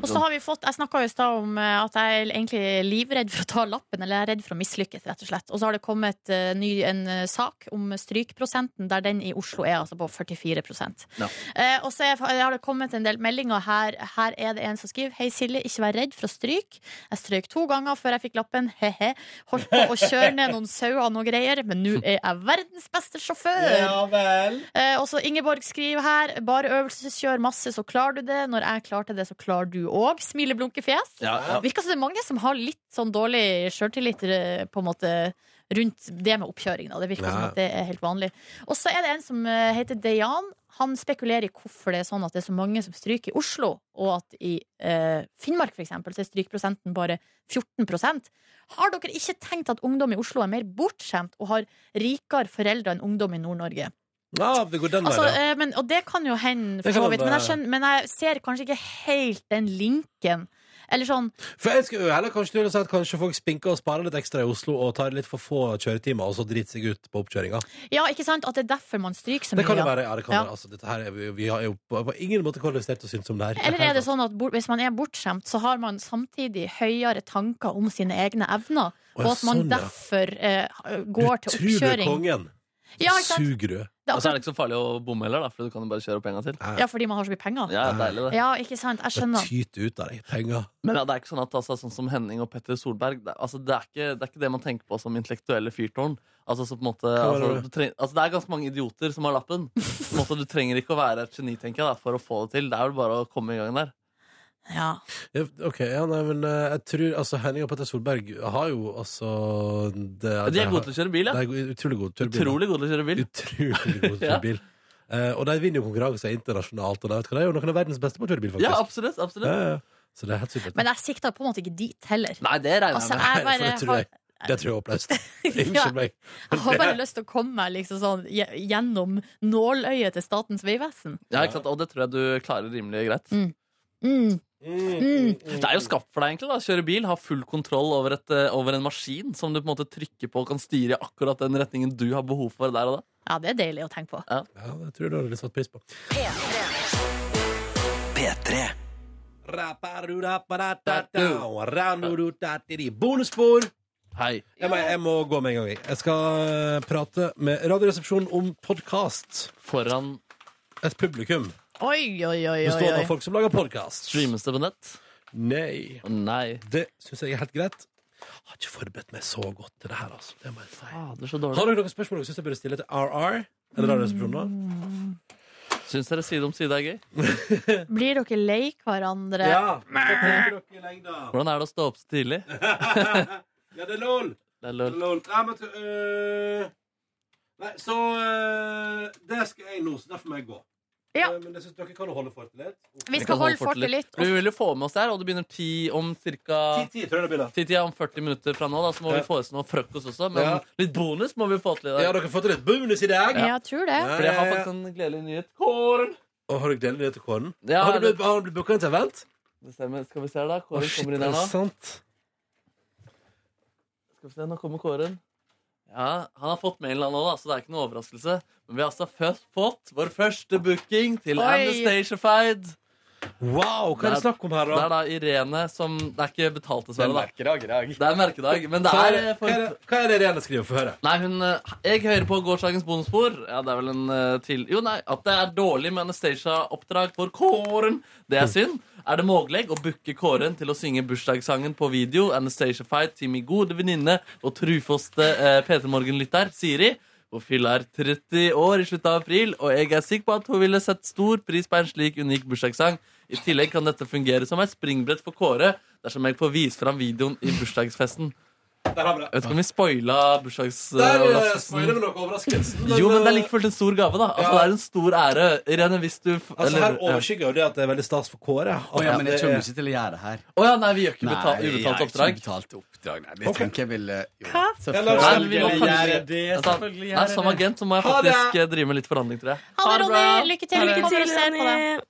[SPEAKER 3] Og så har vi fått, Jeg snakka i stad om eh, at jeg er egentlig livredd for å ta lappen, eller jeg er redd for å mislykkes, rett og slett. Og så har det kommet eh, ny, en eh, sak om strykprosenten, der den i Oslo er altså på 44
[SPEAKER 4] Ja.
[SPEAKER 3] eh, Og så er, har det kommet en del meldinger her. Her er det en som skriver Hei Silje, ikke vær redd for å stryke. Jeg strøyk to ganger før jeg fikk lappen. He-he. Holdt på å kjøre ned noen sauer og noe greier, men nå er jeg verdens beste sjåfør.
[SPEAKER 2] vel.
[SPEAKER 3] Eh, også Ingeborg skriver her Bare øvelseskjør masse, så klarer du det. Når jeg klarte det, så klarer du òg. Smileblunkefjes.
[SPEAKER 4] Ja, ja.
[SPEAKER 3] Virker som det er mange som har litt sånn dårlig sjøltillit eh, på en måte rundt det med oppkjøring. Da. Det virker
[SPEAKER 2] Ja.
[SPEAKER 3] som at det er helt vanlig. Og så er det en som eh, heter Dejan. Han spekulerer i hvorfor det er sånn at det er så mange som stryker i Oslo, og at i eh, Finnmark for eksempel, så er strykprosenten bare 14 Har dere ikke tenkt at ungdom i Oslo er mer bortskjemt og har rikere foreldre enn ungdom i Nord-Norge?
[SPEAKER 2] Ja, det går den
[SPEAKER 3] Altså,
[SPEAKER 2] veien. ja.
[SPEAKER 3] eh, men, og det kan jo hende,
[SPEAKER 2] Det
[SPEAKER 3] for
[SPEAKER 2] kan
[SPEAKER 3] så
[SPEAKER 2] man
[SPEAKER 3] vidt. Men jeg,
[SPEAKER 2] bare-
[SPEAKER 3] skjønner, men jeg ser kanskje ikke helt den linken. Eller sånn
[SPEAKER 2] For jeg skal jo heller kanskje du vil si at kanskje folk spinker og sparer litt ekstra i Oslo og tar litt for få kjøretimer, og så driter seg ut på oppkjøringa.
[SPEAKER 3] Ja, ikke sant? At det er derfor man stryker så
[SPEAKER 2] Det kan jo
[SPEAKER 3] mye.
[SPEAKER 2] være. Ja, det kan
[SPEAKER 3] Ja.
[SPEAKER 2] være. Altså, dette her er, vi, vi har jo på, på ingen måte kvalifisert til å synes om det her.
[SPEAKER 3] Eller er det sånn at bort, hvis man er bortskjemt, så har man samtidig høyere tanker om sine egne evner,
[SPEAKER 2] Å,
[SPEAKER 3] og
[SPEAKER 2] ja,
[SPEAKER 3] at man
[SPEAKER 2] sånn, ja.
[SPEAKER 3] derfor eh, går
[SPEAKER 2] Du
[SPEAKER 3] til
[SPEAKER 2] tror du er
[SPEAKER 3] oppkjøring?
[SPEAKER 2] kongen.
[SPEAKER 3] Ja, ikke sant?
[SPEAKER 2] Suger Altså, du?
[SPEAKER 3] Det er
[SPEAKER 4] Og så
[SPEAKER 3] akkurat,
[SPEAKER 4] er det ikke så farlig å bomme heller, da, for du kan jo bare kjøre opp en gang til.
[SPEAKER 3] ja, fordi man har så mye penger?
[SPEAKER 4] Ja, deilig det.
[SPEAKER 3] Ja, ikke sant? Jeg
[SPEAKER 2] Det
[SPEAKER 3] skjønner.
[SPEAKER 2] tyter ut av deg penger.
[SPEAKER 4] Men ja, det er ikke sånn at altså, sånn som Henning og Petter Solberg det, altså, det, er ikke, det er ikke det man tenker på som intellektuelle fyrtårn. Altså, så på en måte,
[SPEAKER 2] mener
[SPEAKER 4] altså,
[SPEAKER 2] du?
[SPEAKER 4] du treng, altså, det er ganske mange idioter som har lappen. På en måte, du trenger ikke å være et geni tenker jeg, da, for å få det til. Det er vel bare å komme i gang der.
[SPEAKER 3] Ja.
[SPEAKER 2] Ja, Ok, ja, nei, men eh, jeg tror altså, Henning og Petter Solberg har jo altså det,
[SPEAKER 4] De er gode til å kjøre bil, ja.
[SPEAKER 2] De er utrolig gode til å kjøre bil.
[SPEAKER 4] Utrolig gode til å kjøre bil.
[SPEAKER 2] Utrolig gode
[SPEAKER 4] <laughs>
[SPEAKER 2] til å
[SPEAKER 4] Ja.
[SPEAKER 2] kjøre bil. Eh, og de vinner jo konkurranser internasjonalt. Og de, vet du hva, de er jo noen av verdens beste på å kjøre bil, faktisk.
[SPEAKER 4] Ja, absolutt. absolutt.
[SPEAKER 2] Ja, ja. Så det er helt supert. <laughs>
[SPEAKER 3] Men jeg sikta på en måte ikke dit heller.
[SPEAKER 4] Nei, det regner
[SPEAKER 3] Altså,
[SPEAKER 4] jeg
[SPEAKER 2] Nei,
[SPEAKER 4] med.
[SPEAKER 3] jeg
[SPEAKER 2] for det
[SPEAKER 3] bare
[SPEAKER 2] tror
[SPEAKER 3] har,
[SPEAKER 2] jeg. Det tror jeg er
[SPEAKER 3] <laughs>
[SPEAKER 2] oppløst.
[SPEAKER 3] Ja.
[SPEAKER 2] Unnskyld meg.
[SPEAKER 3] jeg har bare lyst til å komme meg liksom sånn gje- gjennom nåløyet til Statens vegvesen.
[SPEAKER 4] Ja, ikke sant? Og det tror jeg du klarer rimelig greit.
[SPEAKER 3] Mm.
[SPEAKER 4] Det er jo skapt for deg, egentlig. da Kjøre bil, ha full kontroll over, et, eh, over en maskin som du på en måte trykker på og kan styre i akkurat den retningen du har behov for der og da.
[SPEAKER 3] Ja, det er deilig å tenke på.
[SPEAKER 2] Ja, det tror jeg du hadde satt pris på. Bonusspor!
[SPEAKER 4] Hei.
[SPEAKER 2] Jeg må, jeg må gå med en gang. jeg. Jeg skal eh, prate med Radioresepsjonen om podkast.
[SPEAKER 4] Foran
[SPEAKER 2] Et publikum
[SPEAKER 3] Oi, oi, oi, oi,
[SPEAKER 2] bestående
[SPEAKER 3] oi.
[SPEAKER 2] av folk som lager podkast.
[SPEAKER 4] streames det på nett?
[SPEAKER 2] Nei.
[SPEAKER 4] Å, Nei.
[SPEAKER 2] Det syns jeg er helt greit. Jeg har ikke forberedt meg så godt til det her, altså. Det må jeg si.
[SPEAKER 4] Ah, det er så dårlig.
[SPEAKER 2] Har dere noen spørsmål dere syns jeg burde stille til RR? Eller Radioresepsjonen,
[SPEAKER 4] Mm,
[SPEAKER 2] da?
[SPEAKER 4] Syns dere Side om side er gøy?
[SPEAKER 3] Blir dere lei hverandre?
[SPEAKER 2] Hva tenker dere i <laughs> lengda?
[SPEAKER 4] Hvordan er det å stå opp så tidlig?
[SPEAKER 2] Ja, det er lol.
[SPEAKER 4] Det er lol.
[SPEAKER 2] Lol. Nei, men øh, Nei, så øh, Det skal jeg nå, så derfor må jeg gå.
[SPEAKER 3] Ja.
[SPEAKER 2] Eh, Men jeg syns dere kan holde fortet litt.
[SPEAKER 3] Vi
[SPEAKER 4] Vi
[SPEAKER 3] skal
[SPEAKER 4] kan
[SPEAKER 3] holde
[SPEAKER 4] fortet
[SPEAKER 3] fortet litt.
[SPEAKER 4] Vi vil jo få med oss det her, og det begynner ti om ca.
[SPEAKER 2] Ti, ti, tror jeg det blir, da.
[SPEAKER 4] Titida om 40 minutter fra nå, da, så må
[SPEAKER 2] Ja.
[SPEAKER 4] vi få oss noe frokost også. Men
[SPEAKER 2] Ja.
[SPEAKER 4] litt bonus må vi få til i
[SPEAKER 2] Ja,
[SPEAKER 4] dag.
[SPEAKER 2] dere har fått litt bonus i dag.
[SPEAKER 3] Ja, jeg tror det.
[SPEAKER 4] For jeg har faktisk en gledelig nyhet. Kåren!
[SPEAKER 2] Og har dere delt det til kåren?
[SPEAKER 4] Ja,
[SPEAKER 2] har du
[SPEAKER 4] det-
[SPEAKER 2] blitt, har du blitt booka inn til event?
[SPEAKER 4] Det stemmer. Skal vi se her, da.
[SPEAKER 2] Å,
[SPEAKER 4] Kåren
[SPEAKER 2] shit,
[SPEAKER 4] kommer inn
[SPEAKER 2] er det
[SPEAKER 4] her nå.
[SPEAKER 2] sant?
[SPEAKER 4] Skal vi se, nå kommer Kåren. Ja, Han har fått mailen han nå, da, så det er ikke noe overraskelse. Men vi har altså først fått vår første booking til
[SPEAKER 3] Oi.
[SPEAKER 4] Amnestationfied.
[SPEAKER 2] Wow, hva er det
[SPEAKER 4] Det er-
[SPEAKER 2] snakk om her,
[SPEAKER 4] Det
[SPEAKER 2] da?
[SPEAKER 4] er da Irene som Det er ikke betalt, dessverre. da
[SPEAKER 9] merkedag i dag.
[SPEAKER 4] Det er merkedag, men det
[SPEAKER 2] Hva er
[SPEAKER 4] er
[SPEAKER 2] det, hva
[SPEAKER 4] eh,
[SPEAKER 2] er
[SPEAKER 4] for...
[SPEAKER 2] det, hva er det Irene skriver? Få høre.
[SPEAKER 4] Nei, hun eh, Jeg hører på gårsdagens bonusspor. Ja, det er vel en eh, til Jo, nei, at det er dårlig med Anastacia-oppdrag for Kåren. Det er synd. Er det mulig å booke Kåren til å synge bursdagssangen på video? Anastacia Fight til min gode venninne og trufaste eh, P3 Morgen-lytter Siri. Hun fyller 30 år i slutten av april, og jeg er sikker på at hun ville sett stor pris på en slik unik bursdagssang. I tillegg kan dette fungere som et springbrett for Kåre dersom jeg får vise fram videoen i bursdagsfesten.
[SPEAKER 2] Der har vi det.
[SPEAKER 4] Jeg vet ikke om vi spoila
[SPEAKER 2] Der eh, spoiler
[SPEAKER 4] bursdagsoverraskelsen.
[SPEAKER 2] vi noe overraskelsen.
[SPEAKER 4] Jo, men det er like fullt en stor gave, da. Altså,
[SPEAKER 2] Ja.
[SPEAKER 4] Det er en stor ære. Irene, hvis du f-
[SPEAKER 2] Altså, her
[SPEAKER 4] ja.
[SPEAKER 2] overskygger jo det at det er veldig stas for Kåre.
[SPEAKER 9] Å ja, men jeg
[SPEAKER 2] At det
[SPEAKER 9] kommer
[SPEAKER 2] er-
[SPEAKER 9] ikke til å gjøre det her.
[SPEAKER 4] Å ja, nei, vi gjør ikke betalt,
[SPEAKER 9] jeg
[SPEAKER 4] ubetalt
[SPEAKER 9] har ikke
[SPEAKER 4] oppdrag.
[SPEAKER 9] Betalt oppdrag, nei. Det tenker jeg ville jo.
[SPEAKER 3] Hva?
[SPEAKER 9] Selvfølgelig
[SPEAKER 4] Nei, men vi må
[SPEAKER 9] gjøre
[SPEAKER 4] kanskje-
[SPEAKER 9] det.
[SPEAKER 4] Altså,
[SPEAKER 9] Selvfølgelig
[SPEAKER 4] nei, som
[SPEAKER 9] gjøre det.
[SPEAKER 4] agent så må jeg
[SPEAKER 2] Ha det!
[SPEAKER 4] faktisk eh, drive med litt forhandling, tror jeg.
[SPEAKER 3] Ha det, Ronny.
[SPEAKER 4] bra.
[SPEAKER 3] Lykke til. Vi kommer og ser på deg.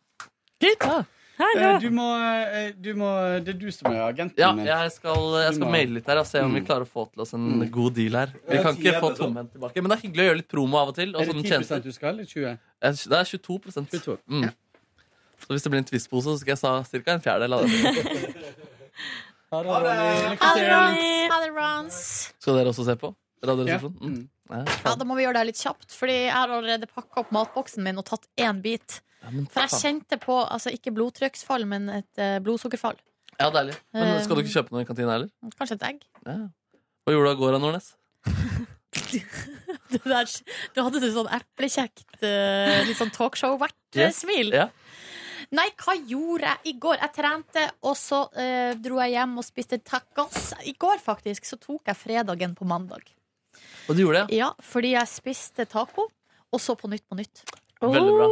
[SPEAKER 4] Ja.
[SPEAKER 9] Eh, Du må, eh, du må Det er du som er agenten
[SPEAKER 4] Ja,
[SPEAKER 9] min.
[SPEAKER 4] jeg skal, jeg skal maile litt her og se om
[SPEAKER 9] Mm.
[SPEAKER 4] vi klarer å få til oss en god deal her. Vi kan ikke få tomhendt tilbake. Men det er hyggelig å gjøre litt promo av og til. Og
[SPEAKER 9] Er det
[SPEAKER 4] sånn
[SPEAKER 9] 10
[SPEAKER 4] tjenester.
[SPEAKER 9] du skal, eller 20?
[SPEAKER 4] Eh, Det er 22
[SPEAKER 9] 22.
[SPEAKER 4] Mm. Så hvis det blir en twistpose, så skal jeg sa ca. en fjerdedel av det.
[SPEAKER 9] Ha det, Ronny.
[SPEAKER 3] Ha det, Rons. Ha det, Rons.
[SPEAKER 4] Skal dere også se på?
[SPEAKER 9] Ja.
[SPEAKER 4] Radioresepsjonen? Mm.
[SPEAKER 9] Mm.
[SPEAKER 4] Ja.
[SPEAKER 3] Ja, da må vi gjøre det her litt kjapt, Fordi jeg har allerede pakka opp matboksen min og tatt én bit.
[SPEAKER 4] men
[SPEAKER 3] For jeg kjente på, altså ikke blodtrykksfall, men et eh, blodsukkerfall.
[SPEAKER 4] Ja, deilig. Men
[SPEAKER 3] Eh.
[SPEAKER 4] skal du ikke kjøpe noe i kantina heller?
[SPEAKER 3] Kanskje et egg.
[SPEAKER 4] Ja. Hva gjorde du i går, da, Nordnes?
[SPEAKER 3] Det der, du hadde det sånn eplekjekt, eh, litt sånn
[SPEAKER 4] Yes.
[SPEAKER 3] talkshow-vert-smil.
[SPEAKER 4] Ja.
[SPEAKER 3] Nei, hva gjorde jeg i går? Jeg trente, og så eh, dro jeg hjem og spiste tacos. I går, faktisk, så tok jeg fredagen på mandag.
[SPEAKER 4] Og du gjorde det,
[SPEAKER 3] Ja, fordi jeg spiste taco, og så på nytt på nytt.
[SPEAKER 4] ja. Veldig bra.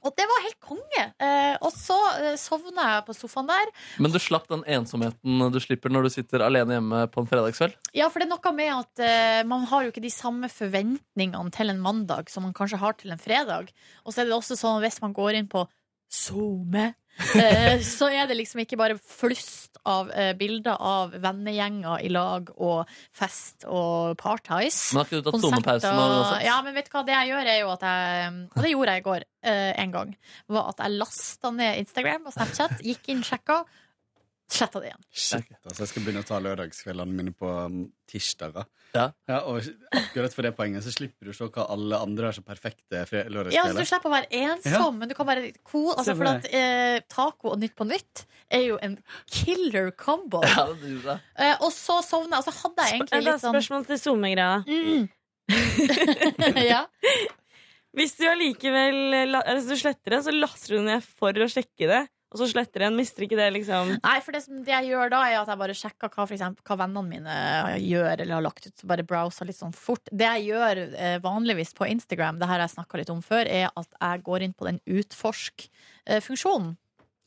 [SPEAKER 3] Og det var helt konge! Eh, og så eh, sovna jeg på sofaen der.
[SPEAKER 4] Men du slapp den ensomheten du slipper når du sitter alene hjemme på en fredagskveld?
[SPEAKER 3] Ja, for det er noe med at eh, man har jo ikke de samme forventningene til en mandag som man kanskje har til en fredag. Og så er det også sånn hvis man går inn på SoMe,
[SPEAKER 4] <laughs>
[SPEAKER 3] eh, så er det liksom ikke bare flust av eh, bilder av vennegjenger i lag og fest og parties.
[SPEAKER 4] Men har ikke du tatt sonepausen? nå uansett?
[SPEAKER 3] Ja, men vet du hva det jeg gjør, er jo at jeg mm, Og det gjorde jeg i går eh, en gang. Var at jeg lasta ned Instagram og Snapchat, gikk inn, sjekka, sletta det igjen.
[SPEAKER 9] Shit, altså jeg skal begynne å ta lørdagskveldene mine på um, tirsdager.
[SPEAKER 4] Ja.
[SPEAKER 9] og akkurat for det poenget så slipper du å se hva alle andre har så perfekte fre-
[SPEAKER 3] Ja, så
[SPEAKER 9] lørdagskvelder.
[SPEAKER 3] Du slipper å være ensom,
[SPEAKER 9] Ja.
[SPEAKER 3] men du kan være cool. Altså,
[SPEAKER 9] Se på
[SPEAKER 3] for at, eh, taco og Nytt på nytt er jo en killer combo.
[SPEAKER 4] Ja, det gjorde jeg.
[SPEAKER 3] Eh, og så sovna jeg, og så hadde jeg egentlig
[SPEAKER 10] Jeg har
[SPEAKER 3] litt
[SPEAKER 10] et
[SPEAKER 3] sånn
[SPEAKER 10] spørsmål til SoMe-greia.
[SPEAKER 3] mm. <laughs> ja.
[SPEAKER 10] Hvis du allikevel la- altså, du sletter det, så laster du ned for å sjekke det, Og så sletter en. Mister ikke det, <laughs> liksom.
[SPEAKER 3] Nei, for det, som, det jeg gjør da, er at jeg bare sjekker hva, for eksempel, hva vennene mine eh, gjør eller har lagt ut. Så bare browser litt sånn fort. Det jeg gjør eh, vanligvis på Instagram, det her jeg snakka litt om før, er at jeg går inn på den utforsk-funksjonen.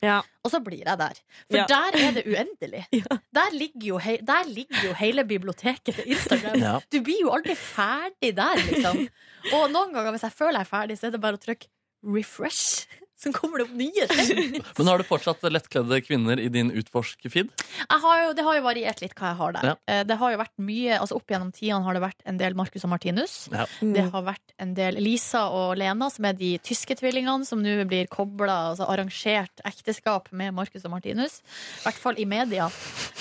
[SPEAKER 10] Ja.
[SPEAKER 3] Og så blir jeg der. For
[SPEAKER 10] Ja.
[SPEAKER 3] der er det
[SPEAKER 10] <laughs>
[SPEAKER 3] uendelig. Der, ligger jo hei, der ligger jo hele biblioteket til Instagram.
[SPEAKER 4] Ja.
[SPEAKER 3] Du blir jo aldri ferdig der,
[SPEAKER 10] <laughs>
[SPEAKER 3] liksom. Og noen ganger hvis jeg føler jeg er ferdig, så er det bare å trykke refresh. Så kommer det opp nye ting.
[SPEAKER 4] Men har du fortsatt lettkledde kvinner i din utforsk-feed?
[SPEAKER 3] Jeg har jo, det har jo variert litt hva jeg har der.
[SPEAKER 4] Ja.
[SPEAKER 3] Eh, Det har jo vært mye, altså Opp gjennom tidene har det vært en del Marcus og Martinus.
[SPEAKER 4] Ja.
[SPEAKER 3] Det har vært en del Lisa og Lena, som er de tyske tvillingene som nå blir kobla, altså arrangert ekteskap med Marcus og Martinus. I hvert fall i media.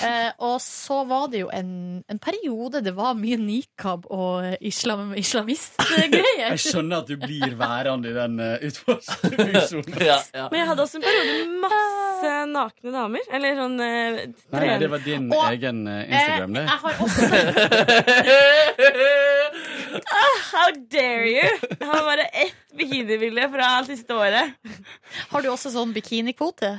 [SPEAKER 3] Eh, og så var det jo en, en periode det var mye nikab og islam, islamistgreier.
[SPEAKER 9] <laughs> Jeg skjønner at du blir værende i den uh, utforskningssonen.
[SPEAKER 4] Ja, ja.
[SPEAKER 10] Men jeg hadde også en periode med masse nakne damer. Eller sånn eh,
[SPEAKER 9] <laughs> Nei, nei, det var din
[SPEAKER 3] Og-
[SPEAKER 9] egen eh, Instagram,
[SPEAKER 3] Eh,
[SPEAKER 9] det.
[SPEAKER 3] jeg har også
[SPEAKER 10] How dare you! Jeg har bare ett bikinibilde fra siste året.
[SPEAKER 3] Har du også sånn bikinikvote?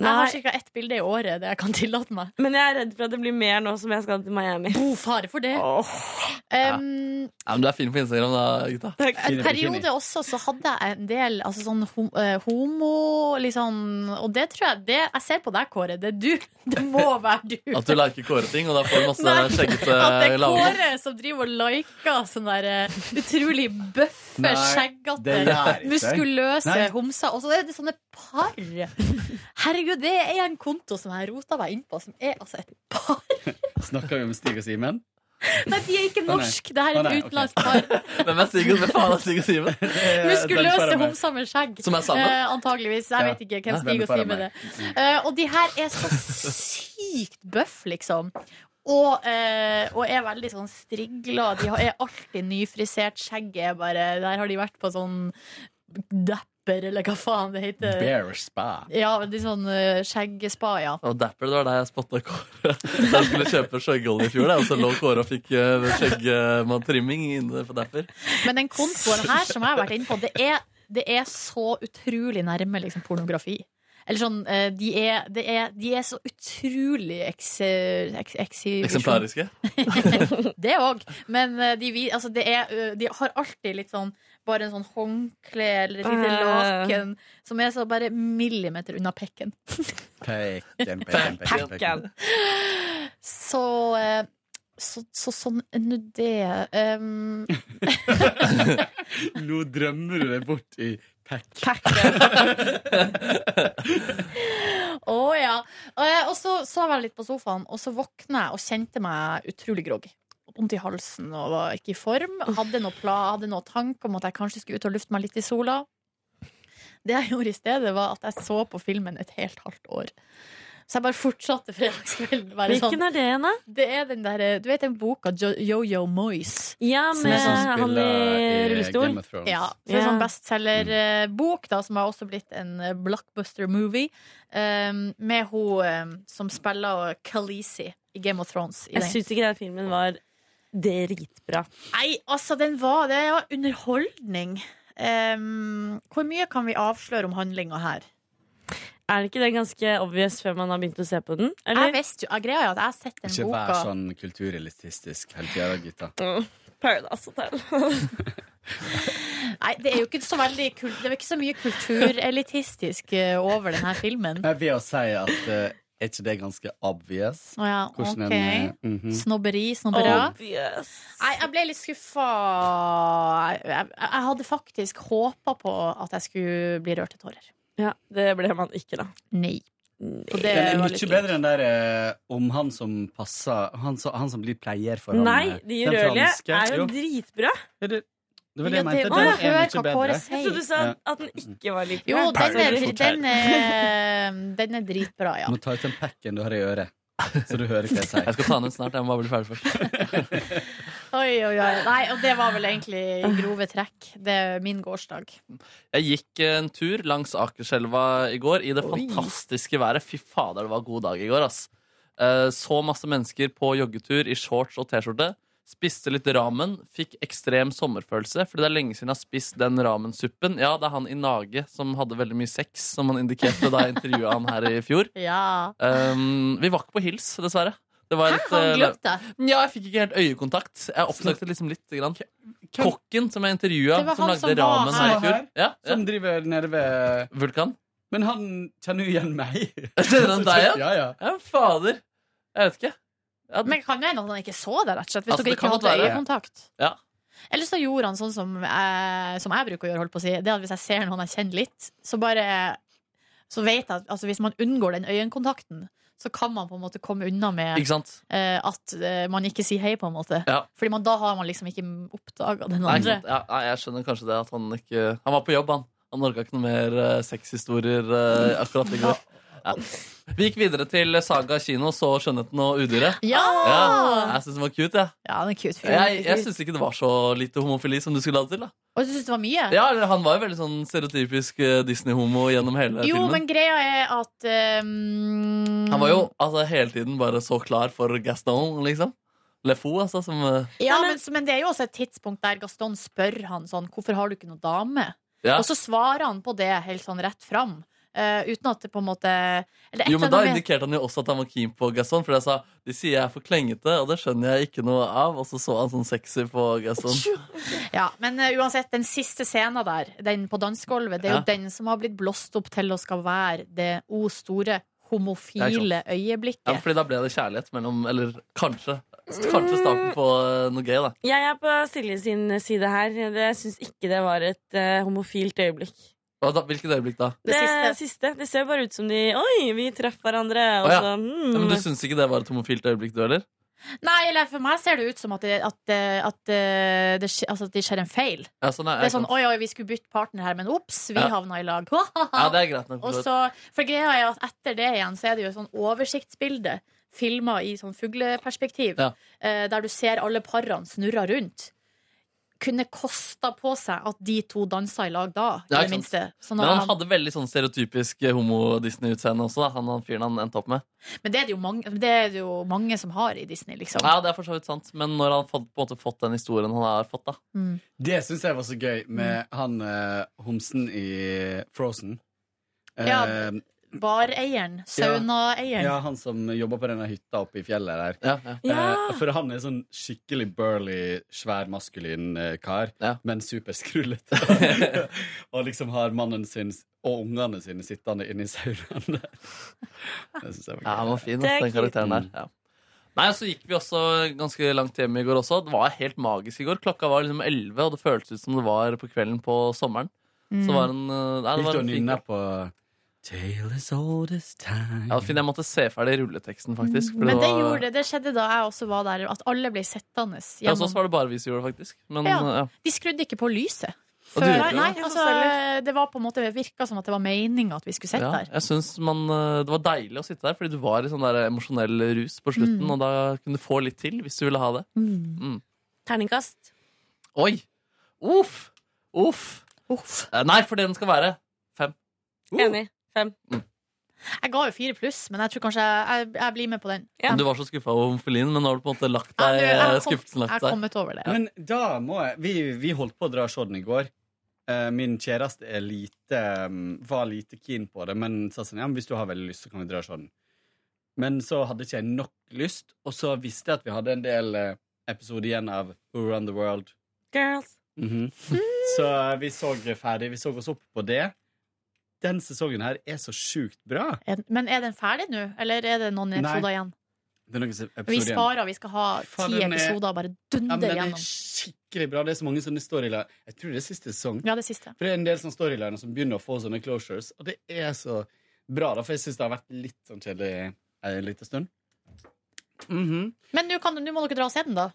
[SPEAKER 3] Jeg har
[SPEAKER 10] Nei,
[SPEAKER 3] ca. ett bilde i året det jeg kan tillate meg.
[SPEAKER 10] men jeg er redd for at det blir mer nå som jeg skal til Miami.
[SPEAKER 3] God fare for det. Um,
[SPEAKER 4] <laughs> Ja, men du er fin på Instagram, da, gutta.
[SPEAKER 9] Fin
[SPEAKER 3] En
[SPEAKER 9] i bikini.
[SPEAKER 3] periode også så hadde jeg en del altså sånn hom eh, homo liksom, Og det tror jeg det, Jeg ser på deg, Kåre. Det er du. <laughs> Det må være du.
[SPEAKER 4] At du liker Kåre-ting, og da får du masse
[SPEAKER 3] Nei,
[SPEAKER 4] <laughs> skjeggete
[SPEAKER 3] At det er
[SPEAKER 4] lavmål.
[SPEAKER 3] Kåre som driver og liker sånne der eh, utrolig bøffe,
[SPEAKER 9] Nei, det
[SPEAKER 3] skjeggete,
[SPEAKER 9] gjør jeg ikke.
[SPEAKER 3] muskuløse
[SPEAKER 9] Nei.
[SPEAKER 3] homser. Og så er det sånne par. Herregud, det er en konto som jeg rota meg inn på, som er altså et par.
[SPEAKER 9] Snakker vi om Stig og Simen?
[SPEAKER 3] Nei, de er ikke
[SPEAKER 9] nei.
[SPEAKER 3] norsk Det her
[SPEAKER 9] Å,
[SPEAKER 3] er
[SPEAKER 9] nei,
[SPEAKER 3] et
[SPEAKER 9] ok.
[SPEAKER 3] utenlandsk par.
[SPEAKER 4] Hvem er Sigurd? Hvem faen er Sigurd Simen?
[SPEAKER 3] Muskuløse homser med skjegg.
[SPEAKER 4] Som er sammen?
[SPEAKER 3] Eh, antageligvis. Jeg vet ikke hvem Stig og Simen er. Eh, og de her er så sykt bøff, liksom. Og, eh, og er veldig sånn strigla. De har- er alltid nyfrisert. Skjegget er bare Der har de vært på sånn dapper, eller hva faen det heter.
[SPEAKER 9] Bear spa.
[SPEAKER 3] Ja, de sånn eh, skjeggespa, ja.
[SPEAKER 4] Og Dapper, det var der jeg spotta Kåre. Da jeg skulle kjøpe skjøggolje i fjor, da, og så lå Kåre og fikk eh, skjeggmann-trimming inne på Dapper.
[SPEAKER 3] Men den kontoen her som jeg har vært inne på, det er, det er så utrolig nærme liksom, pornografi. Eller sånn, eh, de er, det er, de er så utrolig eks, eks, ekshibisjon-
[SPEAKER 4] Eksemplariske.
[SPEAKER 3] <laughs> Det òg. Men eh, de, vi- altså, det er, ø, de har alltid litt sånn bare en sånn håndkle eller et lite
[SPEAKER 10] Øh.
[SPEAKER 3] laken som er så bare millimeter unna pekken.
[SPEAKER 9] Peken, peken, peken, peken.
[SPEAKER 3] Så eh, så, så sånn nå det um,
[SPEAKER 9] <laughs> Nå drømmer du deg bort i pack.
[SPEAKER 3] Å ja. Eh, Og så sov jeg litt på sofaen, og så våkna jeg og kjente meg utrolig groggy. Vondt i halsen og var ikke i form. Hadde noe, pla hadde noe tanke om at jeg kanskje skulle ut og lufte meg litt i sola. Det jeg gjorde i stedet, var at jeg så på filmen et helt halvt år. Så jeg bare fortsatte fredagskvelden. Bare sånn.
[SPEAKER 10] Hvilken er det, da?
[SPEAKER 3] Det er den der, eh, du vet den boka Jo- Yo-Yo Moyes?
[SPEAKER 10] Ja,
[SPEAKER 9] Som
[SPEAKER 10] med
[SPEAKER 9] er sånn
[SPEAKER 10] han i
[SPEAKER 4] eh,
[SPEAKER 9] spiller i
[SPEAKER 10] rullestol.
[SPEAKER 9] Game of Thrones.
[SPEAKER 3] Ja, det er en sånn
[SPEAKER 10] Ja.
[SPEAKER 9] Mm.
[SPEAKER 3] bestselgerbok da, som har også blitt en eh, blockbuster-movie, um, med hun um, som spiller Khaleesi i Game of Thrones. I
[SPEAKER 10] Jeg
[SPEAKER 3] den.
[SPEAKER 10] syns ikke den filmen var dritbra.
[SPEAKER 3] Nei, altså, den var det var underholdning. Um, hvor mye kan vi avsløre om handlinga her?
[SPEAKER 10] Er det ikke det ganske obvious før man har begynt å se på den?
[SPEAKER 3] Jeg
[SPEAKER 10] Eller?
[SPEAKER 3] visste jo, jeg greia er at jeg har sett den
[SPEAKER 9] Ikke vær
[SPEAKER 3] boka.
[SPEAKER 9] sånn kulturelitistisk hele tida, gutta.
[SPEAKER 10] Paradise Hotel.
[SPEAKER 3] Nei, det er jo ikke så veldig kul Det er jo ikke så mye kulturelitistisk eh, over denne filmen.
[SPEAKER 9] Jeg vil jo si at eh, er ikke det ganske obvious?
[SPEAKER 3] Å ja,
[SPEAKER 9] Hvordan
[SPEAKER 3] ok.
[SPEAKER 9] en eh, mhm.
[SPEAKER 3] Snobberi, snobbera.
[SPEAKER 10] Obvious.
[SPEAKER 3] Nei, jeg ble litt skuffa. Jeg, jeg, jeg hadde faktisk håpa på at jeg skulle bli rørt til tårer.
[SPEAKER 10] Ja, det ble man ikke, da.
[SPEAKER 3] Nei. Og det
[SPEAKER 9] Den er
[SPEAKER 3] var litt
[SPEAKER 9] mye
[SPEAKER 3] dumt.
[SPEAKER 9] bedre enn der eh, om han som passer Han, som- han som blir pleier for han,
[SPEAKER 10] Nei,
[SPEAKER 9] eh,
[SPEAKER 10] de
[SPEAKER 9] den
[SPEAKER 10] rørlige
[SPEAKER 9] franske.
[SPEAKER 10] er jo
[SPEAKER 9] Jo,
[SPEAKER 10] dritbra.
[SPEAKER 9] det, det, det var det jeg
[SPEAKER 3] Ja,
[SPEAKER 9] mente.
[SPEAKER 3] var-
[SPEAKER 9] Den er
[SPEAKER 3] hør
[SPEAKER 9] mye
[SPEAKER 3] hva Kåre
[SPEAKER 9] bedre.
[SPEAKER 10] Jeg trodde
[SPEAKER 3] sier.
[SPEAKER 10] du sa at den ikke var like
[SPEAKER 3] Jo,
[SPEAKER 10] bra.
[SPEAKER 3] den er,
[SPEAKER 10] Sorry.
[SPEAKER 3] den, er, den er dritbra, ja.
[SPEAKER 9] Du må ta ut den packen du har i øret, så du hører hva jeg
[SPEAKER 4] Jeg
[SPEAKER 9] sier.
[SPEAKER 4] skal ta den ut snart. Jeg må bare bli ferdig først.
[SPEAKER 3] Oi, oi, oi. Nei, og det var vel egentlig i grove trekk. Det er min gårsdag.
[SPEAKER 4] Jeg gikk en tur langs Akerselva i går i det fantastiske været. Fy fader, det var god dag i går, ass. Eh, Så masse mennesker på joggetur i shorts og T-skjorte. Spiste litt ramen, fikk ekstrem sommerfølelse, fordi det er lenge siden jeg har spist den ramensuppen. Ja, det er han i Nage som hadde veldig mye sex, som han indikerte da jeg intervjua han her i fjor.
[SPEAKER 3] Ja.
[SPEAKER 4] Um, vi var ikke på hils, dessverre. Det var et,
[SPEAKER 3] Han
[SPEAKER 4] eh,
[SPEAKER 3] glemte.
[SPEAKER 4] ja, jeg fikk ikke helt øyekontakt. Jeg oppsøkte liksom litt. Grann. Kokken som jeg intervjua,
[SPEAKER 9] Det var
[SPEAKER 4] som
[SPEAKER 9] han
[SPEAKER 4] lagde
[SPEAKER 9] som var
[SPEAKER 4] ramen her i
[SPEAKER 9] her.
[SPEAKER 4] fjor. Ja, ja.
[SPEAKER 9] <laughs> Som driver nede ved
[SPEAKER 4] Vulkan. <laughs>
[SPEAKER 9] Men han kjenner jo igjen meg.
[SPEAKER 4] Kjenner
[SPEAKER 9] <laughs>
[SPEAKER 4] han deg igjen?
[SPEAKER 9] Ja, ja.
[SPEAKER 4] ja, fader. Jeg vet ikke.
[SPEAKER 3] Men kan hende at han ikke så det, rett og slett, hvis
[SPEAKER 4] Altså,
[SPEAKER 3] dere
[SPEAKER 4] det kan
[SPEAKER 3] ikke hadde
[SPEAKER 4] godt være.
[SPEAKER 3] øyekontakt.
[SPEAKER 4] Ja.
[SPEAKER 3] Eller så gjorde han sånn som, eh, som jeg bruker å gjøre, holdt på å si. Det at hvis jeg ser noen jeg kjenner litt, så bare Så vet jeg at altså, hvis man unngår den øyekontakten, så kan man på en måte komme unna med
[SPEAKER 4] Ikke sant?
[SPEAKER 3] eh, at eh, man ikke sier hei, på en måte.
[SPEAKER 4] Ja.
[SPEAKER 3] Fordi man, da har man liksom ikke oppdaga den
[SPEAKER 4] Nei, ikke
[SPEAKER 3] andre.
[SPEAKER 4] sant? ja, nei, jeg skjønner kanskje det at han ikke Han var på jobb, han. Han orka ikke noe mer eh, sexhistorier eh, akkurat i går. Ja. Vi gikk videre til Saga kino, så Skjønnheten og udyret.
[SPEAKER 3] Ja!
[SPEAKER 4] Jeg syns den var cute, jeg.
[SPEAKER 3] Ja, den er cute fyr.
[SPEAKER 4] Jeg, jeg syns ikke det var så lite homofili som du skulle ha det til. da
[SPEAKER 3] Og du syns det var mye?
[SPEAKER 4] Ja, eller Han var jo veldig sånn stereotypisk eh, Disney-homo gjennom hele
[SPEAKER 3] jo,
[SPEAKER 4] filmen.
[SPEAKER 3] men greia er at eh,
[SPEAKER 4] Han var jo altså, hele tiden bare så klar for Gaston, liksom. Lefou, altså, som eh,
[SPEAKER 3] Ja, men, men det er jo også et tidspunkt der Gaston spør han sånn Hvorfor har du ikke noe dame?
[SPEAKER 4] Ja.
[SPEAKER 3] Og så svarer han på det helt sånn rett fram. eh, uten at det på en måte eller et
[SPEAKER 4] Jo, men
[SPEAKER 3] eller
[SPEAKER 4] Da
[SPEAKER 3] annet med-
[SPEAKER 4] indikerte han jo også at han var keen på Gaston. For jeg sa de sier jeg er for klengete, og det skjønner jeg ikke noe av. Og så så han sånn sexy på Gaston.
[SPEAKER 3] Ja, Men eh, uansett, den siste scenen der, den på dansegulvet, det er jo
[SPEAKER 4] Ja.
[SPEAKER 3] den som har blitt blåst opp til å skal være det o store homofile øyeblikket.
[SPEAKER 4] Ja, fordi da ble det kjærlighet mellom Eller kanskje. Kanskje starten på eh, noe gøy, da.
[SPEAKER 10] Jeg er på Silje sin side her. Jeg syns ikke det var et eh, homofilt øyeblikk.
[SPEAKER 4] Hva da? Hvilket øyeblikk da?
[SPEAKER 10] Det, siste. Det ser bare ut som de Oi, vi traff hverandre.
[SPEAKER 4] Å,
[SPEAKER 10] Og
[SPEAKER 4] ja.
[SPEAKER 10] så,
[SPEAKER 4] Ja,
[SPEAKER 10] hmm.
[SPEAKER 4] men du
[SPEAKER 3] Mm.
[SPEAKER 4] syns ikke det var et homofilt øyeblikk, du heller?
[SPEAKER 3] Nei, eller for meg ser det ut som at det, at, eh, at, eh, det, skje- altså, at det skjer en feil.
[SPEAKER 4] Ja, sånn er,
[SPEAKER 3] Det er sånn oi, oi, vi skulle bytte partner her, men ops, vi
[SPEAKER 4] Ja.
[SPEAKER 3] havna i lag. <laughs>
[SPEAKER 4] ja, det er greit nok.
[SPEAKER 3] Og så, for greia er at etter det igjen så er det jo et sånn oversiktsbilde filma i sånn fugleperspektiv,
[SPEAKER 4] Ja.
[SPEAKER 3] eh, der du ser alle parene snurra rundt. Kunne kosta på seg at de to dansa i lag da, i
[SPEAKER 4] Ja, ikke
[SPEAKER 3] det minste. Så
[SPEAKER 4] Men
[SPEAKER 3] når
[SPEAKER 4] han
[SPEAKER 3] han,
[SPEAKER 4] hadde veldig sånn stereotypisk homo-Disney-utseende også, da. Han, han fyren han endte opp med.
[SPEAKER 3] men det er, det, jo mange, det er det jo mange som har i Disney, liksom.
[SPEAKER 4] Ja, det er for så vidt sant. Men når han fått, på en måte fått den historien han har fått, da.
[SPEAKER 3] Mm.
[SPEAKER 9] Det syns jeg var så gøy med han eh, homsen i Frozen. Eh,
[SPEAKER 3] Ja, Bareieren, saunaeieren.
[SPEAKER 9] ja, han som jobber på denne hytta oppe i fjellet der.
[SPEAKER 4] Ja,
[SPEAKER 9] Eh, for han er sånn skikkelig burly, svær, maskulin eh, kar, men superskrullete. og liksom har mannen sin og ungene sine sittende inni saunaen der. Det syns jeg var
[SPEAKER 4] <laughs>
[SPEAKER 9] gøy.
[SPEAKER 4] Ja, han var fin,
[SPEAKER 9] Det er
[SPEAKER 4] altså, den
[SPEAKER 9] cute.
[SPEAKER 4] karakteren der. Ja. Nei, så gikk vi også ganske langt hjem i går også. Det var helt magisk i går. Klokka var liksom 11, og det føltes ut som det var på kvelden på sommeren. Så
[SPEAKER 9] Mm.
[SPEAKER 4] var en, eh, nei, det
[SPEAKER 9] Gikk
[SPEAKER 4] var
[SPEAKER 9] du og
[SPEAKER 4] en fin
[SPEAKER 9] nynna
[SPEAKER 4] kveld.
[SPEAKER 9] på Tale as old as time
[SPEAKER 4] Ja, fin, jeg måtte se ferdig rulleteksten, faktisk. for
[SPEAKER 3] Mm. Men det,
[SPEAKER 4] var-
[SPEAKER 3] gjorde, det skjedde da jeg også var der, at alle ble sittende.
[SPEAKER 4] Ja, så
[SPEAKER 3] gjennom-
[SPEAKER 4] var det bare vi som gjorde det, faktisk. Men,
[SPEAKER 3] Ja.
[SPEAKER 4] eh, ja.
[SPEAKER 3] De skrudde ikke på lyset.
[SPEAKER 4] Og
[SPEAKER 3] Før,
[SPEAKER 4] du gjorde
[SPEAKER 3] nei,
[SPEAKER 4] ikke det?
[SPEAKER 3] altså, det var på en måte det virka som at det var meninga at vi skulle sitte
[SPEAKER 4] Ja,
[SPEAKER 3] der.
[SPEAKER 4] jeg synes man, eh, Det var deilig å sitte der, fordi du var i sånn der emosjonell rus på slutten.
[SPEAKER 3] Mm.
[SPEAKER 4] Og da kunne du få litt til hvis du ville ha det. Mm.
[SPEAKER 10] Terningkast.
[SPEAKER 4] Oi! Uff! Uff! Eh, Nei, for det den skal være fem.
[SPEAKER 10] Enig. Fem.
[SPEAKER 3] Jeg ga jo fire pluss, men jeg tror kanskje jeg, jeg, jeg blir med på den.
[SPEAKER 4] Men Du var så skuffa over homofilien, men nå har du på en måte lagt
[SPEAKER 3] Ja,
[SPEAKER 4] deg,
[SPEAKER 3] du, jeg
[SPEAKER 4] eh,
[SPEAKER 3] kom-
[SPEAKER 4] skuffelsen lagt
[SPEAKER 3] jeg
[SPEAKER 4] deg.
[SPEAKER 3] kom ut over det.
[SPEAKER 9] Men da må jeg Vi, vi holdt på å dra og se den i går. Eh, Min kjæreste er lite, mm, var lite keen på det, men sa sånn, ja, men hvis du har veldig lyst, så kan vi dra og se den. Men så hadde ikke jeg nok lyst, og så visste jeg at vi hadde en del eh, episoder igjen av Who Run The World.
[SPEAKER 10] Girls.
[SPEAKER 3] <laughs>
[SPEAKER 9] Mhm. Så vi så ferdig. Vi så oss opp på det. Den sesongen her er så sjukt bra.
[SPEAKER 3] En- Men er den ferdig nå, eller er det noen
[SPEAKER 9] Nei.
[SPEAKER 3] episoder igjen?
[SPEAKER 9] Det er noen se- episoder
[SPEAKER 3] Vi
[SPEAKER 9] igjen.
[SPEAKER 3] sparer, vi skal ha
[SPEAKER 9] Faen,
[SPEAKER 3] ti
[SPEAKER 9] den er-
[SPEAKER 3] episoder og bare
[SPEAKER 9] Ja, men
[SPEAKER 3] dunder
[SPEAKER 9] den er
[SPEAKER 3] gjennom.
[SPEAKER 9] skikkelig bra. Det er så mange sånne storyliner. Jeg tror det er siste sesong.
[SPEAKER 3] Ja, det siste.
[SPEAKER 9] For det er en del sånne storyliner som begynner å få sånne closures, og det er så bra, da, for jeg syns det har vært litt sånn kjedelig en liten stund. Mhm.
[SPEAKER 3] Men nå kan- nå må dere dra og se den, da.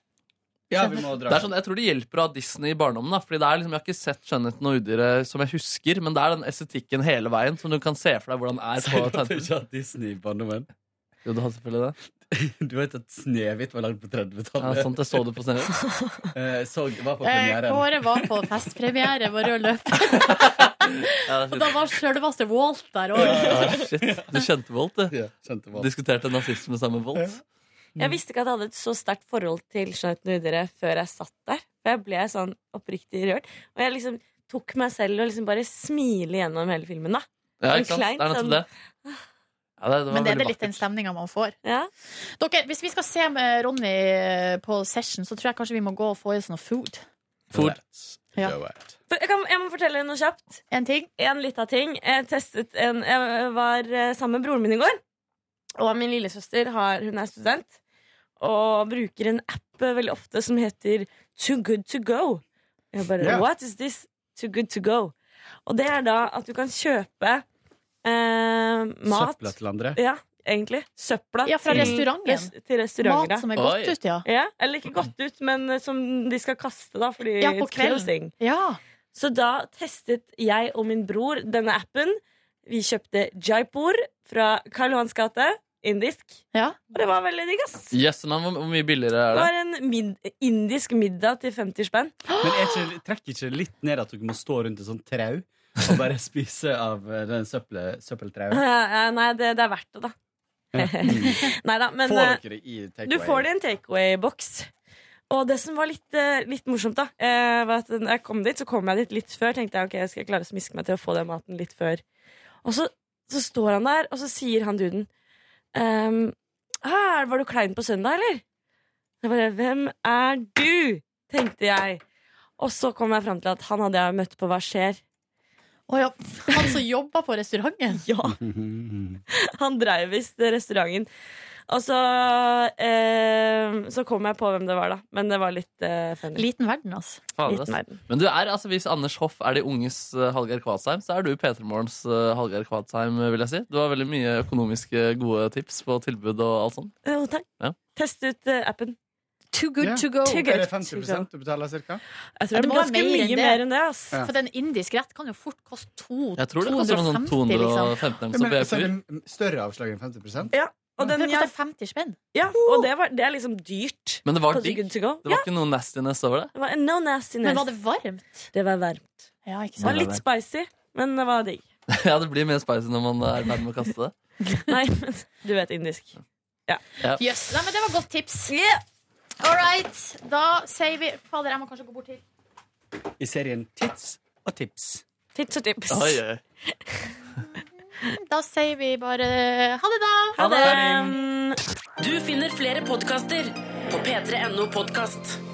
[SPEAKER 9] Ja, vi må dra.
[SPEAKER 4] Det er sånn, jeg tror det hjelper å ha Disney i barndommen. Da, fordi det er liksom, Jeg har ikke sett 'Skjønnheten og udyret' som jeg husker, men det er den estetikken hele veien som du kan se for deg hvordan er
[SPEAKER 9] Sier
[SPEAKER 4] på
[SPEAKER 9] du sånn at du
[SPEAKER 4] tegnet.
[SPEAKER 9] ikke har Disney i barndommen?
[SPEAKER 4] Jo, du har selvfølgelig det.
[SPEAKER 9] Du vet at Snehvit var lagd på 30-tallet?
[SPEAKER 4] Ja, sant, jeg så det på Snehvit.
[SPEAKER 9] Eh, så, var på
[SPEAKER 3] Eh,
[SPEAKER 9] premieren.
[SPEAKER 3] Kåre var på festpremiere på rød løper,
[SPEAKER 4] <laughs> <laughs>
[SPEAKER 3] <laughs>
[SPEAKER 4] Ja,
[SPEAKER 3] og
[SPEAKER 4] det er
[SPEAKER 3] da
[SPEAKER 4] fint.
[SPEAKER 3] var sjølveste Walt der òg.
[SPEAKER 4] Ja, Ah, shit. Du kjente Volt, du.
[SPEAKER 9] Kjente Walt.
[SPEAKER 4] Diskuterte nazisme sammen med Volt.
[SPEAKER 10] Jeg visste ikke at jeg hadde et så sterkt forhold til Jeanette Nudere før jeg satt der. For jeg ble sånn oppriktig rørt. Og jeg liksom tok meg selv og liksom bare smile gjennom hele filmen, da.
[SPEAKER 4] Ja,
[SPEAKER 10] Sånn
[SPEAKER 4] ikke sant?
[SPEAKER 10] kleint,
[SPEAKER 4] Det er
[SPEAKER 10] sånn-
[SPEAKER 4] nettopp det. Ja, det, det var
[SPEAKER 3] Men er
[SPEAKER 4] veldig
[SPEAKER 3] det litt den
[SPEAKER 4] vakkert.
[SPEAKER 3] stemninga man får?
[SPEAKER 10] Ja.
[SPEAKER 3] Dere, hvis vi skal se med Ronny eh, på session, så tror jeg kanskje vi må gå og få i oss noe food.
[SPEAKER 4] Fort.
[SPEAKER 3] Ja.
[SPEAKER 9] Do it.
[SPEAKER 10] For Jeg, kan, jeg må fortelle noe kjapt.
[SPEAKER 3] En ting.
[SPEAKER 10] En liten ting. Jeg, testet en, jeg var eh, sammen med broren min i går. Og min lillesøster har, hun er student og bruker en app eh, veldig ofte som heter Too Good To Go. Jeg bare,
[SPEAKER 9] Ja.
[SPEAKER 10] What is this? Too Good To Go. Og det er da at du kan kjøpe eh, mat
[SPEAKER 9] Søpla til andre.
[SPEAKER 10] Ja, egentlig. Søpla
[SPEAKER 3] Ja, fra
[SPEAKER 10] til-
[SPEAKER 3] restauranten.
[SPEAKER 10] res- til restauranter.
[SPEAKER 3] Mat som er godt
[SPEAKER 4] Oi.
[SPEAKER 3] ut, ja.
[SPEAKER 10] Mm. Ja, eller ikke godt ut, men eh, som de skal kaste, da, fordi
[SPEAKER 3] Ja, på
[SPEAKER 10] it's
[SPEAKER 3] kvelden.
[SPEAKER 10] closing.
[SPEAKER 3] ja.
[SPEAKER 10] Så da testet jeg og min bror denne appen. Vi kjøpte Jaipur fra Karl Johans gate, indisk.
[SPEAKER 3] Ja.
[SPEAKER 10] Og det var veldig digg, ass.
[SPEAKER 4] Yes, men hvor hvor mye billigere
[SPEAKER 10] Det
[SPEAKER 4] er det?
[SPEAKER 10] var en mid indisk middag til 50 spenn.
[SPEAKER 9] Men er ikke, trekker ikke det litt ned at dere må stå rundt et sånt trau og bare <laughs> spise av eh, den søppel, søppeltrauet?
[SPEAKER 10] <laughs> Eh, Nei, det, det er verdt det, da. <laughs> Nei da, men
[SPEAKER 9] Får
[SPEAKER 10] eh,
[SPEAKER 9] dere det i
[SPEAKER 10] Du får
[SPEAKER 9] takeaway?
[SPEAKER 10] det i en takeaway-boks. Og det som var litt, eh, litt morsomt, da, eh, var at når jeg kom dit, så kom jeg dit litt før. Tenkte jeg ok, jeg skal klare å smiske meg til å få den maten litt før. Og så, så står han der, og så sier han duden ehm, «Ah, Var du klein på søndag, eller? Jeg bare Hvem er du? tenkte jeg. Og så kom jeg fram til at han hadde jeg møtt på Hva skjer?
[SPEAKER 3] Å ja. Han som jobba på restauranten?
[SPEAKER 10] Ja, <laughs> Han dreiv visst restauranten. Og så, eh, så kom jeg på hvem det var, da. Men det var litt eh, funny.
[SPEAKER 3] Liten verden, altså.
[SPEAKER 4] Fader, ass.
[SPEAKER 10] Liten verden.
[SPEAKER 4] Men du er, altså hvis Anders Hoff er de unges eh, Hallgeir Kvadsheim, så er du P3 Morgens eh, Hallgeir Kvadsheim, eh, vil jeg si. Du har veldig mye økonomiske eh, gode tips på tilbud og alt sånt.
[SPEAKER 10] Jo, takk.
[SPEAKER 4] Ja.
[SPEAKER 10] Test ut eh, appen.
[SPEAKER 3] Too good
[SPEAKER 9] Ja.
[SPEAKER 3] to go.
[SPEAKER 10] Too
[SPEAKER 9] Er
[SPEAKER 10] good.
[SPEAKER 9] det 50 du betaler,
[SPEAKER 10] Jeg
[SPEAKER 9] cirka?
[SPEAKER 3] Ja,
[SPEAKER 10] tror
[SPEAKER 3] det
[SPEAKER 10] det
[SPEAKER 3] må
[SPEAKER 10] var ganske
[SPEAKER 3] være mer
[SPEAKER 10] mye
[SPEAKER 3] enn det.
[SPEAKER 10] mer enn det. ass.
[SPEAKER 9] Ja.
[SPEAKER 3] For en indisk rett kan jo fort koste to,
[SPEAKER 4] Jeg tror det koster noen sånn
[SPEAKER 3] 250, liksom.
[SPEAKER 4] 215
[SPEAKER 9] Ja,
[SPEAKER 4] som
[SPEAKER 9] men, så er
[SPEAKER 4] BFU.
[SPEAKER 9] det større avslag enn 50
[SPEAKER 10] Og, den,
[SPEAKER 3] Det
[SPEAKER 10] ja,
[SPEAKER 3] koster 50 spenn.
[SPEAKER 10] ja,
[SPEAKER 3] uh!
[SPEAKER 10] og det, var, det er liksom dyrt.
[SPEAKER 4] Men det var
[SPEAKER 10] På Too
[SPEAKER 4] digg.
[SPEAKER 10] Good to go.
[SPEAKER 4] Det var ikke noe nastiness over det. <laughs>
[SPEAKER 10] Det var no nastiness.
[SPEAKER 3] Men var det varmt?
[SPEAKER 10] Det var varmt.
[SPEAKER 3] Ja, ikke
[SPEAKER 10] Det var
[SPEAKER 3] sant?
[SPEAKER 10] litt spicy, men det var digg.
[SPEAKER 4] Ja, det blir mer spicy når man er i ferd med å kaste det.
[SPEAKER 10] Nei, <laughs> men du vet indisk.
[SPEAKER 3] Jøss. Nei, men det var godt tips.
[SPEAKER 10] Yeah.
[SPEAKER 3] All right. Da sier vi Fader, jeg må kanskje gå bort hit.
[SPEAKER 9] I serien Tits og tips.
[SPEAKER 10] Tips og tips.
[SPEAKER 4] Oi, oi.
[SPEAKER 3] Da sier vi bare eh, ha det, da.
[SPEAKER 10] Ha det.
[SPEAKER 4] Ha det.
[SPEAKER 1] Du finner flere podkaster på p3.no podkast.